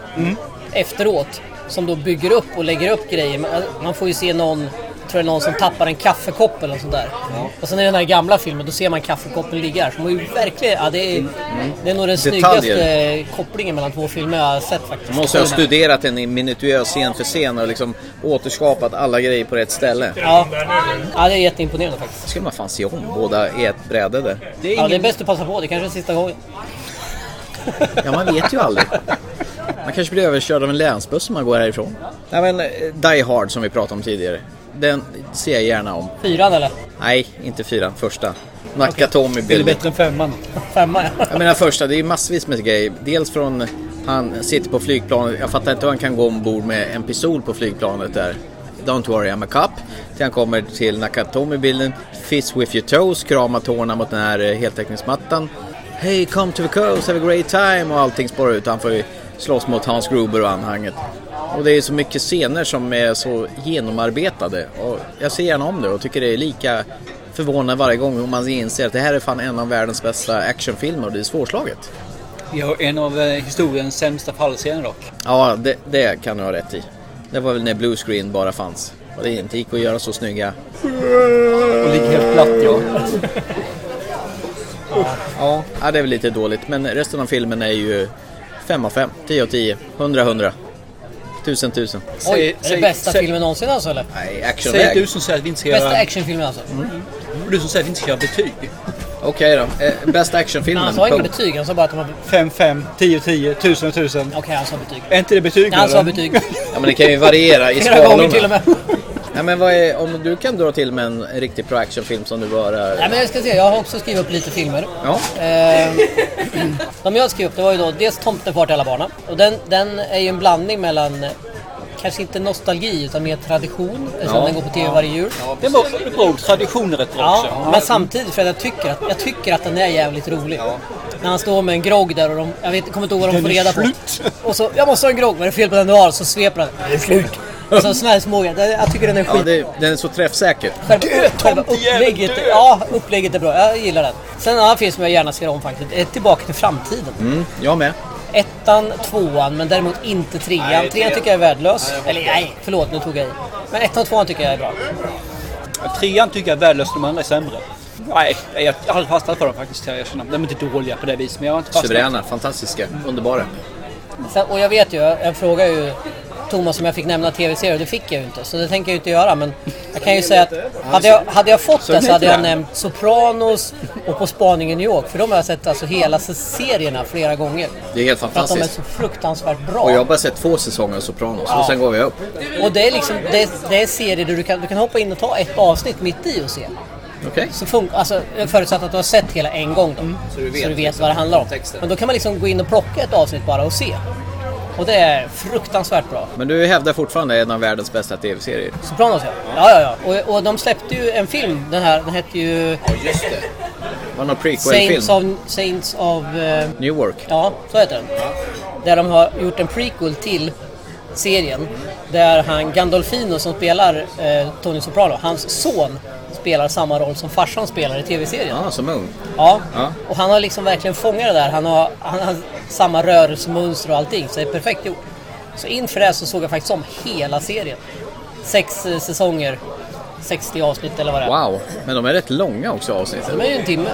[SPEAKER 4] efteråt som då bygger upp och lägger upp grejer. Man- Man får ju se någon, tror jag någon som tappar en kaffekopp eller något sånt där. Och sen i den här gamla filmen, då ser man kaffekoppen ligga där. Så de har ju verkligen, ja, det, är, det är nog den
[SPEAKER 3] Mm. Detaljer.
[SPEAKER 4] snyggaste kopplingen mellan två filmer jag har sett faktiskt.
[SPEAKER 3] Man måste ha studerat den i minutiös scen för scen och liksom återskapat alla grejer på rätt ställe.
[SPEAKER 4] Ja. ja, det är jätteimponerande faktiskt.
[SPEAKER 3] Det skulle man fan se om båda i ett bräde där. Det är
[SPEAKER 4] Ja, det är bäst att passa på. Det kanske är sista gången.
[SPEAKER 3] Ja, man vet ju aldrig. Man kanske blir överkörd av en länsbuss om man går härifrån. Nej, men eh, Die Hard som vi pratade om tidigare. Den ser jag gärna om.
[SPEAKER 4] Fyran eller?
[SPEAKER 3] Nej, inte fyran, första. Nakatomi
[SPEAKER 2] Det är
[SPEAKER 3] Bill.
[SPEAKER 2] bättre än femman.
[SPEAKER 4] Femma ja.
[SPEAKER 3] Jag menar första, det är ju massvis med grejer. Dels från han sitter på flygplanet, jag fattar inte hur han kan gå ombord med en pistol på flygplanet där. Don't worry I'm a cop. Till han kommer till Nakatomi-bilden, Fist with your toes, kramar tårna mot den här eh, heltäckningsmattan. Hey come to the coast, have a great time och allting spårar ut. Han får ju slåss mot Hans Gruber och anhanget. Och det är så mycket scener som är så genomarbetade. Och jag ser gärna om det och tycker det är lika förvånad varje gång om man inser att det här är fan en av världens bästa actionfilmer och det är svårslaget.
[SPEAKER 2] Vi har en av eh, historiens sämsta fallscener dock.
[SPEAKER 3] Ja, det, det kan du ha rätt i. Det var väl när blue screen bara fanns. Och det inte gick att göra så snygga.
[SPEAKER 2] Och ligger helt platt ja.
[SPEAKER 3] Ja, ja, det är väl lite dåligt. Men resten av filmen är ju 5 av 5, 10 av 10, 100 av 100. 1000 1000.
[SPEAKER 2] Säg-
[SPEAKER 4] Oj, är det
[SPEAKER 2] säg-
[SPEAKER 4] bästa
[SPEAKER 2] säg-
[SPEAKER 4] filmen någonsin alltså eller?
[SPEAKER 3] Nej,
[SPEAKER 2] Säg
[SPEAKER 3] actionväg.
[SPEAKER 2] du som säger att vi inte ska
[SPEAKER 4] Bästa
[SPEAKER 2] göra...
[SPEAKER 4] actionfilmen alltså?
[SPEAKER 2] Och du som säger att vi inte ska göra betyg.
[SPEAKER 3] Okej då. Eh, bästa actionfilmen.
[SPEAKER 4] Han sa inget
[SPEAKER 3] punkt.
[SPEAKER 4] betyg, han sa bara att de var... Okej,
[SPEAKER 2] 5, 5, 10, 10, 1000, 1000.
[SPEAKER 4] han sa betyg.
[SPEAKER 2] Är inte Alltså, det betyg?
[SPEAKER 4] Han sa
[SPEAKER 2] eller?
[SPEAKER 4] betyg.
[SPEAKER 3] Ja, men det kan ju variera i
[SPEAKER 4] Flera gånger
[SPEAKER 3] skalorna.
[SPEAKER 4] till och med.
[SPEAKER 3] Ja, men vad är, om du kan dra till med en riktigt bra actionfilm som du bara...
[SPEAKER 4] Nej men jag ska se, jag har också skrivit upp lite filmer.
[SPEAKER 3] Ja.
[SPEAKER 4] Ehm, de jag skrev upp det var ju då dels Tomten far till alla barna. Och den, den är ju en blandning mellan eh, Kanske inte nostalgi utan mer tradition eftersom
[SPEAKER 3] Ja.
[SPEAKER 4] den går på tv varje jul. Ja,
[SPEAKER 2] Det var bra traditioner rätt också.
[SPEAKER 4] men samtidigt för att jag tycker att, jag tycker att den är jävligt rolig. När han står med en grogg där och de, jag vet, kommer inte ihåg vad de
[SPEAKER 2] Den
[SPEAKER 4] får
[SPEAKER 2] är
[SPEAKER 4] reda på.
[SPEAKER 2] slut.
[SPEAKER 4] Och så, jag måste ha en grogg, vad är det fel på den du har? Så sveper han. Det är slut. Och så såna här små grejer. Det- Jag tycker den är
[SPEAKER 3] Ja,
[SPEAKER 4] skit.
[SPEAKER 3] det, den är så träffsäker.
[SPEAKER 4] Själva, själva
[SPEAKER 2] tomtejävel,
[SPEAKER 4] upplägget,
[SPEAKER 2] dö!
[SPEAKER 4] ja, upplägget är bra, jag gillar den. Sen en annan film som jag gärna ser om faktiskt, är Tillbaka till framtiden.
[SPEAKER 3] Mm, jag med.
[SPEAKER 4] Ettan, tvåan, men däremot inte trean. trean tycker jag är värdelös. Eller nej, förlåt nu tog jag i. Men ettan och tvåan tycker jag är bra.
[SPEAKER 2] Trean tycker jag är värdelös, de andra är sämre. Nej, jag jag har aldrig fastnat för dem faktiskt. kan Jag erkänna. De är inte dåliga på det viset, men jag har inte fastnat.
[SPEAKER 3] Suveräna, fantastiska, underbara.
[SPEAKER 4] Sen, och jag vet ju, jag frågar ju Thomas om jag fick nämna tv-serier, det fick jag ju inte. Så det tänker jag ju inte göra. Men jag kan ju säga att hade jag, hade jag fått det så hade jag nämnt Sopranos och På spaning i New York. För de har jag sett alltså hela serierna flera gånger.
[SPEAKER 3] Det är helt
[SPEAKER 4] För att de är
[SPEAKER 3] fantastiskt.
[SPEAKER 4] så fruktansvärt bra.
[SPEAKER 3] Och jag har bara sett två säsonger av Sopranos och sen går jag upp.
[SPEAKER 4] Och det är liksom, det är, det är serier där du kan, du kan hoppa in och ta ett avsnitt mitt i och se.
[SPEAKER 3] Okej?
[SPEAKER 4] Så fun- alltså, förutsatt att du har sett hela en gång då. Så du vet, vad det handlar om.
[SPEAKER 3] texten.
[SPEAKER 4] Men då kan man liksom gå in och plocka ett avsnitt bara och se. Och det är fruktansvärt bra.
[SPEAKER 3] Men du hävdar fortfarande en av världens bästa tv-serier.
[SPEAKER 4] Sopranos ja. Ja, ja, ja. Och, och de släppte ju en film, den här. Den hette ju
[SPEAKER 3] Just det. Det var någon
[SPEAKER 4] Saints
[SPEAKER 3] prequel-film.
[SPEAKER 4] of... Saints of eh,
[SPEAKER 3] Newark.
[SPEAKER 4] ja, så heter den. Där de har gjort en prequel till serien. Där han Gandolfino som spelar eh, Tony Soprano, hans son spelar samma roll som farsan spelar i tv-serien.
[SPEAKER 3] Ja, som ung.
[SPEAKER 4] Ja.
[SPEAKER 3] Ja.
[SPEAKER 4] och han har liksom verkligen fångat det där. Han har, han har samma rörelsemönster och allting, så det är perfekt gjort. Så inför det här så såg jag faktiskt om hela serien. Sex eh, säsonger, 60 avsnitt eller vad det är.
[SPEAKER 3] Wow, men de är rätt långa också avsnitten.
[SPEAKER 4] De är ju en timme.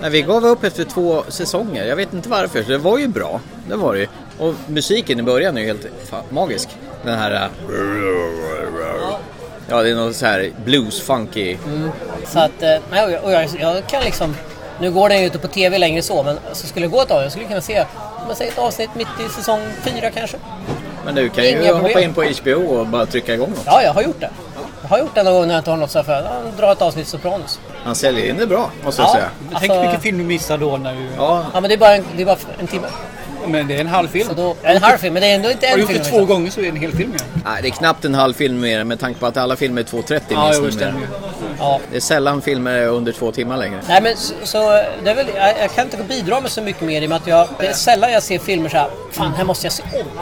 [SPEAKER 3] Nej, vi gav upp efter två säsonger. Jag vet inte varför. så Det var ju bra. Det var det ju. Och musiken i början är ju helt fa- magisk. Den här... äh, Ja, det är någon så här blues-funky...
[SPEAKER 4] Så att, eh, nej, och jag, och jag, jag kan liksom... Nu går den ju inte på TV längre så, men så skulle det gå ett avsnitt, jag skulle kunna se om jag säger ett avsnitt mitt i säsong fyra kanske.
[SPEAKER 3] Men du kan ju
[SPEAKER 4] Inga problem.
[SPEAKER 3] hoppa in på HBO och bara trycka igång något.
[SPEAKER 4] Ja, jag har gjort det. Jag har gjort det någon gång när jag inte har något så här för ja, dra ett avsnitt Sopranos.
[SPEAKER 3] Han säljer in det bra, måste jag
[SPEAKER 4] Ja.
[SPEAKER 3] säga.
[SPEAKER 2] Tänk
[SPEAKER 4] Alltså-
[SPEAKER 2] hur mycket film du missar då när du...
[SPEAKER 3] Ja,
[SPEAKER 4] Ja, men det är bara en, det är bara en timme.
[SPEAKER 2] Men det är en halv film.
[SPEAKER 4] Så då, en halv film, men det är ändå inte
[SPEAKER 2] Har
[SPEAKER 4] en
[SPEAKER 2] du
[SPEAKER 4] film.
[SPEAKER 2] gjort det
[SPEAKER 4] liksom.
[SPEAKER 2] två gånger så är det en hel film ja.
[SPEAKER 3] nej, det är knappt en halv film mer med tanke på att alla filmer är 2.30 minst numera.
[SPEAKER 4] Ja.
[SPEAKER 3] Det är sällan filmer är under två timmar längre.
[SPEAKER 4] Nej men så, så eh, det är väl, jag, jag kan inte bidra med så mycket mer i och med att jag, det är sällan jag ser filmer så här, fan här måste jag se om.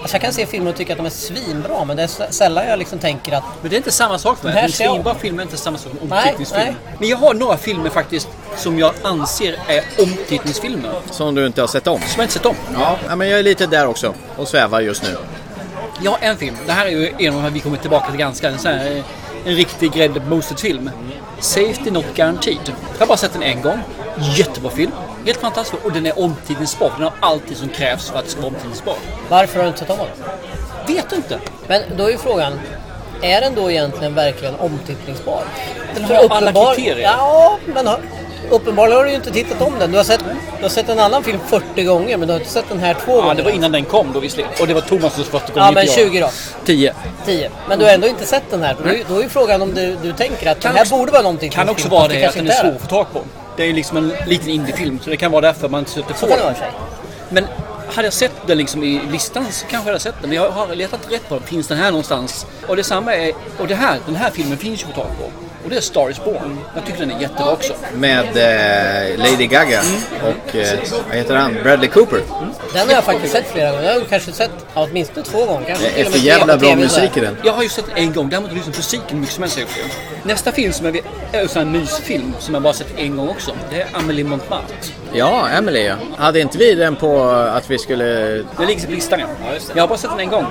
[SPEAKER 4] Alltså jag kan se filmer och tycka att de är svinbra men det är s- sällan jag liksom tänker att
[SPEAKER 2] Men det är inte samma sak för
[SPEAKER 4] Den
[SPEAKER 2] mig.
[SPEAKER 4] här
[SPEAKER 2] En
[SPEAKER 4] ser jag om.
[SPEAKER 2] svinbra film är inte samma sak som
[SPEAKER 4] Nej,
[SPEAKER 2] omtittningsfilm.
[SPEAKER 4] nej.
[SPEAKER 2] Men jag har några filmer faktiskt som jag anser är omtittningsfilmer.
[SPEAKER 3] Som du inte har sett om.
[SPEAKER 2] Som jag inte sett om.
[SPEAKER 3] Ja, ja, men jag är lite där också och svävar just nu.
[SPEAKER 2] Jag har en film. Det här är ju en av de här vi kommer tillbaka till ganska. En, sån här, en riktig Grädde på moset-film. Safety Not Guaranteed. Jag har bara sett den en gång. Jättebra film. Helt fantastisk. Och den är omtittningsbar. Den har alltid som krävs för att det ska vara omtittningsbar.
[SPEAKER 4] varför har du inte sett om den?
[SPEAKER 2] Vet du inte.
[SPEAKER 4] Men då är ju frågan, är den då egentligen verkligen omtittningsbar?
[SPEAKER 2] Den
[SPEAKER 4] För
[SPEAKER 2] har alla kriterier.
[SPEAKER 4] Ja, men har- uppenbarligen har du ju inte tittat om den. Du har, sett, du har sett en annan film 40 gånger men du har inte sett den här två
[SPEAKER 2] Ja,
[SPEAKER 4] gånger.
[SPEAKER 2] det var innan den kom då visserligen. Och det var Thomas första gång.
[SPEAKER 4] Ja men 20 då.
[SPEAKER 2] 10.
[SPEAKER 4] 10. Men du har ändå inte sett den här. Då är, då är ju frågan om du, du tänker att
[SPEAKER 2] Kan
[SPEAKER 4] den här
[SPEAKER 2] också-
[SPEAKER 4] borde vara någonting.
[SPEAKER 2] Kan
[SPEAKER 4] som
[SPEAKER 2] också
[SPEAKER 4] finns,
[SPEAKER 2] vara
[SPEAKER 4] fast
[SPEAKER 2] det att
[SPEAKER 4] kanske
[SPEAKER 2] den är
[SPEAKER 4] inte
[SPEAKER 2] svår
[SPEAKER 4] det.
[SPEAKER 2] att få tag på. Det är ju liksom en liten indiefilm så det kan vara därför man inte stöter på
[SPEAKER 4] Så kan det
[SPEAKER 2] den.
[SPEAKER 4] vara i och för sig.
[SPEAKER 2] Men hade jag sett den liksom i listan så kanske jag hade sett den. Men jag har letat rätt på den. Finns den här någonstans? Och detsamma är... Och det här, den här filmen finns ju att få tag på. Och det är Star is Born. Jag tycker den är jättebra också.
[SPEAKER 3] Med eh, Lady Gaga och eh, vad heter han? Bradley Cooper.
[SPEAKER 4] Den har jag faktiskt sett flera gånger. Jag har kanske sett ja, åtminstone två gånger. Kanske till och
[SPEAKER 3] Efter
[SPEAKER 4] med
[SPEAKER 3] jävla
[SPEAKER 4] tre
[SPEAKER 3] bra
[SPEAKER 4] på TV så här.
[SPEAKER 3] musik i den.
[SPEAKER 2] Jag har ju sett den en gång, däremot har jag lyssnat på musiken hur mycket som helst. har jag gjort det. Nästa film som jag vet är en sån här mysfilm som jag bara sett en gång också. Det är Amelie Montmartre.
[SPEAKER 3] Ja, Emily ja. Hade inte vi den på att vi skulle...
[SPEAKER 2] Den ligger på listan ja. Jag har bara sett den en gång.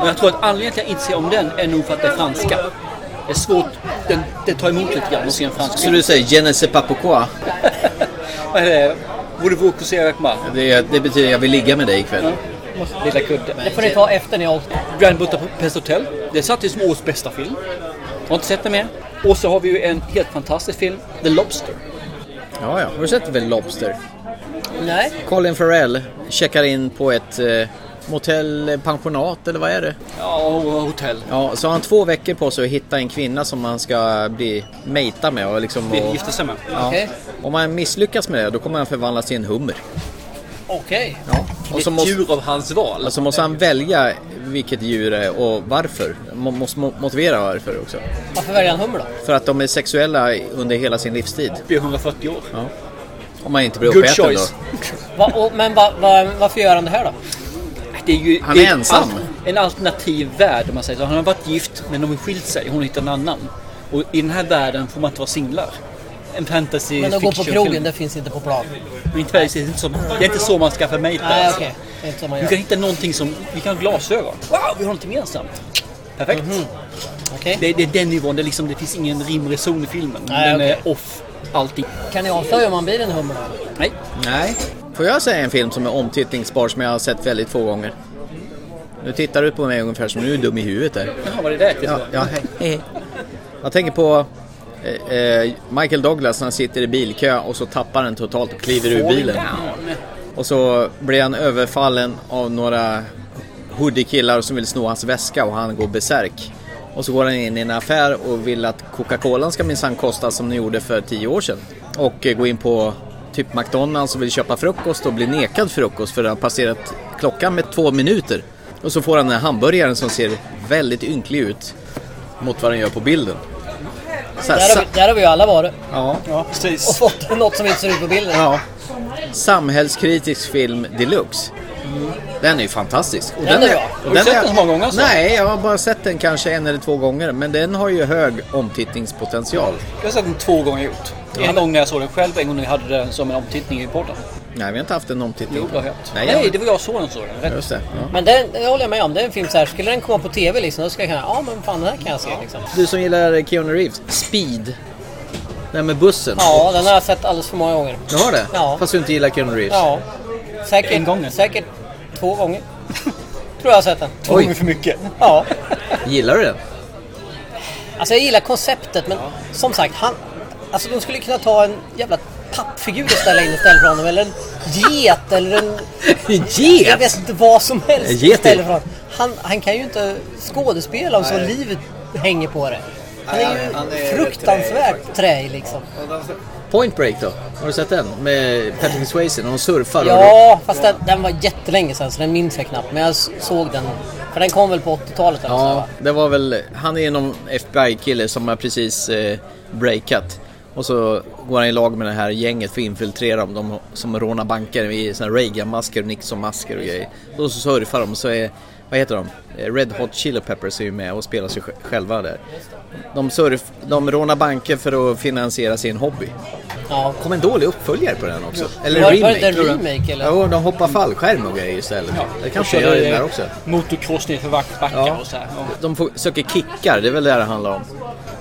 [SPEAKER 2] Och jag tror att anledningen till att jag inte ser om den är nog för att det är franska. Det är svårt, den, det tar emot lite grann att se en fransk
[SPEAKER 3] Så
[SPEAKER 2] film.
[SPEAKER 3] du säger je ne sais pas pourquoi?
[SPEAKER 2] Vad är det? Voulez-vous coucher avec moi?
[SPEAKER 3] Det, det betyder jag vill ligga med dig ikväll.
[SPEAKER 2] Lilla kudde.
[SPEAKER 4] Det får ni ta efter när jag har åkt.
[SPEAKER 2] Grand Budapest Hotel. Det satt ju som årets bästa film. Jag har inte sett den mer. Och så har vi ju en helt fantastisk film, The Lobster.
[SPEAKER 3] Ja, ja. Har du sett väl Lobster?
[SPEAKER 4] Nej.
[SPEAKER 3] Colin Farrell checkar in på ett eh, motell, eh, pensionat eller vad är det?
[SPEAKER 2] Ja, och hotell.
[SPEAKER 3] Ja, så har han två veckor på sig att hitta en kvinna som han ska bli mejta med och liksom...
[SPEAKER 2] Vi
[SPEAKER 3] Och,
[SPEAKER 2] gifte sig med.
[SPEAKER 3] ja.
[SPEAKER 4] Okej.
[SPEAKER 3] Om han misslyckas med det, då kommer han förvandlas till en hummer.
[SPEAKER 4] Okej.
[SPEAKER 3] Ja. Och
[SPEAKER 2] Ett
[SPEAKER 3] så måste,
[SPEAKER 2] djur av hans val.
[SPEAKER 3] alltså måste han välja vilket djur det är och varför. Man måste mo- motivera varför också.
[SPEAKER 4] Varför väljer han hummer då?
[SPEAKER 3] För att de är sexuella under hela sin livstid.
[SPEAKER 2] blir 140 år.
[SPEAKER 3] Om man inte blir
[SPEAKER 2] Good
[SPEAKER 3] uppäten då.
[SPEAKER 2] choice.
[SPEAKER 4] Va, och, men va, va, varför gör han det här då?
[SPEAKER 2] Det är ju,
[SPEAKER 3] Han
[SPEAKER 2] det
[SPEAKER 3] är
[SPEAKER 2] ju
[SPEAKER 3] ensam.
[SPEAKER 2] al- En alternativ värld om man säger så. Han har varit gift men de har skilt sig. Hon har hittat en annan. Och i den här världen får man inte vara singlar. En fantasy
[SPEAKER 4] Men att gå på
[SPEAKER 2] fiction
[SPEAKER 4] krogen,
[SPEAKER 2] film.
[SPEAKER 4] det finns inte på plan.
[SPEAKER 2] Men inte, det, är inte så, det är inte så man skaffar mejter.
[SPEAKER 4] Nej,
[SPEAKER 2] alltså.
[SPEAKER 4] okej. Det är inte så man
[SPEAKER 2] Du kan
[SPEAKER 4] gör.
[SPEAKER 2] hitta någonting som... Vi kan ha glasögon. Wow, vi har något gemensamt. Perfekt.
[SPEAKER 4] Mhm. Okej.
[SPEAKER 2] det, det är den nivån. Det, är liksom, det finns ingen rim och reson i filmen.
[SPEAKER 4] Nej,
[SPEAKER 2] den
[SPEAKER 4] okej.
[SPEAKER 2] är off alltid.
[SPEAKER 4] Kan ni avslöja om han blir en hummer då?
[SPEAKER 2] Nej.
[SPEAKER 3] Nej. Får jag säga en film som är omtittningsbar som jag har sett väldigt få gånger? Nu tittar du på mig ungefär som nu är du dum i huvudet där.
[SPEAKER 2] Jaha, var det där
[SPEAKER 3] Ja, ja, hej, hej. Jag tänker på eh, eh, Michael Douglas när han sitter i bilkö och så tappar han totalt och kliver ur bilen. Och så blir han överfallen av några hoodie-killar som vill sno hans väska och han går besärk. Och så går han in i en affär och vill att Coca-Colan ska minsann kosta som den gjorde för tio år sedan. Och eh, går in på typ McDonalds och vill köpa frukost och blir nekad frukost för det har passerat klockan med två minuter. Och så får han den här hamburgaren som ser väldigt ynklig ut mot vad den gör på bilden. Så här,
[SPEAKER 2] Alltså-
[SPEAKER 4] Där har,
[SPEAKER 3] sa-
[SPEAKER 4] vi, där har vi ju alla varit
[SPEAKER 3] ja.
[SPEAKER 2] Ja, precis.
[SPEAKER 4] och fått något som inte ser ut på bilden.
[SPEAKER 3] Ja. Samhällskritisk film deluxe. Den är ju fantastisk. Och
[SPEAKER 4] Den är bra.
[SPEAKER 3] och
[SPEAKER 2] Har du sett den så många gånger, alltså?
[SPEAKER 3] Nej, jag har bara sett den kanske en eller två gånger. Men den har ju hög omtittningspotential.
[SPEAKER 2] Jag har sett den två gånger gjort. En gång när jag såg den själv, en gång när vi hade den som en omtittning i podden.
[SPEAKER 3] Nej, vi har inte haft en omtittning.
[SPEAKER 2] Jo, det har jag haft.
[SPEAKER 3] Nej,
[SPEAKER 2] Nej,
[SPEAKER 3] jag-
[SPEAKER 2] det var jag som såg den. Såg den. Rätt.
[SPEAKER 3] Just det. Ja.
[SPEAKER 4] Men den, det håller jag med om. Det är en film så här, skulle den komma på TV liksom, då skulle jag kunna, ja men fan den här kan jag se liksom.
[SPEAKER 3] Du som gillar Keanu Reeves, Speed. Den med bussen.
[SPEAKER 4] Ja, den har jag sett alldeles för många gånger.
[SPEAKER 3] Du har det?
[SPEAKER 4] Ja.
[SPEAKER 3] Fast du inte gillar Keanu Reeves.
[SPEAKER 4] Ja. Säkert,
[SPEAKER 2] En gång.
[SPEAKER 4] säkert två gånger. Tror jag har sett den.
[SPEAKER 2] Två
[SPEAKER 3] Oj.
[SPEAKER 2] gånger för mycket.
[SPEAKER 4] Ja.
[SPEAKER 3] Gillar du den?
[SPEAKER 4] Alltså jag gillar konceptet men som sagt, han... Alltså de skulle kunna ta en jävla pappfigur och ställa in istället för honom. Eller en get eller en... Jag vet inte vad som helst
[SPEAKER 3] En get.
[SPEAKER 4] istället för honom. Han, han kan ju inte skådespela om så livet hänger på det. Han är ju
[SPEAKER 8] han är
[SPEAKER 4] fruktansvärt träig liksom.
[SPEAKER 3] Point Break då? Har du sett den? Med Patrick Swayze när de surfar. och-
[SPEAKER 4] Ja, fast den, den var jättelänge sedan så den minns jag knappt. Men jag s- såg den. För den kom väl på 80-talet eller så, va?
[SPEAKER 3] Ja, det var väl... Han är någon FBI-kille som har precis eh, breakat. Och så går han i lag med det här gänget för att infiltrera dem. De som rånar banker i såna här Reagan-masker och Nixon-masker och grejer. Och så surfar de så är... Vad heter de? Eh, Red Hot Chili Peppers är ju med och spelar sig sj- själva där. De, surf, de rånar banker för att finansiera sin hobby.
[SPEAKER 4] Ja.
[SPEAKER 3] kom en dålig uppföljare på den också. Eller
[SPEAKER 4] Var- var
[SPEAKER 3] remake.
[SPEAKER 4] det en
[SPEAKER 3] tror jag.
[SPEAKER 4] remake, eller?
[SPEAKER 3] Jo, de hoppar fallskärm och grejer istället. Det kanske
[SPEAKER 2] Och så
[SPEAKER 3] gör
[SPEAKER 2] är
[SPEAKER 3] det där också.
[SPEAKER 2] Motocross nerför backar
[SPEAKER 3] Ja.
[SPEAKER 2] och så här. Ja.
[SPEAKER 3] De får, söker kickar, det är väl det det handlar om.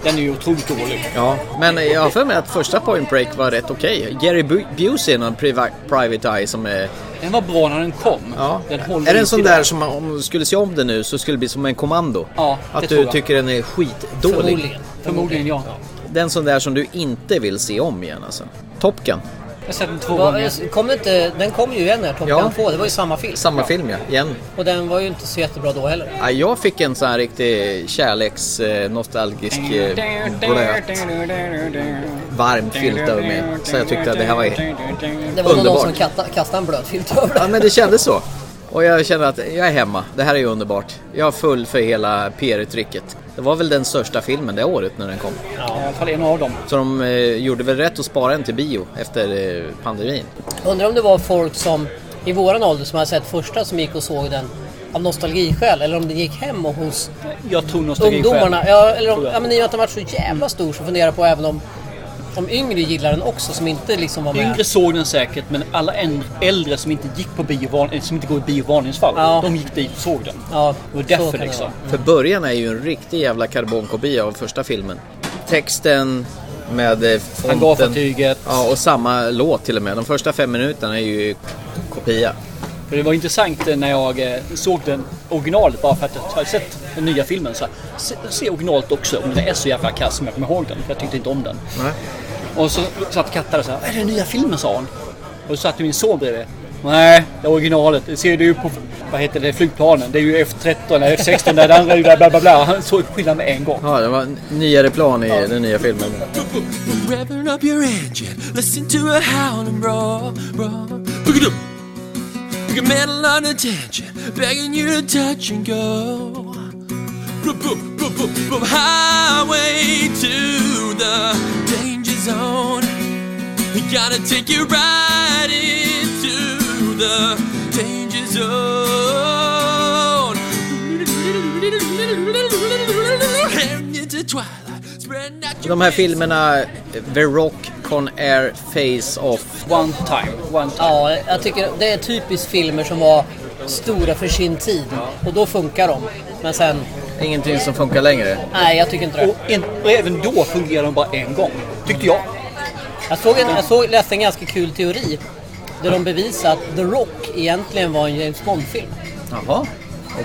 [SPEAKER 2] Den är ju otroligt dålig.
[SPEAKER 3] Ja, men jag har för mig att första Point Break var rätt okej. Gary Bu- Busey är någon priva- private eye som är...
[SPEAKER 2] Den var bra när den kom.
[SPEAKER 3] Ja.
[SPEAKER 2] Den håller
[SPEAKER 3] är det en
[SPEAKER 2] inte
[SPEAKER 3] sån
[SPEAKER 2] idag.
[SPEAKER 3] där som man- om du skulle se om den nu så skulle det bli som en kommando?
[SPEAKER 2] Ja, det
[SPEAKER 3] Att
[SPEAKER 2] tror
[SPEAKER 3] du
[SPEAKER 2] jag.
[SPEAKER 3] tycker den är skitdålig?
[SPEAKER 4] Förmodligen.
[SPEAKER 2] Förmodligen ja.
[SPEAKER 3] Den sån där som du inte vill se om igen alltså? Top Gun,
[SPEAKER 2] Jag har sett den två
[SPEAKER 4] Va,
[SPEAKER 2] gånger.
[SPEAKER 4] Kom det inte, den kom ju igen här, Top
[SPEAKER 3] Ja.
[SPEAKER 4] Gun 2. Det var ju samma film.
[SPEAKER 3] samma film ja, igen.
[SPEAKER 4] Och den var ju inte så jättebra då heller.
[SPEAKER 3] Ja, jag fick en sån här riktig kärleks, eh, nostalgisk, eh, blöt, varm filt över mig. Så jag tyckte att det här var
[SPEAKER 4] Det var nog någon
[SPEAKER 3] Underbart.
[SPEAKER 4] som kasta- kastade en blöt filt över
[SPEAKER 3] Ja
[SPEAKER 4] den.
[SPEAKER 3] men det kändes så. Och jag känner att jag är hemma. Det här är ju underbart. Jag är full för hela PR-tricket. Det var väl den största filmen det året när den kom.
[SPEAKER 2] Ja, I alla fall en av dem.
[SPEAKER 3] Så de eh, gjorde väl rätt att spara den till bio efter eh, pandemin.
[SPEAKER 4] Undrar om det var folk som i våran ålder som hade sett första som gick och såg den av nostalgiskäl eller om den gick hem och hos
[SPEAKER 2] Jag tror nostalgi själv.
[SPEAKER 4] ungdomarna. Ja, eller om,
[SPEAKER 2] Tror jag.
[SPEAKER 4] ja, men i och med att den varit så jävla stor så funderar jag på även om, om yngre gillar den också som inte liksom var med.
[SPEAKER 2] Yngre såg den säkert, men alla en- äldre som inte gick på bio, van- som inte går i bio vanlingsfall,
[SPEAKER 4] Ja.
[SPEAKER 2] de gick dit och såg den.
[SPEAKER 4] Ja,
[SPEAKER 2] Det var
[SPEAKER 4] så
[SPEAKER 2] därför
[SPEAKER 4] kan det
[SPEAKER 2] liksom.
[SPEAKER 4] vara.
[SPEAKER 3] För början är ju en riktig jävla karbonkopia av första filmen. Texten med eh, fonten.
[SPEAKER 2] Hangarfartyget.
[SPEAKER 3] Ja, och samma låt till och med. De första fem minuterna är ju kopia.
[SPEAKER 2] För det var intressant eh, när jag eh, såg den originalet bara för att jag hade sett den nya filmen. Så här, se, se originalet också om den är så jävla kass som jag kommer ihåg den. För jag tyckte inte om den. Och så satt Katta där och sa Vad är det den nya filmen? sa hon. Och så satt min son bredvid. Nej, det är originalet. Det ser du ju på vad heter det, flygplanen. Det är ju F13 eller F16 där det andra är ju där bla bla bla. Han såg skillnaden med en gång.
[SPEAKER 3] Ja, det var en nyare plan i den nya filmen.
[SPEAKER 9] Revving up your engine, listen to a hound and roar, roar. Pick it up, pick a metal on attention, begging you to touch and go. Boop, boop, boop, boop, boop, highway to the danger zone. We gotta take you right into the danger zone. Heading into twilight, spreading out your
[SPEAKER 3] De här filmerna, eh, The Rock, Con Air, Face Off.
[SPEAKER 2] One time. One time.
[SPEAKER 4] Ja, jag tycker det är typiskt filmer som var stora för sin tid och då funkar de. Men sen,
[SPEAKER 3] Ingenting som funkar längre.
[SPEAKER 4] nej jag tycker inte det.
[SPEAKER 2] Och, en, och även då fungerade de bara en gång. Tyckte jag.
[SPEAKER 4] Jag, såg en, jag såg, läste en ganska kul teori där de bevisade att The Rock egentligen var en James Bond-film.
[SPEAKER 3] Jaha.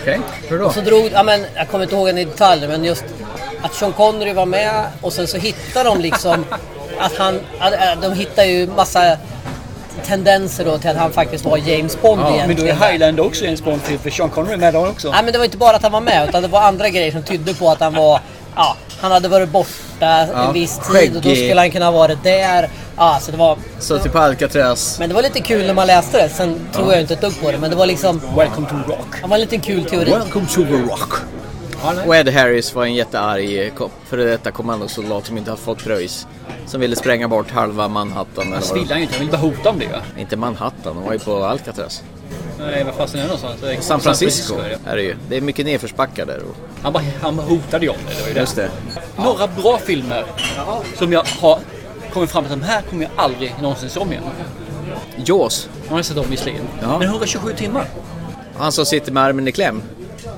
[SPEAKER 3] Okej, hur då?
[SPEAKER 4] Så drog, ja, men, jag kommer inte ihåg en i detalj, men just att Sean Connery var med och sen så hittar de liksom att han, att, äh, de hittar ju massa tendenser då till att han faktiskt var James Bond
[SPEAKER 3] Ja, men då är
[SPEAKER 4] egentligen.
[SPEAKER 2] Men då är Highlander också en sponsor för Sean Connery är med där också.
[SPEAKER 4] Nej men det var inte bara att han var med utan det var andra grejer som tydde på att han var Ja, han hade varit borta
[SPEAKER 3] Ja,
[SPEAKER 4] en viss tid och då
[SPEAKER 3] skäggig.
[SPEAKER 4] skulle han kunna ha varit där. Ja, så det var,
[SPEAKER 3] Så typ Alcatraz.
[SPEAKER 4] men det var lite kul när man läste det. Sen tror jag inte ett dugg på det men det var liksom...
[SPEAKER 2] Welcome to rock.
[SPEAKER 4] Det var en liten kul teori.
[SPEAKER 3] Welcome to the rock. Och Ed Harris var en jättearg kom- före detta kommandosoldat som inte hade fått pröjs. Som ville spränga bort halva Manhattan. Eller
[SPEAKER 2] Fast
[SPEAKER 3] vad
[SPEAKER 2] ville
[SPEAKER 3] det
[SPEAKER 2] han ju inte, han ville bara hota om det ju.
[SPEAKER 3] var. Inte Manhattan, de var ju på Alcatraz.
[SPEAKER 2] Nej, vad fasen är det någonstans? Det är
[SPEAKER 3] San Francisco
[SPEAKER 2] ja.
[SPEAKER 3] är det ju. Det är mycket nedförsbackar där. Och...
[SPEAKER 2] Han, bara, han bara hotade ju om det, det var ju det.
[SPEAKER 3] Just det.
[SPEAKER 2] Några bra filmer som jag har kommit fram till att de här kommer jag aldrig någonsin se om igen.
[SPEAKER 3] Jaws.
[SPEAKER 2] Jag har sett dem visserligen.
[SPEAKER 3] Ja.
[SPEAKER 2] Men 127 timmar.
[SPEAKER 3] Han som sitter med armen i kläm.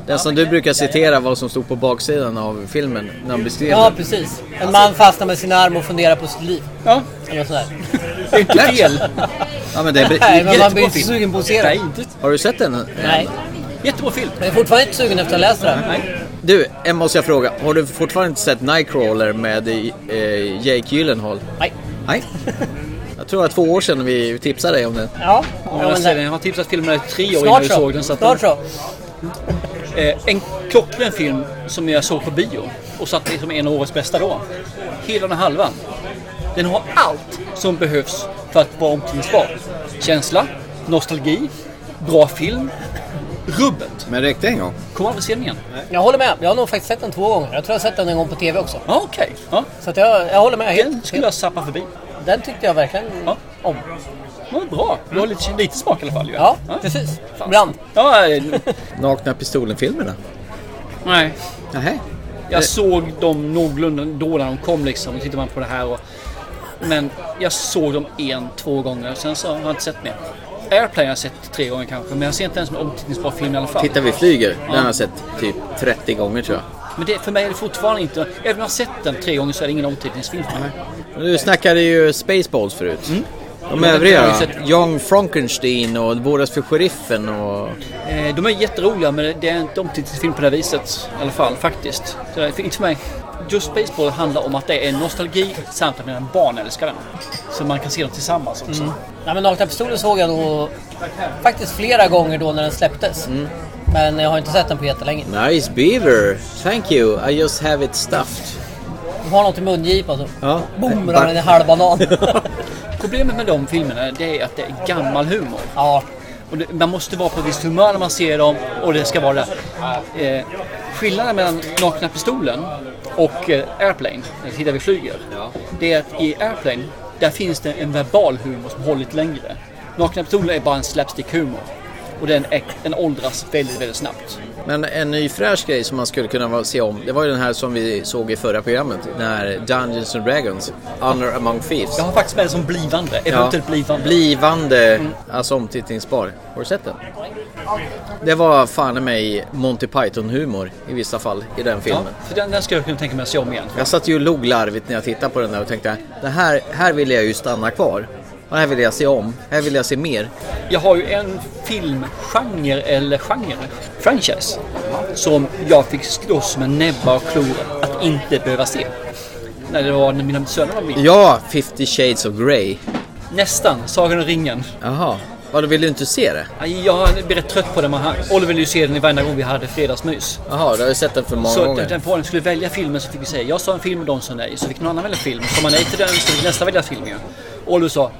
[SPEAKER 3] Den som du brukar citera vad som stod på baksidan av filmen när han beskrev
[SPEAKER 4] Ja,
[SPEAKER 2] Alltså-
[SPEAKER 3] den.
[SPEAKER 4] precis. En man fastnar med sina armar och funderar på sitt liv.
[SPEAKER 2] Ja,
[SPEAKER 4] Eller sådär.
[SPEAKER 2] det är inte fel.
[SPEAKER 3] Ja, men det är
[SPEAKER 4] Nej, men man
[SPEAKER 3] jättebra
[SPEAKER 4] blir inte
[SPEAKER 3] film.
[SPEAKER 4] sugen på att se
[SPEAKER 2] Nej,
[SPEAKER 4] det.
[SPEAKER 2] inte.
[SPEAKER 3] Har du sett den?
[SPEAKER 4] Nej.
[SPEAKER 2] Jättebra film.
[SPEAKER 4] Men jag är fortfarande inte sugen efter att ha läst det. här.
[SPEAKER 2] Nej.
[SPEAKER 3] Du, en måste jag fråga. Har du fortfarande inte sett Nightcrawler med eh, Jake Gyllenhaal?
[SPEAKER 4] Nej.
[SPEAKER 3] Nej. Jag tror att två år sedan vi tipsade dig om den.
[SPEAKER 4] Ja.
[SPEAKER 2] Ja,
[SPEAKER 4] ja
[SPEAKER 2] jag,
[SPEAKER 4] men
[SPEAKER 2] ser
[SPEAKER 4] det-
[SPEAKER 2] den. jag har tipsat filmen i tre år innan
[SPEAKER 4] Snart
[SPEAKER 2] vi såg den.
[SPEAKER 4] så.
[SPEAKER 2] Så att
[SPEAKER 4] Snart så.
[SPEAKER 2] Eh, en klockren film som jag såg på bio och satt det som en av årets bästa då. Hela den halvan. Den har allt som behövs för att vara omklädningsbar. Känsla, nostalgi, bra film, rubbet.
[SPEAKER 3] Men räckte en gång.
[SPEAKER 2] Kommer aldrig se den igen.
[SPEAKER 4] Jag håller med. Jag har nog faktiskt sett den två gånger. Jag tror jag har sett den en gång på TV också.
[SPEAKER 2] Ja, okej. Ja,
[SPEAKER 4] Så att jag, jag håller med
[SPEAKER 2] den
[SPEAKER 4] helt.
[SPEAKER 2] skulle jag sappa förbi.
[SPEAKER 4] Den tyckte jag verkligen
[SPEAKER 2] Ja.
[SPEAKER 4] om.
[SPEAKER 2] Ja, bra. Du har lite, lite smak i alla fall. ju.
[SPEAKER 4] Ja, precis.
[SPEAKER 2] Fan.
[SPEAKER 4] Ibland.
[SPEAKER 2] Ja, eh,
[SPEAKER 3] Nakna pistolen-filmerna?
[SPEAKER 2] nej.
[SPEAKER 3] Nähä.
[SPEAKER 2] Jag såg dem någorlunda då när de kom liksom. Då tittar man på det här och... Men jag såg dem en, två gånger. Sen så har jag inte sett mer. Airplane har jag sett tre gånger kanske. Men jag ser inte den som en omtittningsbar film i alla fall.
[SPEAKER 3] Titta vi flyger. Den har jag sett typ 30 gånger tror jag.
[SPEAKER 2] Men det, för mig är det fortfarande inte... Även om jag har sett den tre gånger så är det ingen omtittningsfilm för mig.
[SPEAKER 3] Du snackade ju Spaceballs förut.
[SPEAKER 4] Mm.
[SPEAKER 3] De övriga
[SPEAKER 2] Jag har
[SPEAKER 3] då?
[SPEAKER 2] ju sett-
[SPEAKER 3] Young Frankenstein och Våras för sheriffen och...
[SPEAKER 2] Eh, De är jätteroliga men det är inte omtittningsfilm på det här viset. I alla fall faktiskt. Så det är inte för mig. Just Spaceball handlar om att det är en nostalgi samt att mina barn älskar den. Så man kan se dem tillsammans också.
[SPEAKER 4] Nej, men Nakna Pistolen såg jag då faktiskt flera gånger då när den släpptes.
[SPEAKER 2] Mm.
[SPEAKER 4] Men jag har inte sett den på jättelänge.
[SPEAKER 3] Nice beaver! Thank you! I just have it stuffed.
[SPEAKER 4] De har något i mungipan så
[SPEAKER 3] Ja.
[SPEAKER 4] boom ramlar en halv banan.
[SPEAKER 2] Problemet med de filmerna det är att det är gammal humor.
[SPEAKER 4] ja.
[SPEAKER 2] Och det, man måste vara på ett visst humör när man ser dem och det ska vara det. Eh, skillnaden mellan Nakna Pistolen och eh, Airplane, när tittar vi flyger, det är att i Airplane där finns det en verbal humor som håller lite längre. Nakna Pistolen är bara en slapstick-humor. Och den, är, den åldras väldigt, väldigt snabbt.
[SPEAKER 3] Men en ny fräsch grej som man skulle kunna vara- se om, det var ju den här som vi såg i förra programmet. Den här Dungeons and Dragons, Honor Among Thieves.
[SPEAKER 2] Jag har faktiskt med den som blivande, eventuellt typ blivande. Mm.
[SPEAKER 3] Blivande, alltså omtittningsbar. Har du sett den? Det var fan i mig Monty Python-humor i vissa fall i den
[SPEAKER 2] ja,
[SPEAKER 3] filmen.
[SPEAKER 2] för den, den ska jag kunna tänka mig att se om igen.
[SPEAKER 3] Jag satt ju och log larvigt när jag tittade på den där och tänkte det här, här vill jag ju stanna kvar. Och här vill jag se om, här vill jag se mer.
[SPEAKER 2] Jag har ju en filmgenre, eller genre, franchise, som jag fick slåss med näbbar och klor att inte behöva se. När det var när mina söner var med.
[SPEAKER 3] Ja, 50 shades of Grey.
[SPEAKER 2] Nästan, Sagan om ringen.
[SPEAKER 3] Jaha, vadå vill du inte se det?
[SPEAKER 2] Aj, Jag blir rätt trött på den. men han- Oliver ville ju se den i varje gång vi hade fredagsmys.
[SPEAKER 3] Jaha, du har ju sett den för många
[SPEAKER 2] Så
[SPEAKER 3] gånger.
[SPEAKER 2] den, den får skulle välja filmen så fick vi säga jag sa en film och de sa nej. Så fick någon annan välja film. Så man nej till den så fick nästa välja film ju. Oliver sa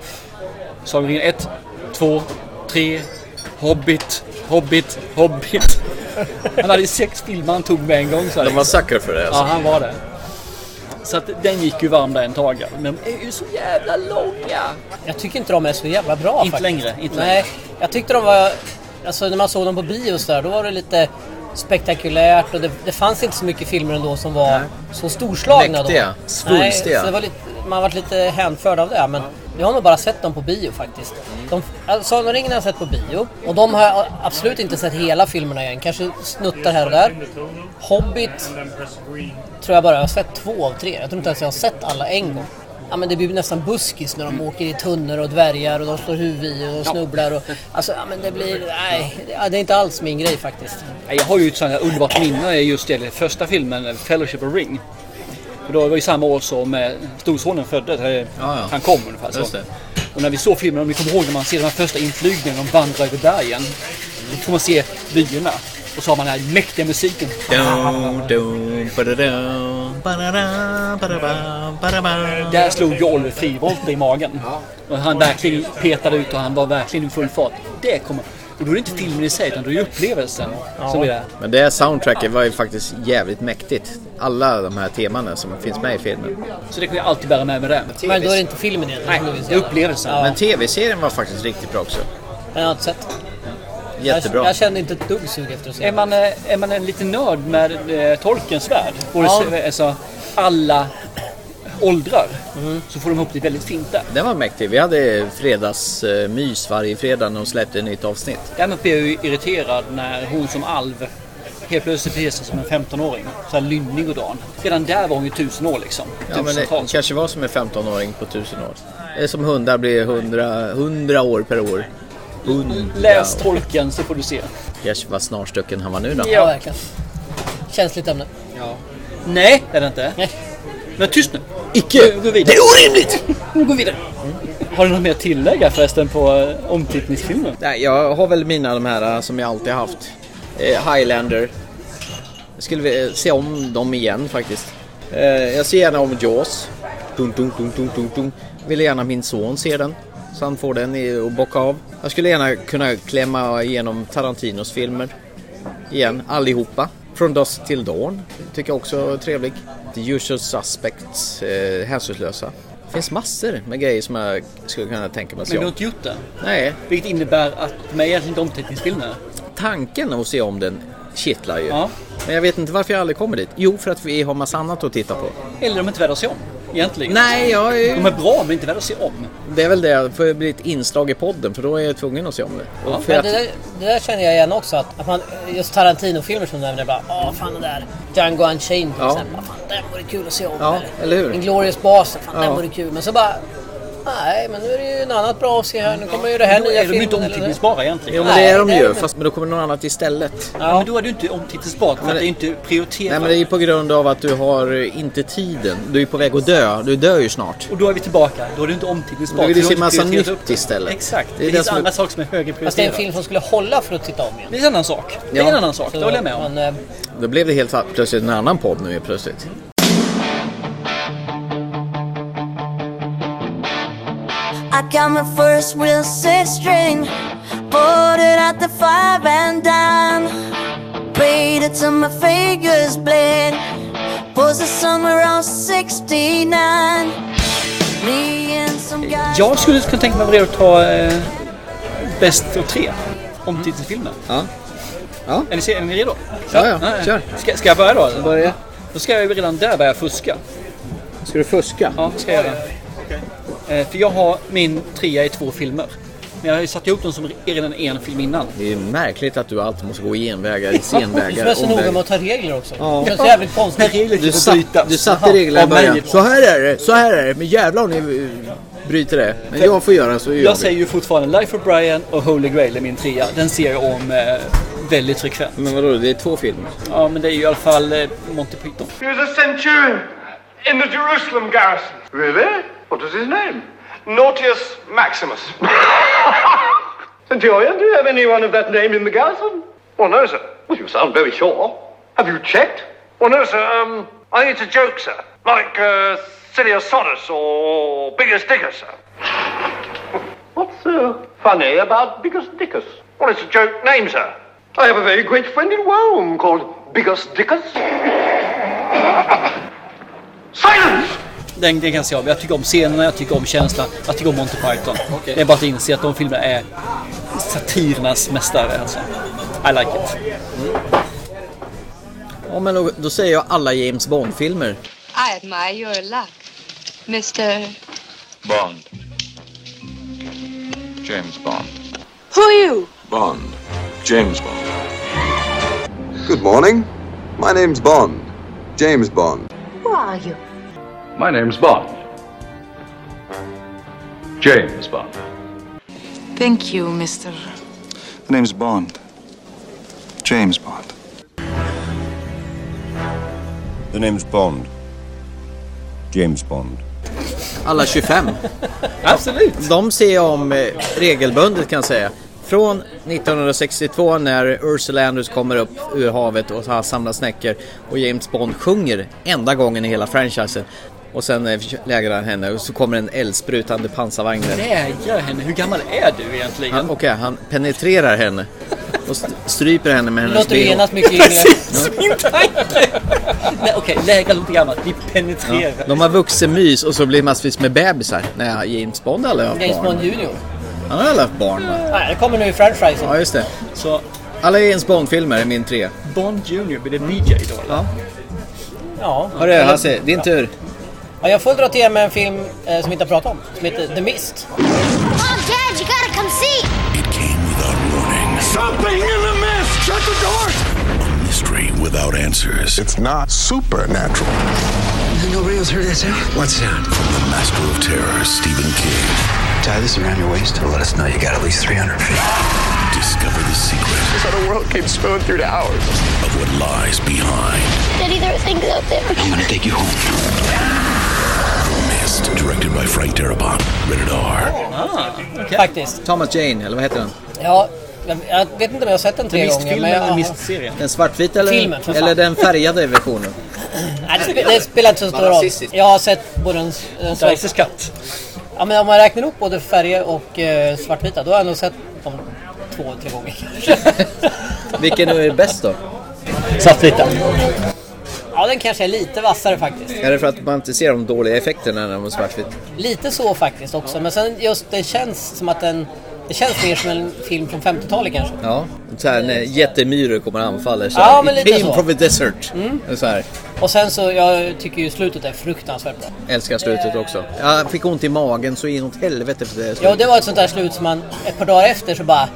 [SPEAKER 2] Sagan om ringen 1, 2, 3, Hobbit, Hobbit, Hobbit. Han hade ju sex filmer han tog med en gång. Så här.
[SPEAKER 3] De var sucker för det
[SPEAKER 2] Ja,
[SPEAKER 3] alltså.
[SPEAKER 2] han var det. Så att den gick ju varm där en tag. Men de är ju så jävla långa.
[SPEAKER 4] Jag tycker inte de är så jävla bra
[SPEAKER 2] Inte
[SPEAKER 4] faktiskt.
[SPEAKER 2] längre, inte
[SPEAKER 4] Nej, jag tyckte de var... Alltså när man såg dem på bio och så där, då var det lite spektakulärt och det, det fanns inte så mycket filmer ändå som var så storslagna
[SPEAKER 3] Mäktiga,
[SPEAKER 4] då.
[SPEAKER 3] svulstiga.
[SPEAKER 4] Nej, så det var lite, man varit lite hänförd av det. Men jag har nog bara sett dem på bio faktiskt. De, alltså, Sagan om ringen har jag sett på bio och de har jag absolut inte sett hela filmerna igen. Kanske snuttar här och där. Hobbit tror jag bara jag har sett två av tre. Jag tror inte ens jag har sett alla en gång. Ja, men det blir nästan buskis när de åker i tunnor och dvärgar och de slår huvudet i och de snubblar. Och, alltså, ja, men det blir... Nej, ja, det är inte alls min grej faktiskt.
[SPEAKER 2] Nej, Jag har ju ett sånt här underbart minne just det, första filmen, eh, Fellowship of Ring. För då var ju samma år som eh, storsonen föddes, eh,
[SPEAKER 3] ja.
[SPEAKER 2] han kom ungefär så.
[SPEAKER 3] Just det.
[SPEAKER 2] Och när vi såg filmen, om ni kommer ihåg när man ser de här första inflygningarna, de vandrar över bergen. Då får man se vyerna. Och så har man den här mäktiga musiken.
[SPEAKER 3] Dum, dum, badadum, badadum, badabam, badabam.
[SPEAKER 2] Där slog ju Oliver frivolt i magen. Och han verkligen petade ut och han var verkligen i full fart. Det kommer. Och då är det inte filmen i sig utan då är det upplevelsen som blir det.
[SPEAKER 3] Men det här soundtracket var ju faktiskt jävligt mäktigt. Alla de här temana som finns med i filmen.
[SPEAKER 2] Så det kan jag alltid bära med mig det.
[SPEAKER 4] Men då är det inte filmen igen.
[SPEAKER 2] Nej, det är upplevelsen.
[SPEAKER 3] Men tv-serien var faktiskt riktigt bra också.
[SPEAKER 4] Den har jag inte sett.
[SPEAKER 3] Jättebra.
[SPEAKER 4] Jag, jag kände inte ett dugg sug efter att se
[SPEAKER 2] Är
[SPEAKER 4] den.
[SPEAKER 2] man, eh, är man en liten nörd med eh, Tolkiens värld, och
[SPEAKER 4] Ja.
[SPEAKER 2] det- alltså, alla åldrar, så får de ihop det väldigt fint där.
[SPEAKER 3] Den var mäktig. Vi hade fredagsmys varje fredag när de släppte ett nytt avsnitt.
[SPEAKER 2] Däremot blir jag ju irriterad när hon som alv helt plötsligt beter sig som en 15-åring. Så här lynnig och dan. Redan där var hon ju tusen år liksom.
[SPEAKER 3] Ja, men det
[SPEAKER 2] Tusentals.
[SPEAKER 3] kanske var som en 15-åring på 1000 år. Det är som hundar blir 100, 100 år per år. 100
[SPEAKER 2] Läs
[SPEAKER 3] år.
[SPEAKER 2] Tolkien så får du se.
[SPEAKER 3] Kanske vad snarstucken han var nu då.
[SPEAKER 4] Ja, verkligen. Känsligt ämne.
[SPEAKER 2] Nej, det är det inte.
[SPEAKER 4] Nej.
[SPEAKER 2] Men tyst nu.
[SPEAKER 3] Icke!
[SPEAKER 2] Gå vidare.
[SPEAKER 3] Det är orimligt!
[SPEAKER 2] Nu går vi vidare. Har du något mer att tillägga förresten på eh, omtittningsfilmen?
[SPEAKER 3] Nej, jag har väl mina de här eh, som jag alltid har haft. Eh, Highlander. Jag skulle vilja se om dem igen faktiskt. Eh, jag ser gärna om Jaws. Dun, dun, dun, dun, dun, dun. Vill gärna min son se den. Så han får den i- och bocka av. Jag skulle gärna kunna klämma igenom Tarantinos filmer. Igen, allihopa. Från Dusk till Dawn. Tycker jag också är trevlig. The Usual Suspects, eh, Hänsynslösa. Det finns massor med grejer som jag skulle kunna tänka mig
[SPEAKER 2] Men
[SPEAKER 3] att se
[SPEAKER 2] du har
[SPEAKER 3] om.
[SPEAKER 2] inte gjort det.
[SPEAKER 3] Nej,
[SPEAKER 2] Vilket innebär att de är egentligen inte omteckningsfilmer.
[SPEAKER 3] tanken att se om den kittlar ju.
[SPEAKER 2] Ja.
[SPEAKER 3] Men jag vet inte varför jag aldrig kommer dit. Jo, för att vi har massa annat att titta på.
[SPEAKER 2] Eller de är inte värda att se om. Egentligen.
[SPEAKER 3] Nej, jag är...
[SPEAKER 2] De är bra men inte värda att se om.
[SPEAKER 3] det är väl det. För det blir ett inslag i podden, för då är jag tvungen att se om det. Och för
[SPEAKER 4] Men
[SPEAKER 3] att...
[SPEAKER 4] det, där, det där känner jag igen också. Att, att man, just Tarantino-filmer som du nämner. Bara, Åh, fan den där. Django Unchained till
[SPEAKER 3] Ja.
[SPEAKER 4] exempel. Bara, Fan, den vore kul att se om.
[SPEAKER 3] Ja, eller hur?
[SPEAKER 4] Inglourious Basterds. Fan,
[SPEAKER 3] Ja.
[SPEAKER 4] den vore kul. Men så bara... Nej, men nu är det ju något annat bra att se här. Nu kommer ju det här
[SPEAKER 2] Då
[SPEAKER 4] nya
[SPEAKER 2] är de ju inte
[SPEAKER 4] filmen, eller-
[SPEAKER 2] omtittningsbara egentligen.
[SPEAKER 3] Jo, men det är de
[SPEAKER 4] Nej, det är
[SPEAKER 3] ju.
[SPEAKER 4] det.
[SPEAKER 3] Fast men då kommer något annat istället.
[SPEAKER 2] Ja. Men då är det ju inte omtittningsbart för
[SPEAKER 3] Men
[SPEAKER 2] att det är
[SPEAKER 3] det-
[SPEAKER 2] inte
[SPEAKER 3] Nej,
[SPEAKER 2] prioriterat.
[SPEAKER 3] men det är ju på grund av att du har eh, inte tiden. Du är på väg att dö. Du dör ju snart.
[SPEAKER 2] Och då är vi tillbaka. Då är det inte omtittningsbart.
[SPEAKER 3] Då vill vi
[SPEAKER 2] för
[SPEAKER 3] se
[SPEAKER 2] har
[SPEAKER 3] massa
[SPEAKER 2] inte prioriterat
[SPEAKER 3] nytt
[SPEAKER 2] upp det.
[SPEAKER 3] istället.
[SPEAKER 2] Exakt. Det,
[SPEAKER 3] Det är det
[SPEAKER 2] finns
[SPEAKER 3] som är-
[SPEAKER 2] andra saker som är
[SPEAKER 4] Fast det är en
[SPEAKER 2] högerprioriterade.
[SPEAKER 4] film som skulle hålla för att titta om igen.
[SPEAKER 2] Det är en annan sak. Det är
[SPEAKER 3] Ja.
[SPEAKER 2] en annan sak. Det håller jag med om.
[SPEAKER 4] Men, eh,
[SPEAKER 3] Då blev det helt plötsligt en annan podd nu helt plötsligt.
[SPEAKER 5] I got my first real six string, bought it at the five and dime. Braided till my fingers bled, was it somewhere around 69. Me and some guy.
[SPEAKER 2] Jag skulle kunna tänka mig att vara redo att ta eh, bäst av tre omtittningsfilmer.
[SPEAKER 3] Ja. Ja.
[SPEAKER 2] Är ni, se- är ni redo?
[SPEAKER 3] Ja, ja. Kör.
[SPEAKER 2] Ska, ska jag börja då?
[SPEAKER 3] Börja.
[SPEAKER 2] Då ska jag ju redan där börja fuska.
[SPEAKER 3] Ska du fuska?
[SPEAKER 2] Ja, det ska jag göra. Eh, För jag har min trea i två filmer. Men jag har ju satt ihop dem som redan en film innan.
[SPEAKER 3] Det är ju märkligt att du alltid måste gå genvägar,
[SPEAKER 4] Du som är
[SPEAKER 3] senvägar,
[SPEAKER 4] så noga med
[SPEAKER 3] omvägar.
[SPEAKER 4] att ta regler också. Det känns jävligt konstigt.
[SPEAKER 3] Du, satt, du satte reglerna i början. Så här är det, så här är det. Men jävlar om ni eh, bryter det. Men jag får göra så gör
[SPEAKER 2] Jag
[SPEAKER 3] vi.
[SPEAKER 2] säger ju fortfarande Life of Brian och Holy Grail är min trea. Den ser jag om eh, väldigt frekvent.
[SPEAKER 3] Men vadå, det är två filmer.
[SPEAKER 2] Ja, men det är ju i alla fall eh, Monty Python.
[SPEAKER 10] He was a centurion in the Jerusalem garrison. Really? What was his name? Nautius Maximus. centurion, do you have anyone of that name in the garrison? Well, no, sir. Well, you sound very sure. Have you checked? Well, no, sir. Um, I think it's a joke, sir. Like, uh, Siliosodus or Biggest Dicker, sir. What's so funny about Biggest Dickus? Well, it's a joke name, sir. I have a very great friend in Rome called Biggest Dickus. Silence!
[SPEAKER 2] Den, den kan jag se om. Jag tycker om scenerna, jag tycker om känslan, jag tycker om Monty Python. Det är bara att inse att de filmerna är satirernas mästare. Alltså. I like it.
[SPEAKER 3] Ja, men då, då säger jag alla James Bond-filmer.
[SPEAKER 5] I admire your luck, Mr.
[SPEAKER 10] Bond. James Bond.
[SPEAKER 5] Who are you?
[SPEAKER 10] Bond. James Bond. Good morning. My name's Bond. James Bond.
[SPEAKER 5] Who are you?
[SPEAKER 10] My name's Bond.
[SPEAKER 11] James Bond.
[SPEAKER 12] Thank you, Mr.
[SPEAKER 11] The name's Bond. James Bond.
[SPEAKER 13] The name's Bond. James Bond.
[SPEAKER 3] Alla 25. Absolut. De ser jag om eh, regelbundet kan jag säga. Från 1962 när Ursula Andrews kommer upp ur havet och har samlat snäckor och James Bond sjunger enda gången i hela franchisen. Och sen eh, lägrar han henne och så kommer en eldsprutande pansarvagn.
[SPEAKER 2] Vägrar henne. Hur gammal är du egentligen?
[SPEAKER 3] Han, okej, han penetrerar henne och st- stryper henne med hennes
[SPEAKER 2] Låter
[SPEAKER 3] bh.
[SPEAKER 2] genast mycket yngre. Precis min tanke! Nej okej, lägga låter gammalt. Vi
[SPEAKER 3] Ja,
[SPEAKER 2] penetrerar.
[SPEAKER 3] de har vuxenmys och så blir massvis med bebisar. Nej, James Bond har aldrig haft
[SPEAKER 4] James
[SPEAKER 3] barn.
[SPEAKER 4] Bond Junior.
[SPEAKER 3] Han har aldrig haft barn va?
[SPEAKER 4] Nej, det kommer nu i French fries.
[SPEAKER 3] Ja, just det. Alla James Bond-filmer är min tre.
[SPEAKER 2] Bond Junior blir det DJ då eller?
[SPEAKER 3] Ja.
[SPEAKER 4] Ja.
[SPEAKER 3] Hörru Hasse, din tur.
[SPEAKER 4] Ja, jag får dra till er med en film eh, som vi inte har pratat om. Som heter The Mist.
[SPEAKER 14] Mom, Dad, you gotta come see!
[SPEAKER 15] Something in the mist! Shut the door! A mystery without answers. It's not supernatural. Uh, Nobody else heard that sound? What sound? From the master of terror, Stephen King. Tie this around your waist and let us know you got at least 300 feet. Discover the secret. This other world came spilling through to ours. Of what lies behind.
[SPEAKER 14] Daddy, there are things out there.
[SPEAKER 15] I'm gonna take you home. The Mist, directed by Frank Darabont. Rated R.
[SPEAKER 4] Faktiskt.
[SPEAKER 3] Thomas Jane, eller vad heter den?
[SPEAKER 4] Ja, jag- jag vet inte om jag har sett den tre gånger. Men jag,
[SPEAKER 3] Den svartvita eller,
[SPEAKER 4] Filmen, för fan.
[SPEAKER 3] eller den färgade versionen?
[SPEAKER 4] Nej, det, spelar, det spelar inte så stor
[SPEAKER 3] Vad
[SPEAKER 4] roll.
[SPEAKER 3] rasistiskt.
[SPEAKER 4] Jag har sett både en, en
[SPEAKER 3] Sveriges
[SPEAKER 4] katt. Ja, men om man räknar ihop både färger och eh, svartvita, då har jag nog sett dem två, tre gånger kanske.
[SPEAKER 3] Vilken är bäst då?
[SPEAKER 2] Svartvita.
[SPEAKER 4] Ja, den kanske är lite vassare faktiskt.
[SPEAKER 3] Är det för att man inte ser de dåliga effekterna när de är svartvit?
[SPEAKER 4] Lite så faktiskt också, men sen just det känns som att den... Det känns mer som en film från 50-talet kanske.
[SPEAKER 3] Ja, så här när jättemyror kommer och anfaller. Så
[SPEAKER 4] Ja,
[SPEAKER 3] här,
[SPEAKER 4] men
[SPEAKER 3] It
[SPEAKER 4] lite
[SPEAKER 3] came
[SPEAKER 4] så."
[SPEAKER 3] from the desert.
[SPEAKER 4] Mm.
[SPEAKER 3] Så här.
[SPEAKER 4] Och sen så, jag tycker ju slutet är fruktansvärt bra.
[SPEAKER 3] Älskar slutet också. Jag fick ont i magen så inåt helvete för det
[SPEAKER 4] Ja, det var ett sånt där slut som man ett par dagar efter så bara...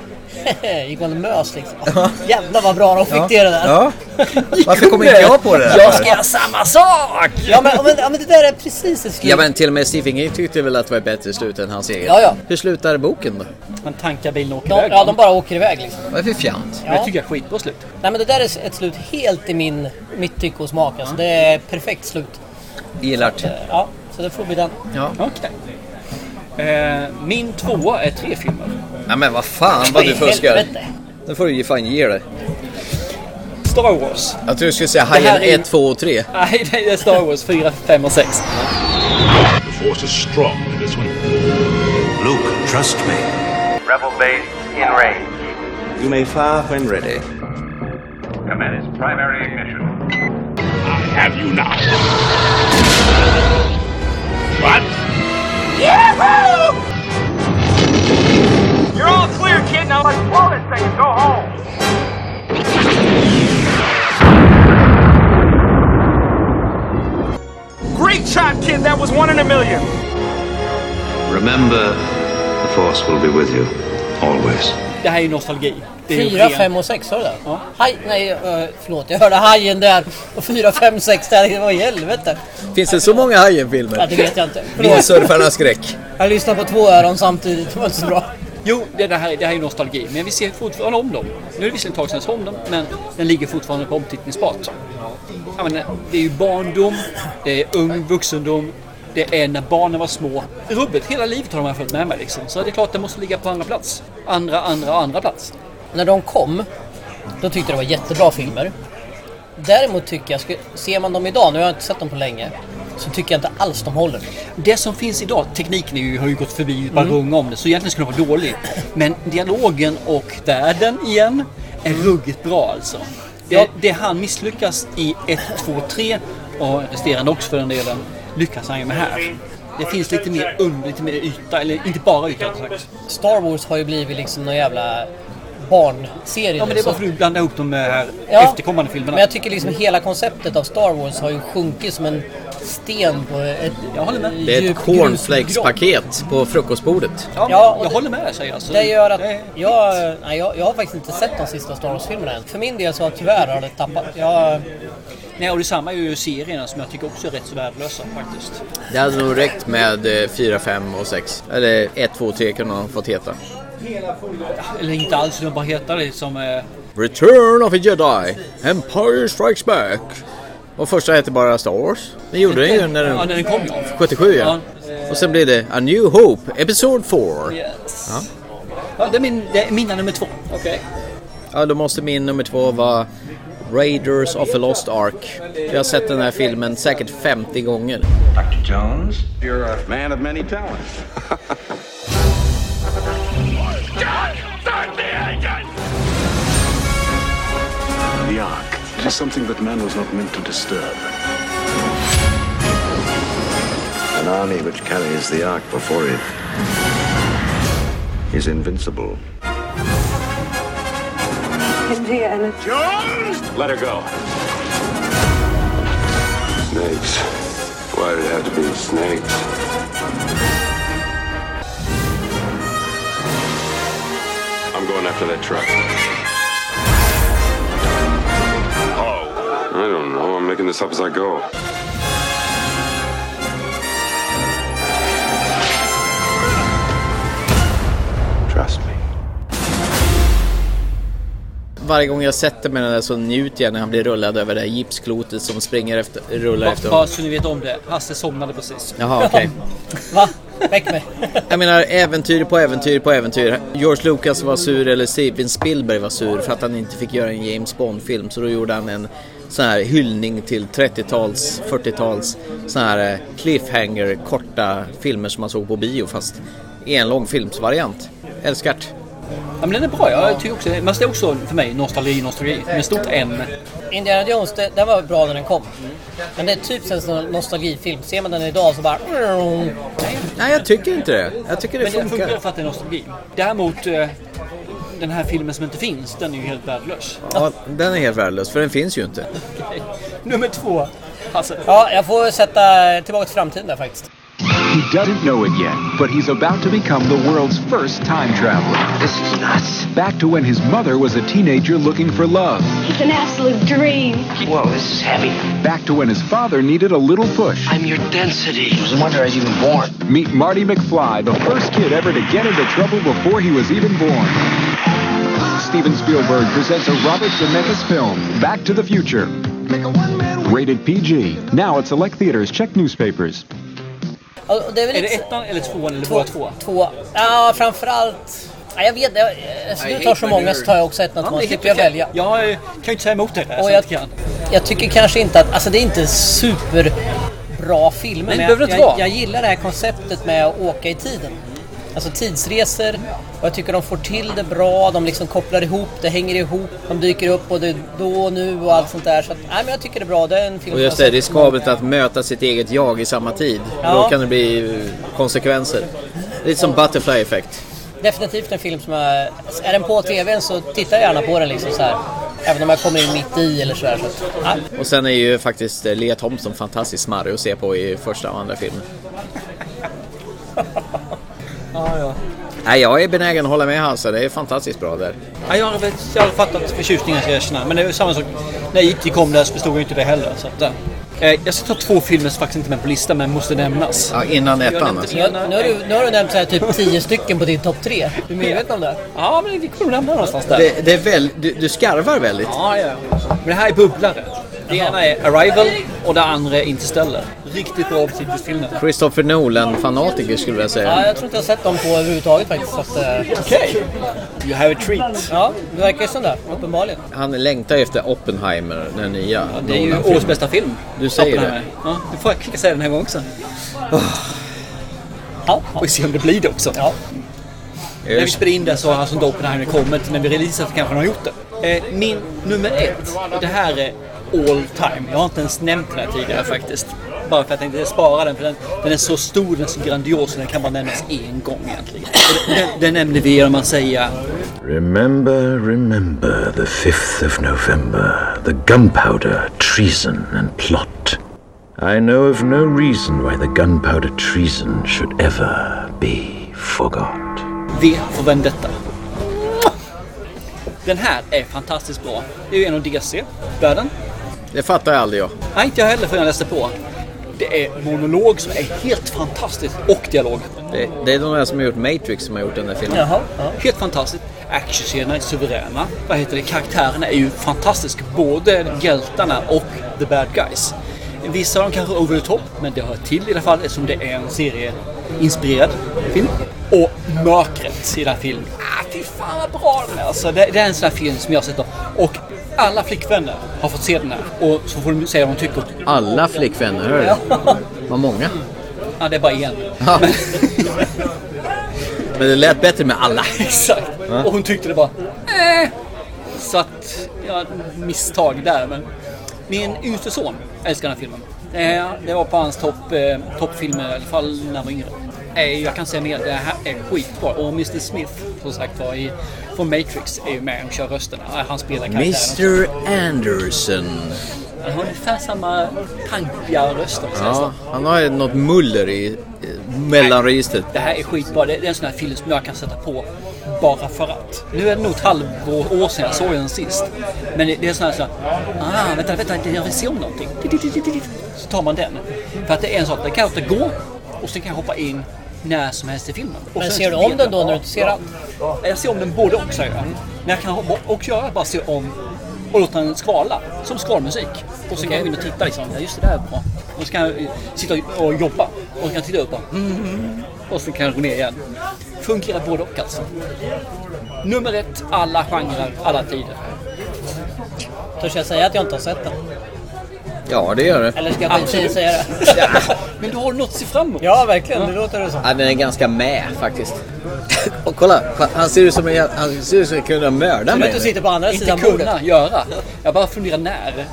[SPEAKER 4] gick man och mös liksom. Jävlar vad bra de fick
[SPEAKER 3] Ja.
[SPEAKER 4] det där.
[SPEAKER 3] Ja. Varför kom inte jag på det?
[SPEAKER 4] Jag ska göra samma sak! Ja men, ja, men, ja, men det där är precis ett slut.
[SPEAKER 3] Ja men till och med Stephen King tyckte väl att det var ett bättre slut än hans eget.
[SPEAKER 4] Ja, ja.
[SPEAKER 3] Hur slutar boken då?
[SPEAKER 2] Man tankar bilen och åker
[SPEAKER 4] de,
[SPEAKER 2] iväg.
[SPEAKER 4] ja, de bara åker iväg liksom.
[SPEAKER 3] Vad är det för fjant?
[SPEAKER 4] Ja. Jag tycker
[SPEAKER 2] jag är skitbra slut.
[SPEAKER 4] Nej men det där är ett slut helt i min, mitt tycke och smak. Alltså, det är ett perfekt slut.
[SPEAKER 3] Gillar
[SPEAKER 4] Eh, Ja, så det får bli den.
[SPEAKER 3] Ja.
[SPEAKER 2] Okej. Eh, min tvåa är tre filmer.
[SPEAKER 3] Nej men vad fan vad du
[SPEAKER 2] I
[SPEAKER 3] fuskar.
[SPEAKER 2] helvete.
[SPEAKER 3] Nu får du ju fan ge dig.
[SPEAKER 2] Star Wars.
[SPEAKER 3] Jag tror du skulle säga
[SPEAKER 2] Det här
[SPEAKER 3] Hajen
[SPEAKER 2] är ju-
[SPEAKER 3] 1, 2 och 3.
[SPEAKER 2] Nej, det är Star Wars 4, 5 och 6.
[SPEAKER 16] The force is strong in this one. Luke, trust me.
[SPEAKER 17] Rebel base in range.
[SPEAKER 8] You may fire when ready.
[SPEAKER 17] Commence primary ignition.
[SPEAKER 16] Have you now? What?
[SPEAKER 17] Yahoo! You're all clear, kid. Now let's blow this thing and go home. Great shot, kid. That was one in a million.
[SPEAKER 18] Remember, the Force will be with you, always.
[SPEAKER 2] Det här är ju nostalgi. Det är ju
[SPEAKER 4] Fyra,
[SPEAKER 2] ren-
[SPEAKER 4] fem och sex, sa du det? Ja. Haj, nej, eh, förlåt. Jag hörde hajen där och fyra, fem, sex där. Det var i helvete.
[SPEAKER 3] Finns det så många Hajen-filmer?
[SPEAKER 4] Ja, det vet jag inte. Förlåt.
[SPEAKER 3] Vindsurfarnas skräck.
[SPEAKER 4] Jag lyssnar på två öron samtidigt. Det var inte så bra.
[SPEAKER 2] Jo, det det här, det här är nostalgi, men vi ser fortfarande om dem. Nu är det visserligen ett tag sedan jag såg om dem, men den ligger fortfarande på omtittningsbart. Ja, men det är ju barndom, det är ung vuxendom, det är när barnen var små. Rubbet, hela livet har de här följt med mig liksom. Så det är klart, det måste ligga på andra plats. Andra, andra, andra plats.
[SPEAKER 4] När de kom, då tyckte jag det var jättebra filmer. Däremot tycker jag, sku- ser man dem idag, nu har jag inte sett dem på länge, så tycker jag inte alls de håller.
[SPEAKER 2] Det som finns idag, tekniken är ju, har ju gått förbi, bara
[SPEAKER 4] Mm.
[SPEAKER 2] runga om det, så egentligen skulle det vara dålig. Men dialogen och världen igen är ruggigt bra alltså. Det,
[SPEAKER 4] Ja.
[SPEAKER 2] det han misslyckas i 1, 2, 3 och resterande också för den delen, lyckas han ju med här. Det finns lite mer under, lite mer yta, eller inte bara yta rättare sagt.
[SPEAKER 4] Star Wars har ju blivit liksom någon jävla barnserie.
[SPEAKER 2] Ja men det är
[SPEAKER 4] nu,
[SPEAKER 2] bara
[SPEAKER 4] så-
[SPEAKER 2] för att du blandar ihop de här
[SPEAKER 4] Ja.
[SPEAKER 2] efterkommande filmerna.
[SPEAKER 4] liksom- Men jag tycker liksom hela konceptet av Star Wars har ju sjunkit som en sten på ett Jag håller med.
[SPEAKER 3] Det är ett cornflakes-paket på frukostbordet.
[SPEAKER 4] Ja,
[SPEAKER 2] jag håller med dig alltså.
[SPEAKER 4] Det gör att jag, nej, jag, jag har faktiskt inte sett de sista Star Wars-filmerna än. För min del så har tyvärr har det tappat. Jag,
[SPEAKER 2] Nej, och detsamma är ju serierna som jag tycker också är rätt så värdelösa faktiskt.
[SPEAKER 3] Det hade nog räckt med eh, 4, 5 och 6. Eller 1, 2, 3 kunde de fått heta.
[SPEAKER 2] Eller inte alls, de bara heter det som... Eh,
[SPEAKER 3] Return of a Jedi. Empire Strikes Back. Och första hette bara Star Wars. Det gjorde den ju när den,
[SPEAKER 2] Ja, när den kom, ja.
[SPEAKER 3] 77 ja. eh. Och sen blev det A New Hope, Episod 4.
[SPEAKER 2] Yes.
[SPEAKER 3] Ja.
[SPEAKER 2] ja, det är min, det är mina nummer två. Okej.
[SPEAKER 3] ja, då måste min nummer två vara Raiders of the Lost Ark. Jag har sett den här filmen säkert 50 gånger.
[SPEAKER 19] Dr. Jones, you're a man of many talents.
[SPEAKER 15] The Ark. It is something that man was not meant to disturb.
[SPEAKER 18] An army which carries the Ark before it is invincible.
[SPEAKER 20] Indiana Jones!
[SPEAKER 18] Let her go. Snakes. Why did it have to be snakes? I'm going after that truck. Oh. I don't know. I'm making this up as I go. Trust me.
[SPEAKER 3] Varje gång jag sätter mig i den där så njuter jag när han blir rullad över det här gipsklotet som springer efter, rullar
[SPEAKER 2] Bara-
[SPEAKER 3] efter
[SPEAKER 2] Bara
[SPEAKER 3] honom.
[SPEAKER 2] så ni vet om det. Hasse somnade precis.
[SPEAKER 3] Jaha, okej.
[SPEAKER 4] Va? Väck mig.
[SPEAKER 3] Jag menar äventyr på äventyr på äventyr. George Lucas var sur, eller Steven Spielberg var sur för att han inte fick göra en James Bond-film. Så då gjorde han en sån här hyllning till 30-tals, 40-tals sån här eh, cliffhanger, korta filmer som man såg på bio fast i en långfilmsvariant. Älskar't.
[SPEAKER 2] Ja, men den är bra. Jag tycker också Men det är också för mig nostalgi, nostalgi. Med stort N.
[SPEAKER 4] Indiana Jones, det, den var bra när den kom. Men det är typ en sån nostalgifilm. Ser man den idag så bara...
[SPEAKER 3] Nej, jag tycker inte det. Jag tycker det
[SPEAKER 2] men
[SPEAKER 3] funkar.
[SPEAKER 2] Men funkar för att det är nostalgi. Däremot eh, den här filmen som inte finns, den är ju helt värdelös.
[SPEAKER 3] Ja, den är helt värdelös för den finns ju inte.
[SPEAKER 2] Okej. Nummer två. Hasse.
[SPEAKER 4] Ja, jag får sätta Tillbaka till framtiden där faktiskt.
[SPEAKER 21] He doesn't know it yet, but he's about to become the world's first time traveler. This is nuts. Back to when his mother was a teenager looking for love.
[SPEAKER 14] It's an absolute dream.
[SPEAKER 21] Whoa, this is heavy. Back to when his father needed a little push. I'm your density. It was a wonder I was even born. Meet Marty McFly, the first kid ever to get into trouble before he was even born. Steven Spielberg presents a Robert Zemeckis film, Back to the Future. Rated PG. Now at select theaters. Check newspapers.
[SPEAKER 4] Ja, och det är väl
[SPEAKER 2] Är
[SPEAKER 4] lite-
[SPEAKER 2] det ettan eller tvåan eller båda två?
[SPEAKER 4] Två. Ja, framförallt... Ja, jag vet, jag, eftersom
[SPEAKER 2] I
[SPEAKER 4] du tar
[SPEAKER 2] hate
[SPEAKER 4] så
[SPEAKER 2] my
[SPEAKER 4] många
[SPEAKER 2] nerves.
[SPEAKER 4] så tar jag också ett
[SPEAKER 2] Ja,
[SPEAKER 4] och
[SPEAKER 2] men det
[SPEAKER 4] tvåan.
[SPEAKER 2] är
[SPEAKER 4] slipper jag
[SPEAKER 2] helt okej.
[SPEAKER 4] välja.
[SPEAKER 2] Jag eh, kan ju inte säga emot det här.
[SPEAKER 4] Och
[SPEAKER 2] så
[SPEAKER 4] jag-
[SPEAKER 2] att Alltså, kan.
[SPEAKER 4] Jag tycker kanske inte att... Alltså det är inte superbra filmer.
[SPEAKER 2] Nej, det
[SPEAKER 4] men
[SPEAKER 2] behöver
[SPEAKER 4] jag,
[SPEAKER 2] det inte
[SPEAKER 4] jag,
[SPEAKER 2] vara.
[SPEAKER 4] jag gillar det här konceptet med att åka i tiden. Alltså tidsresor. Och jag tycker de får till det bra. De liksom kopplar ihop, det hänger ihop. De dyker upp både då och nu och allt sånt där. Så att, nej, men jag tycker det är bra. Det är en film
[SPEAKER 3] Och
[SPEAKER 4] som
[SPEAKER 3] just
[SPEAKER 4] jag
[SPEAKER 3] det,
[SPEAKER 4] sett många-
[SPEAKER 3] riskabelt att möta sitt eget jag i samma tid.
[SPEAKER 4] Ja.
[SPEAKER 3] Då kan det bli eh, konsekvenser. Lite som butterfly effect.
[SPEAKER 4] Definitivt en film som jag... Är den på TVn så tittar jag gärna på den liksom så här. Även om jag kommer in mitt i eller sådär. Så. att, Ja.
[SPEAKER 3] Och sen är ju faktiskt eh, Lea Thompson fantastiskt smarrig att se på i första och andra filmen.
[SPEAKER 2] Ja, Ah, ja.
[SPEAKER 3] Nej, jag är benägen att hålla med Hasse. Det är fantastiskt bra där.
[SPEAKER 2] Ja, jag, har, väl- jag har fattat förtjusningen ska jag erkänna. Men det är ju samma sak. När IT kom där så förstod jag inte det heller. Så att, eh, jag ska ta två filmer som faktiskt inte är med på listan men måste nämnas.
[SPEAKER 3] Ja, innan
[SPEAKER 2] Jag
[SPEAKER 3] ettan,
[SPEAKER 2] nämnde
[SPEAKER 3] alltså.
[SPEAKER 2] den ena.
[SPEAKER 4] Nu, har du, nu har du nämnt så här typ 10 stycken på din topp 3. Du är medveten om det?
[SPEAKER 2] Ja, men vi kommer nämna någonstans där.
[SPEAKER 3] Det, det är väl, du, du skarvar väldigt.
[SPEAKER 2] Ja, ja. Men det här är bubblare. Det ena är Arrival och det andra är Interstellar. Riktigt bra beskrivningsfilmer.
[SPEAKER 3] Christopher Nolan-fanatiker skulle jag
[SPEAKER 4] Ja,
[SPEAKER 3] säga.
[SPEAKER 4] jag tror inte jag har sett dem på överhuvudtaget faktiskt. Okej.
[SPEAKER 2] Okay. You have a treat.
[SPEAKER 4] Ja, det verkar ju som det. Uppenbarligen.
[SPEAKER 3] Han längtar ju efter Oppenheimer, den nya.
[SPEAKER 2] Det är ju
[SPEAKER 3] Nolan-filmen.
[SPEAKER 2] årets bästa film.
[SPEAKER 3] Du säger det.
[SPEAKER 2] Oppenheimer. Ja, det får jag kanske säga den här gången också. Ja, får vi se om det blir det också. När vi spelar in det så har alltså inte Oppenheimer kommit. När vi releasar så kanske han har gjort det. Eh, min nummer ett. och Det här är all time. Jag har inte ens nämnt den här tidigare faktiskt. Bara för att jag tänkte spara den. För den, den är så stor, den är så grandios. Så den kan bara nämnas en gång egentligen. Och Den, den nämnde vi genom att säga
[SPEAKER 22] Remember, remember the 5th of November, the gunpowder, treason, and plot. I know of no reason why the gunpowder treason should ever be forgot.
[SPEAKER 2] V för Vendetta. Den här är fantastiskt bra. Det är ju en av DC. Världen.
[SPEAKER 3] Det fattar jag aldrig jag.
[SPEAKER 2] Nej, inte jag heller förrän jag läste på. Det är monolog som är helt fantastisk och dialog.
[SPEAKER 3] Det, det är några som har gjort Matrix som har gjort den där filmen.
[SPEAKER 2] Jaha, Helt fantastiskt. Actionscenerna är suveräna. Vad heter det? Karaktärerna är ju fantastiska. Både hjältarna och the bad guys. Vissa av dem kanske är over the top, men det hör till i alla fall eftersom det är en serieinspirerad film. Och mörkret i den här filmen. Ah, fy fan vad bra den är! Alltså, det, det är en sån här film som jag sätter. Och alla flickvänner har fått se den här. Och så får de säga vad de tycker.
[SPEAKER 3] Alla flickvänner, hör du?
[SPEAKER 2] Ja.
[SPEAKER 3] Vad många.
[SPEAKER 2] ja, Ah, det är bara en.
[SPEAKER 3] Men det lät bättre med alla.
[SPEAKER 2] Exakt.
[SPEAKER 3] Ja.
[SPEAKER 2] Och hon tyckte det bara... Eh. Så att, ja, misstag där. Men min yngste son älskar den här filmen. Eh, Det var på hans topp, eh, toppfilmer, i alla fall när han var yngre. Eh, Jag kan säga mer, det här är skitbra. Och Mr Smith, som sagt var, i- från Matrix är ju med och kör rösterna. Eh, Han spelar karaktären.
[SPEAKER 3] Mr Anderson.
[SPEAKER 2] Han har ungefär samma tankiga röst. om man säger så.
[SPEAKER 3] Ja, han har ju något muller i i mellanregistret.
[SPEAKER 2] Det här är skitbra. Det är en sån här film som jag kan sätta på bara för att. Nu är det nog ett halvår år sedan jag såg den sist. Men det det är sån här så här, ah, vänta, vänta, jag vill se om någonting. Så tar man den. För att det är en sån, den kan jag inte gå och sen kan jag hoppa in när som helst i filmen. Och
[SPEAKER 4] Men
[SPEAKER 2] sen
[SPEAKER 4] ser du
[SPEAKER 2] vet
[SPEAKER 4] om den då
[SPEAKER 2] jag-
[SPEAKER 4] när du inte ser allt?
[SPEAKER 2] Jag ser om den både och, säger jag. Men jag kan hoppa och göra bara se om och låta den skvala, som skvalmusik. Och sen kan jag gå in och titta liksom, ja just det där är bra. Och så kan jag eh, sitta och jobba. Och så kan jag titta upp och, mm, och så kan jag gå ner igen. Fungerar både och alltså. Nummer ett, alla genrer, alla tider.
[SPEAKER 4] Törs jag säga att jag inte har sett den?
[SPEAKER 3] Ja, det gör det.
[SPEAKER 4] Eller ska jag skita i att säga det?
[SPEAKER 2] Men du har något att se fram emot.
[SPEAKER 4] Ja, verkligen. Det låter det som.
[SPEAKER 3] Ja, den är ganska med faktiskt. Och kolla, han ser ut som en, jä- han ser ut som en kunde mörda mig.
[SPEAKER 2] Inte kunna, göra. Jag bara funderar när.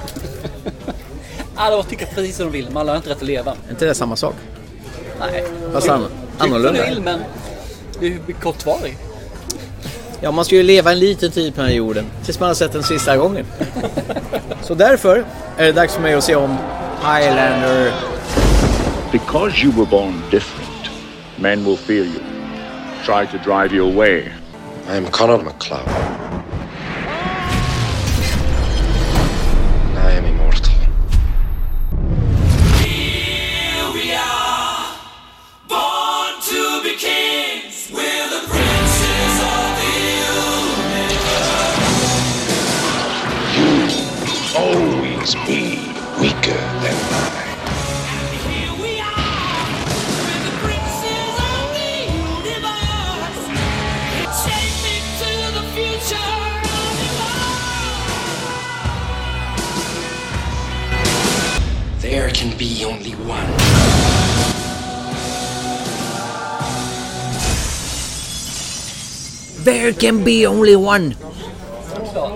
[SPEAKER 2] Alla bara tycker precis som de vill, men alla har inte rätt att leva.
[SPEAKER 3] Är inte det samma sak?
[SPEAKER 2] Nej.
[SPEAKER 3] Fast an-
[SPEAKER 2] Tycker
[SPEAKER 3] annorlunda.
[SPEAKER 2] du vill, men det är ju kortvarig.
[SPEAKER 3] Ja, man ska ju leva en liten tid på den här jorden. Tills man har sett den sista gången. Så därför är det dags för mig att se om Highlander.
[SPEAKER 1] Because you were born different, men will fear you, try to drive you away. I am Connor MacLeod. I am immortal.
[SPEAKER 9] Here we are, born to be kings. We're the princes of the universe.
[SPEAKER 15] Always be weaker than I.
[SPEAKER 9] Take me to the future.
[SPEAKER 6] There can be only one.
[SPEAKER 3] There can be only one.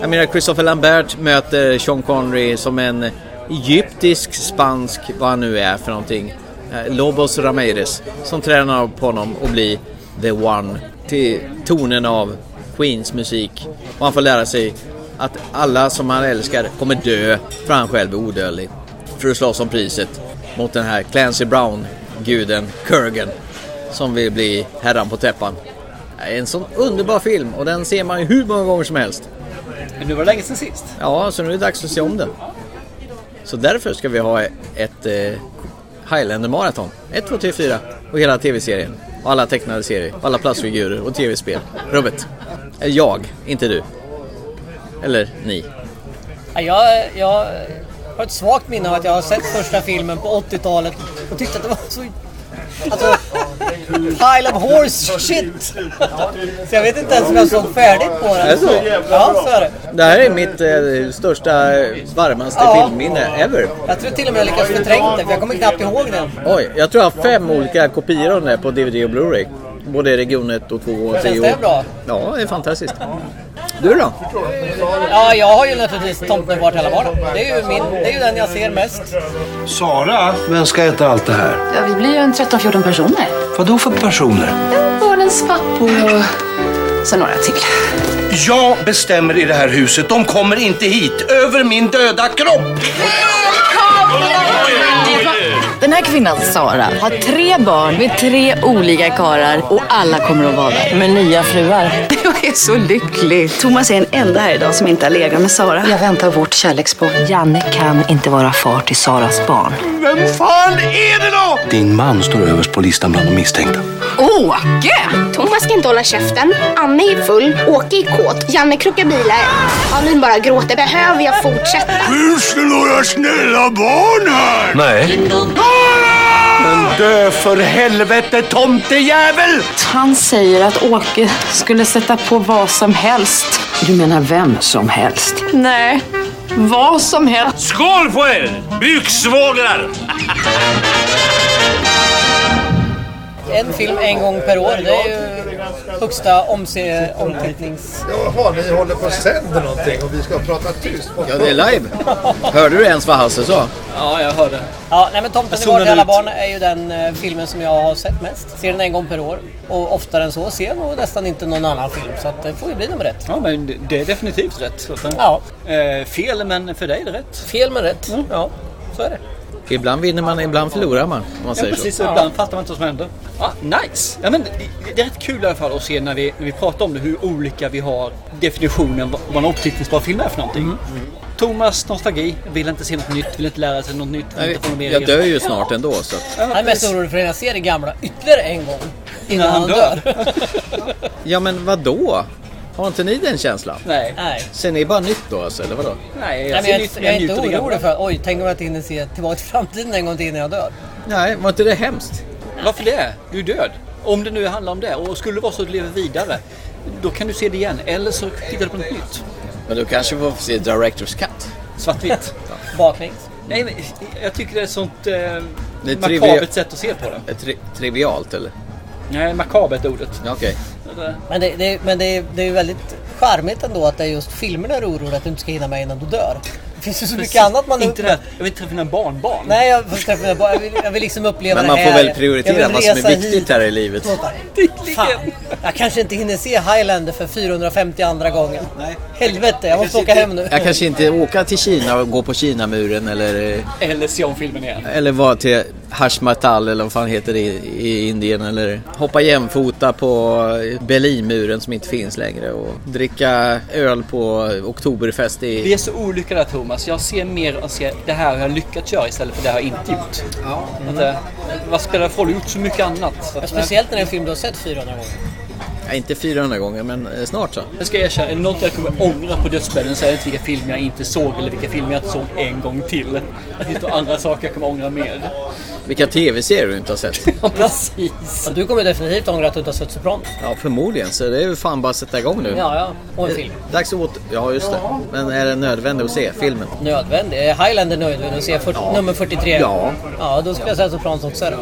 [SPEAKER 3] Jag menar Christopher Lambert möter Sean Connery som en egyptisk, spansk, vad han nu är för någonting. eh, Lobos Ramirez som tränar på honom och blir the one till tonen av Queens musik. Och han får lära sig att alla som han älskar kommer dö för han själv är odödlig. För att slåss om priset mot den här Clancy Brown, guden Kurgan som vill bli herran på täppan. En sån underbar film och den ser man ju hur många gånger som helst.
[SPEAKER 2] Men nu var det länge sedan sist.
[SPEAKER 3] Ja, så nu är det dags att se om den. Så därför ska vi ha ett eh, Highlander-maraton. 1, 2, 3, 4 och hela tv-serien. Och alla tecknade serier, och alla plastfigurer och tv-spel. Rubbet. Eh, Jag, inte du. Eller ni.
[SPEAKER 4] Ja, Jag, jag har ett svagt minne av att jag har sett första filmen på 80-talet och tyckte att det var så... Alltså, pile of horse shit! Så jag vet inte ens om jag såg färdigt på
[SPEAKER 3] Är det
[SPEAKER 4] den.
[SPEAKER 3] så?
[SPEAKER 4] Ja, så är det.
[SPEAKER 3] Det här är mitt eh, största, eh, varmaste
[SPEAKER 4] Ja.
[SPEAKER 3] filmminne ever.
[SPEAKER 4] Jag tror till och med jag lyckats förträngt det, för jag kommer knappt ihåg den.
[SPEAKER 3] Oj, jag tror jag har fem olika kopior av den där på DVD och Blu-ray. Både region 1 och 2 och 10.
[SPEAKER 4] Känns det bra?
[SPEAKER 3] Ja, det är fantastiskt. Du då?
[SPEAKER 4] Ja, jag har ju naturligtvis Tomten vart hela vardagen. Det är ju min, det är ju den jag ser mest.
[SPEAKER 23] Sara, vem ska äta allt det här?
[SPEAKER 12] Ja, vi blir ju en 13-14 personer.
[SPEAKER 23] Vad då för personer?
[SPEAKER 12] Barnens pappor och... Sen några till.
[SPEAKER 23] Jag bestämmer i det här huset. De kommer inte hit. Över min döda kropp!
[SPEAKER 9] Oh, yeah.
[SPEAKER 5] Den här kvinnan, Sara, har tre barn med tre olika karar och alla kommer att vara där. Med nya fruar. Jag är så lycklig. Thomas är en enda här idag som inte har legat med Sara. Jag väntar vårt kärleksbarn. Janne kan inte vara far till Saras barn.
[SPEAKER 23] Vem fan är det då? Din man står överst på listan bland de misstänkta.
[SPEAKER 7] Åke! Thomas ska inte hålla käften. Anne är full, Åke är kåt, Janne krokar bilar. Alin bara gråter. Behöver jag fortsätta?
[SPEAKER 16] Finns det några snälla barn här?
[SPEAKER 23] Nej. Men dö för helvete tomtejävel!
[SPEAKER 5] Han säger att Åke skulle sätta på vad som helst.
[SPEAKER 10] Du menar vem som helst?
[SPEAKER 5] Nej, vad som helst.
[SPEAKER 16] Skål på er, byxsvågrar!
[SPEAKER 4] En film en gång per år, det är ju högsta omse- omtittnings...
[SPEAKER 24] Jaha, ni håller på och sänder någonting och vi ska prata tyst.
[SPEAKER 3] Ja, det är live. Hörde du ens vad Hasse sa?
[SPEAKER 2] Ja, jag hörde.
[SPEAKER 4] Ja, nej men Tomten
[SPEAKER 2] Jag
[SPEAKER 4] är vår
[SPEAKER 2] zonade
[SPEAKER 4] alla
[SPEAKER 2] ut.
[SPEAKER 4] barn är ju den eh, filmen som jag har sett mest. Ser den en gång per år. Och oftare än så ser jag nog nästan inte någon annan film. Så att det får ju bli nummer ett.
[SPEAKER 2] Ja, men det- det är definitivt rätt. Så att, eh, eh, fel, men för dig är det rätt.
[SPEAKER 4] Fel men rätt. Ja, så är det.
[SPEAKER 3] Ibland vinner man, ibland förlorar man. Om man
[SPEAKER 2] Ja,
[SPEAKER 3] säger
[SPEAKER 2] precis.
[SPEAKER 3] så.
[SPEAKER 2] Och ibland fattar man inte vad som händer. Ja, nice! Ja, men det- det är rätt kul i alla fall att se när vi, när vi pratar om det, hur olika vi har definitionen vad vad en optittningsbar film är för någonting.
[SPEAKER 4] Mm.
[SPEAKER 2] Thomas nostalgi, vill inte se något nytt, vill inte lära sig något nytt. vill
[SPEAKER 3] Nej,
[SPEAKER 2] inte få något mer
[SPEAKER 3] jag
[SPEAKER 2] igen.
[SPEAKER 3] dör ju snart ändå så att...
[SPEAKER 4] Han är mest orolig för att jag ser det gamla ytterligare en gång. Innan han dör.
[SPEAKER 3] Ja men vadå? Har inte ni den känslan?
[SPEAKER 2] Nej.
[SPEAKER 4] Nej.
[SPEAKER 3] Ser ni bara nytt då alltså, eller vadå?
[SPEAKER 2] Nej,
[SPEAKER 4] jag,
[SPEAKER 3] ser
[SPEAKER 4] jag,
[SPEAKER 3] nytt,
[SPEAKER 4] jag, är
[SPEAKER 3] jag
[SPEAKER 4] inte
[SPEAKER 3] njuter det
[SPEAKER 4] orolig
[SPEAKER 3] gamla.
[SPEAKER 4] för att oj, tänk om jag inte hinner se Tillbaka till framtiden en gång till innan jag dör.
[SPEAKER 3] Nej, var inte det hemskt?
[SPEAKER 2] Varför det? Du är död. Om det nu handlar om det. Och skulle det vara så att du lever vidare, då kan du se det igen. Eller så tittar du på något nytt.
[SPEAKER 3] Men du kanske får se Directors Cut?
[SPEAKER 2] Svartvitt.
[SPEAKER 4] Baklänges.
[SPEAKER 2] Nej, men jag tycker det är ett sånt eh,
[SPEAKER 3] Det är
[SPEAKER 2] makabert
[SPEAKER 3] trivia-
[SPEAKER 2] sätt att se på det.
[SPEAKER 3] Är Tri trivialt eller?
[SPEAKER 2] Nej, makabert ordet.
[SPEAKER 3] Ja, Okej.
[SPEAKER 4] Men, det, det, men det, är- det är ju väldigt charmigt ändå att det är just filmerna du är orolig att du inte ska hinna med innan du dör. Det finns ju så mycket annat man...
[SPEAKER 2] Inte det här, jag vill träffa mina barnbarn.
[SPEAKER 4] Nej, jag vill, träffa mina barn. jag vill, jag vill liksom uppleva
[SPEAKER 3] Men
[SPEAKER 4] det
[SPEAKER 3] man
[SPEAKER 4] här.
[SPEAKER 3] får väl
[SPEAKER 4] Jag
[SPEAKER 3] prioritera
[SPEAKER 4] vill
[SPEAKER 3] vad som är
[SPEAKER 4] resa
[SPEAKER 3] viktigt
[SPEAKER 4] hit.
[SPEAKER 3] här i livet.
[SPEAKER 4] Låt mig. Fan, jag kanske inte hinner se Highlander för 450 andra gången. Helvete, jag måste åka hem nu.
[SPEAKER 3] Jag kanske inte åka till Kina och gå på Kinamuren eller, eh,
[SPEAKER 2] Eller se om filmen igen.
[SPEAKER 3] eller vara till Hashmatal eller vad fan heter det i- i Indien eller hoppa jämfota på Berlinmuren som inte finns längre och dricka öl på Oktoberfest
[SPEAKER 2] Vi
[SPEAKER 3] i...
[SPEAKER 2] är så olika där Thomas. Jag ser mer och ser det här har jag lyckats göra istället för det har jag inte gjort. Att, eh, vad spelar det för roll? Jag har gjort så mycket annat. Så att-
[SPEAKER 4] Speciellt när det är en film du har sett 400 gånger.
[SPEAKER 3] Ja, inte 400 gånger men eh, snart så.
[SPEAKER 2] Jag ska erkänna, är det något jag kommer ångra på dödsbädden så är det inte vilka filmer jag inte såg eller vilka filmer jag inte såg en gång till. Det finns nog andra saker jag kommer ångra mer.
[SPEAKER 3] Vilka tv-serier du inte har sett.
[SPEAKER 2] Ja, precis.
[SPEAKER 4] Du kommer definitivt ångra att du inte har sett Sopranos.
[SPEAKER 3] Ja, förmodligen. Så det är ju fan bara att sätta igång nu.
[SPEAKER 4] Ja, ja. Och en
[SPEAKER 3] Eh,
[SPEAKER 4] film.
[SPEAKER 3] Dags att åter... Ja, just det. Men är det nödvändigt att se filmen?
[SPEAKER 4] Nödvändig? Är Highlander nödvändig att se fyrt- nummer 43?
[SPEAKER 3] Ja.
[SPEAKER 4] Ja, då skulle jag säga Sopranos också då.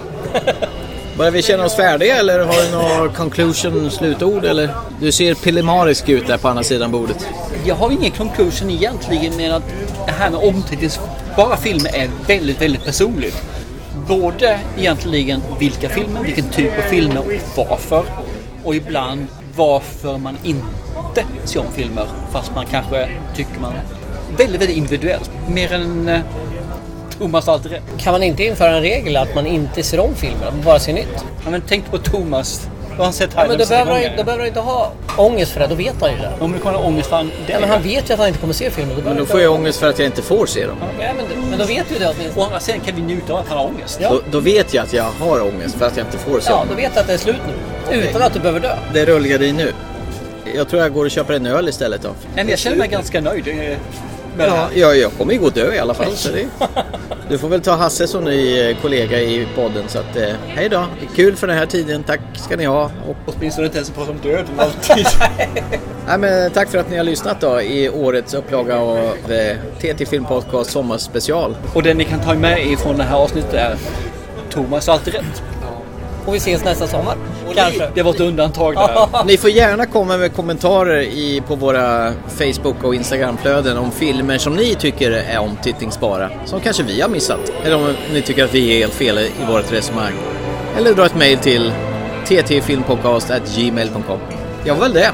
[SPEAKER 3] Börjar vi känna oss färdiga eller har du några conclusion, slutord eller? Du ser pillemarisk ut där på andra sidan bordet.
[SPEAKER 2] Jag har ingen conclusion egentligen men att det här med omtittningsbara filmer är väldigt, väldigt personligt. Både egentligen vilka filmer, vilken typ av filmer och varför. Och ibland varför man inte ser om filmer fast man kanske tycker man väldigt, väldigt individuellt. Mer än eh, Thomas har alltid rätt.
[SPEAKER 4] Kan man inte införa en regel att man inte ser om filmer, att man bara ser nytt?
[SPEAKER 2] Ja, men tänk på Thomas. Då har han sett
[SPEAKER 4] Ja, men då
[SPEAKER 2] Highlands
[SPEAKER 4] behöver, han,
[SPEAKER 2] tre
[SPEAKER 4] ju- då
[SPEAKER 2] gånger.
[SPEAKER 4] behöver han inte ha ångest för det, då vet han ju det.
[SPEAKER 2] Om du kommer ha ångest för han, det
[SPEAKER 4] Ja, men han vet ju att han inte kommer se filmen.
[SPEAKER 3] Men då får jag ångest för att jag inte får se dem.
[SPEAKER 4] Nej, men, men då vet du det åtminstone.
[SPEAKER 2] Å andra sidan kan vi njuta av att han har ångest.
[SPEAKER 4] Ja.
[SPEAKER 3] Då, då vet jag att jag har ångest för att jag inte får se
[SPEAKER 4] Ja,
[SPEAKER 3] dem.
[SPEAKER 4] då vet du att det är slut nu. Utan att du behöver dö.
[SPEAKER 3] Det rullar i nu. Jag tror jag går och köper en öl istället då.
[SPEAKER 2] Men jag känner mig ganska nöjd eh, med det
[SPEAKER 3] Ja,
[SPEAKER 2] här.
[SPEAKER 3] jag, jag kommer ju gå och dö i alla fall. Så det, du får väl ta Hasse som ny eh, kollega i podden. Så att, eh, hej då. Kul för den här tiden. Tack ska ni ha. Och...
[SPEAKER 2] Åtminstone inte ens prata om döden alltid.
[SPEAKER 3] Nej, men eh, tack för att ni har lyssnat då i årets upplaga av eh, TT Film Podcast Sommarspecial.
[SPEAKER 2] Och det ni kan ta med ifrån det här avsnittet är Thomas har alltid rätt.
[SPEAKER 4] Och vi ses nästa sommar. Kanske.
[SPEAKER 2] Det var ett undantag där.
[SPEAKER 3] Ni får gärna komma med kommentarer i, på våra Facebook och Instagramflöden om filmer som ni tycker är omtittningsbara. Som kanske vi har missat. Eller om ni tycker att vi är helt fel i vårt resonemang. Eller dra ett mejl till ttfilmpodcast.gmail.com. Ja, väl det.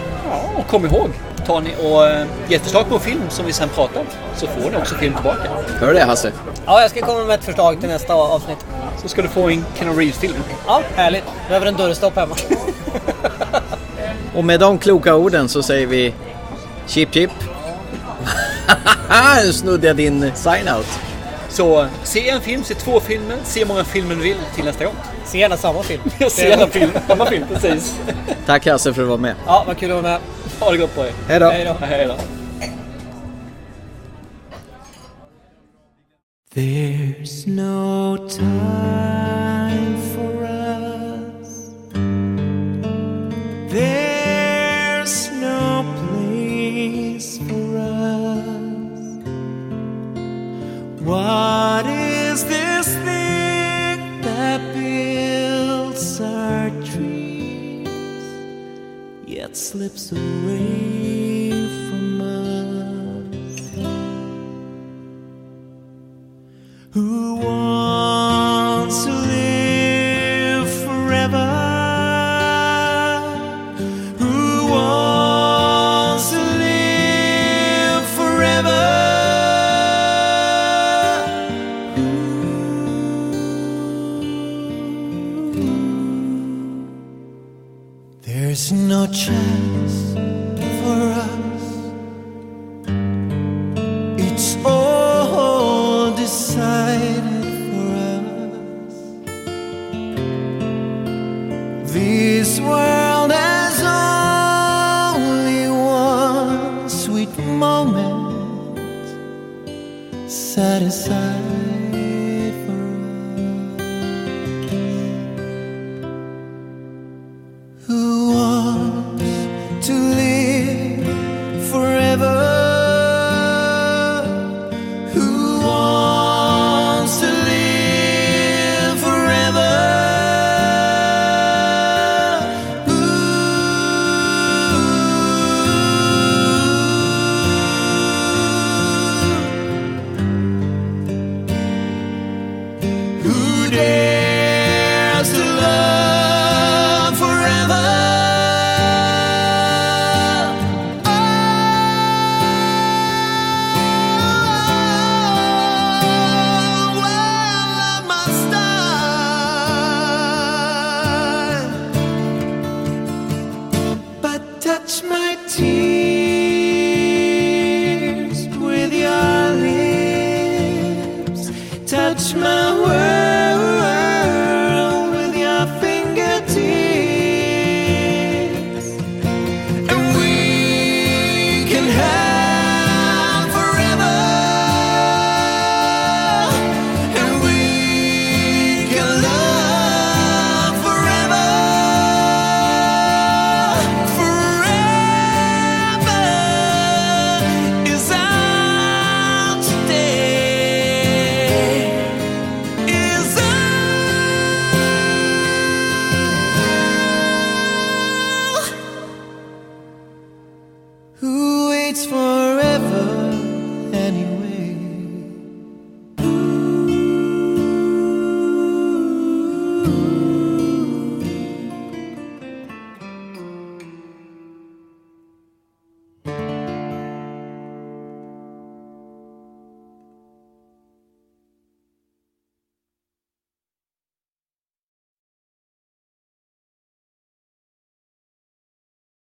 [SPEAKER 2] Och kom ihåg, tar ni och eh, ger ett förslag på en film som vi sen pratar om så får ni också film tillbaka.
[SPEAKER 3] Hör du det Hasse?
[SPEAKER 4] Ja, jag ska komma med ett förslag till nästa avsnitt.
[SPEAKER 2] Så ska du få en Keanu Reeves-film.
[SPEAKER 4] Ja, härligt. Behöver en dörrstopp hemma.
[SPEAKER 3] Och med de kloka orden så säger vi chip chip. nu snodde jag din sign-out.
[SPEAKER 2] Så se en film, se två filmer, se hur många filmer du vill till nästa gång.
[SPEAKER 4] Se gärna samma film.
[SPEAKER 2] se gärna film, samma film, precis.
[SPEAKER 3] Tack Hasse för att du var med.
[SPEAKER 4] Ja, vad kul att vara med.
[SPEAKER 2] Ha det gott på er.
[SPEAKER 3] Hej då.
[SPEAKER 2] Hej då. Hej då.
[SPEAKER 8] There's no time for us. There's no place for us. What is this thing that builds our dreams yet slips away from us? Who wants to live forever? Who wants to live forever? There's no chance for us. It's all decided for us. This world has only one sweet moment set aside for us. Who wants to live forever? Who wants to live forever? Who, who dares to love forever? But touch my tears with your lips, touch my words.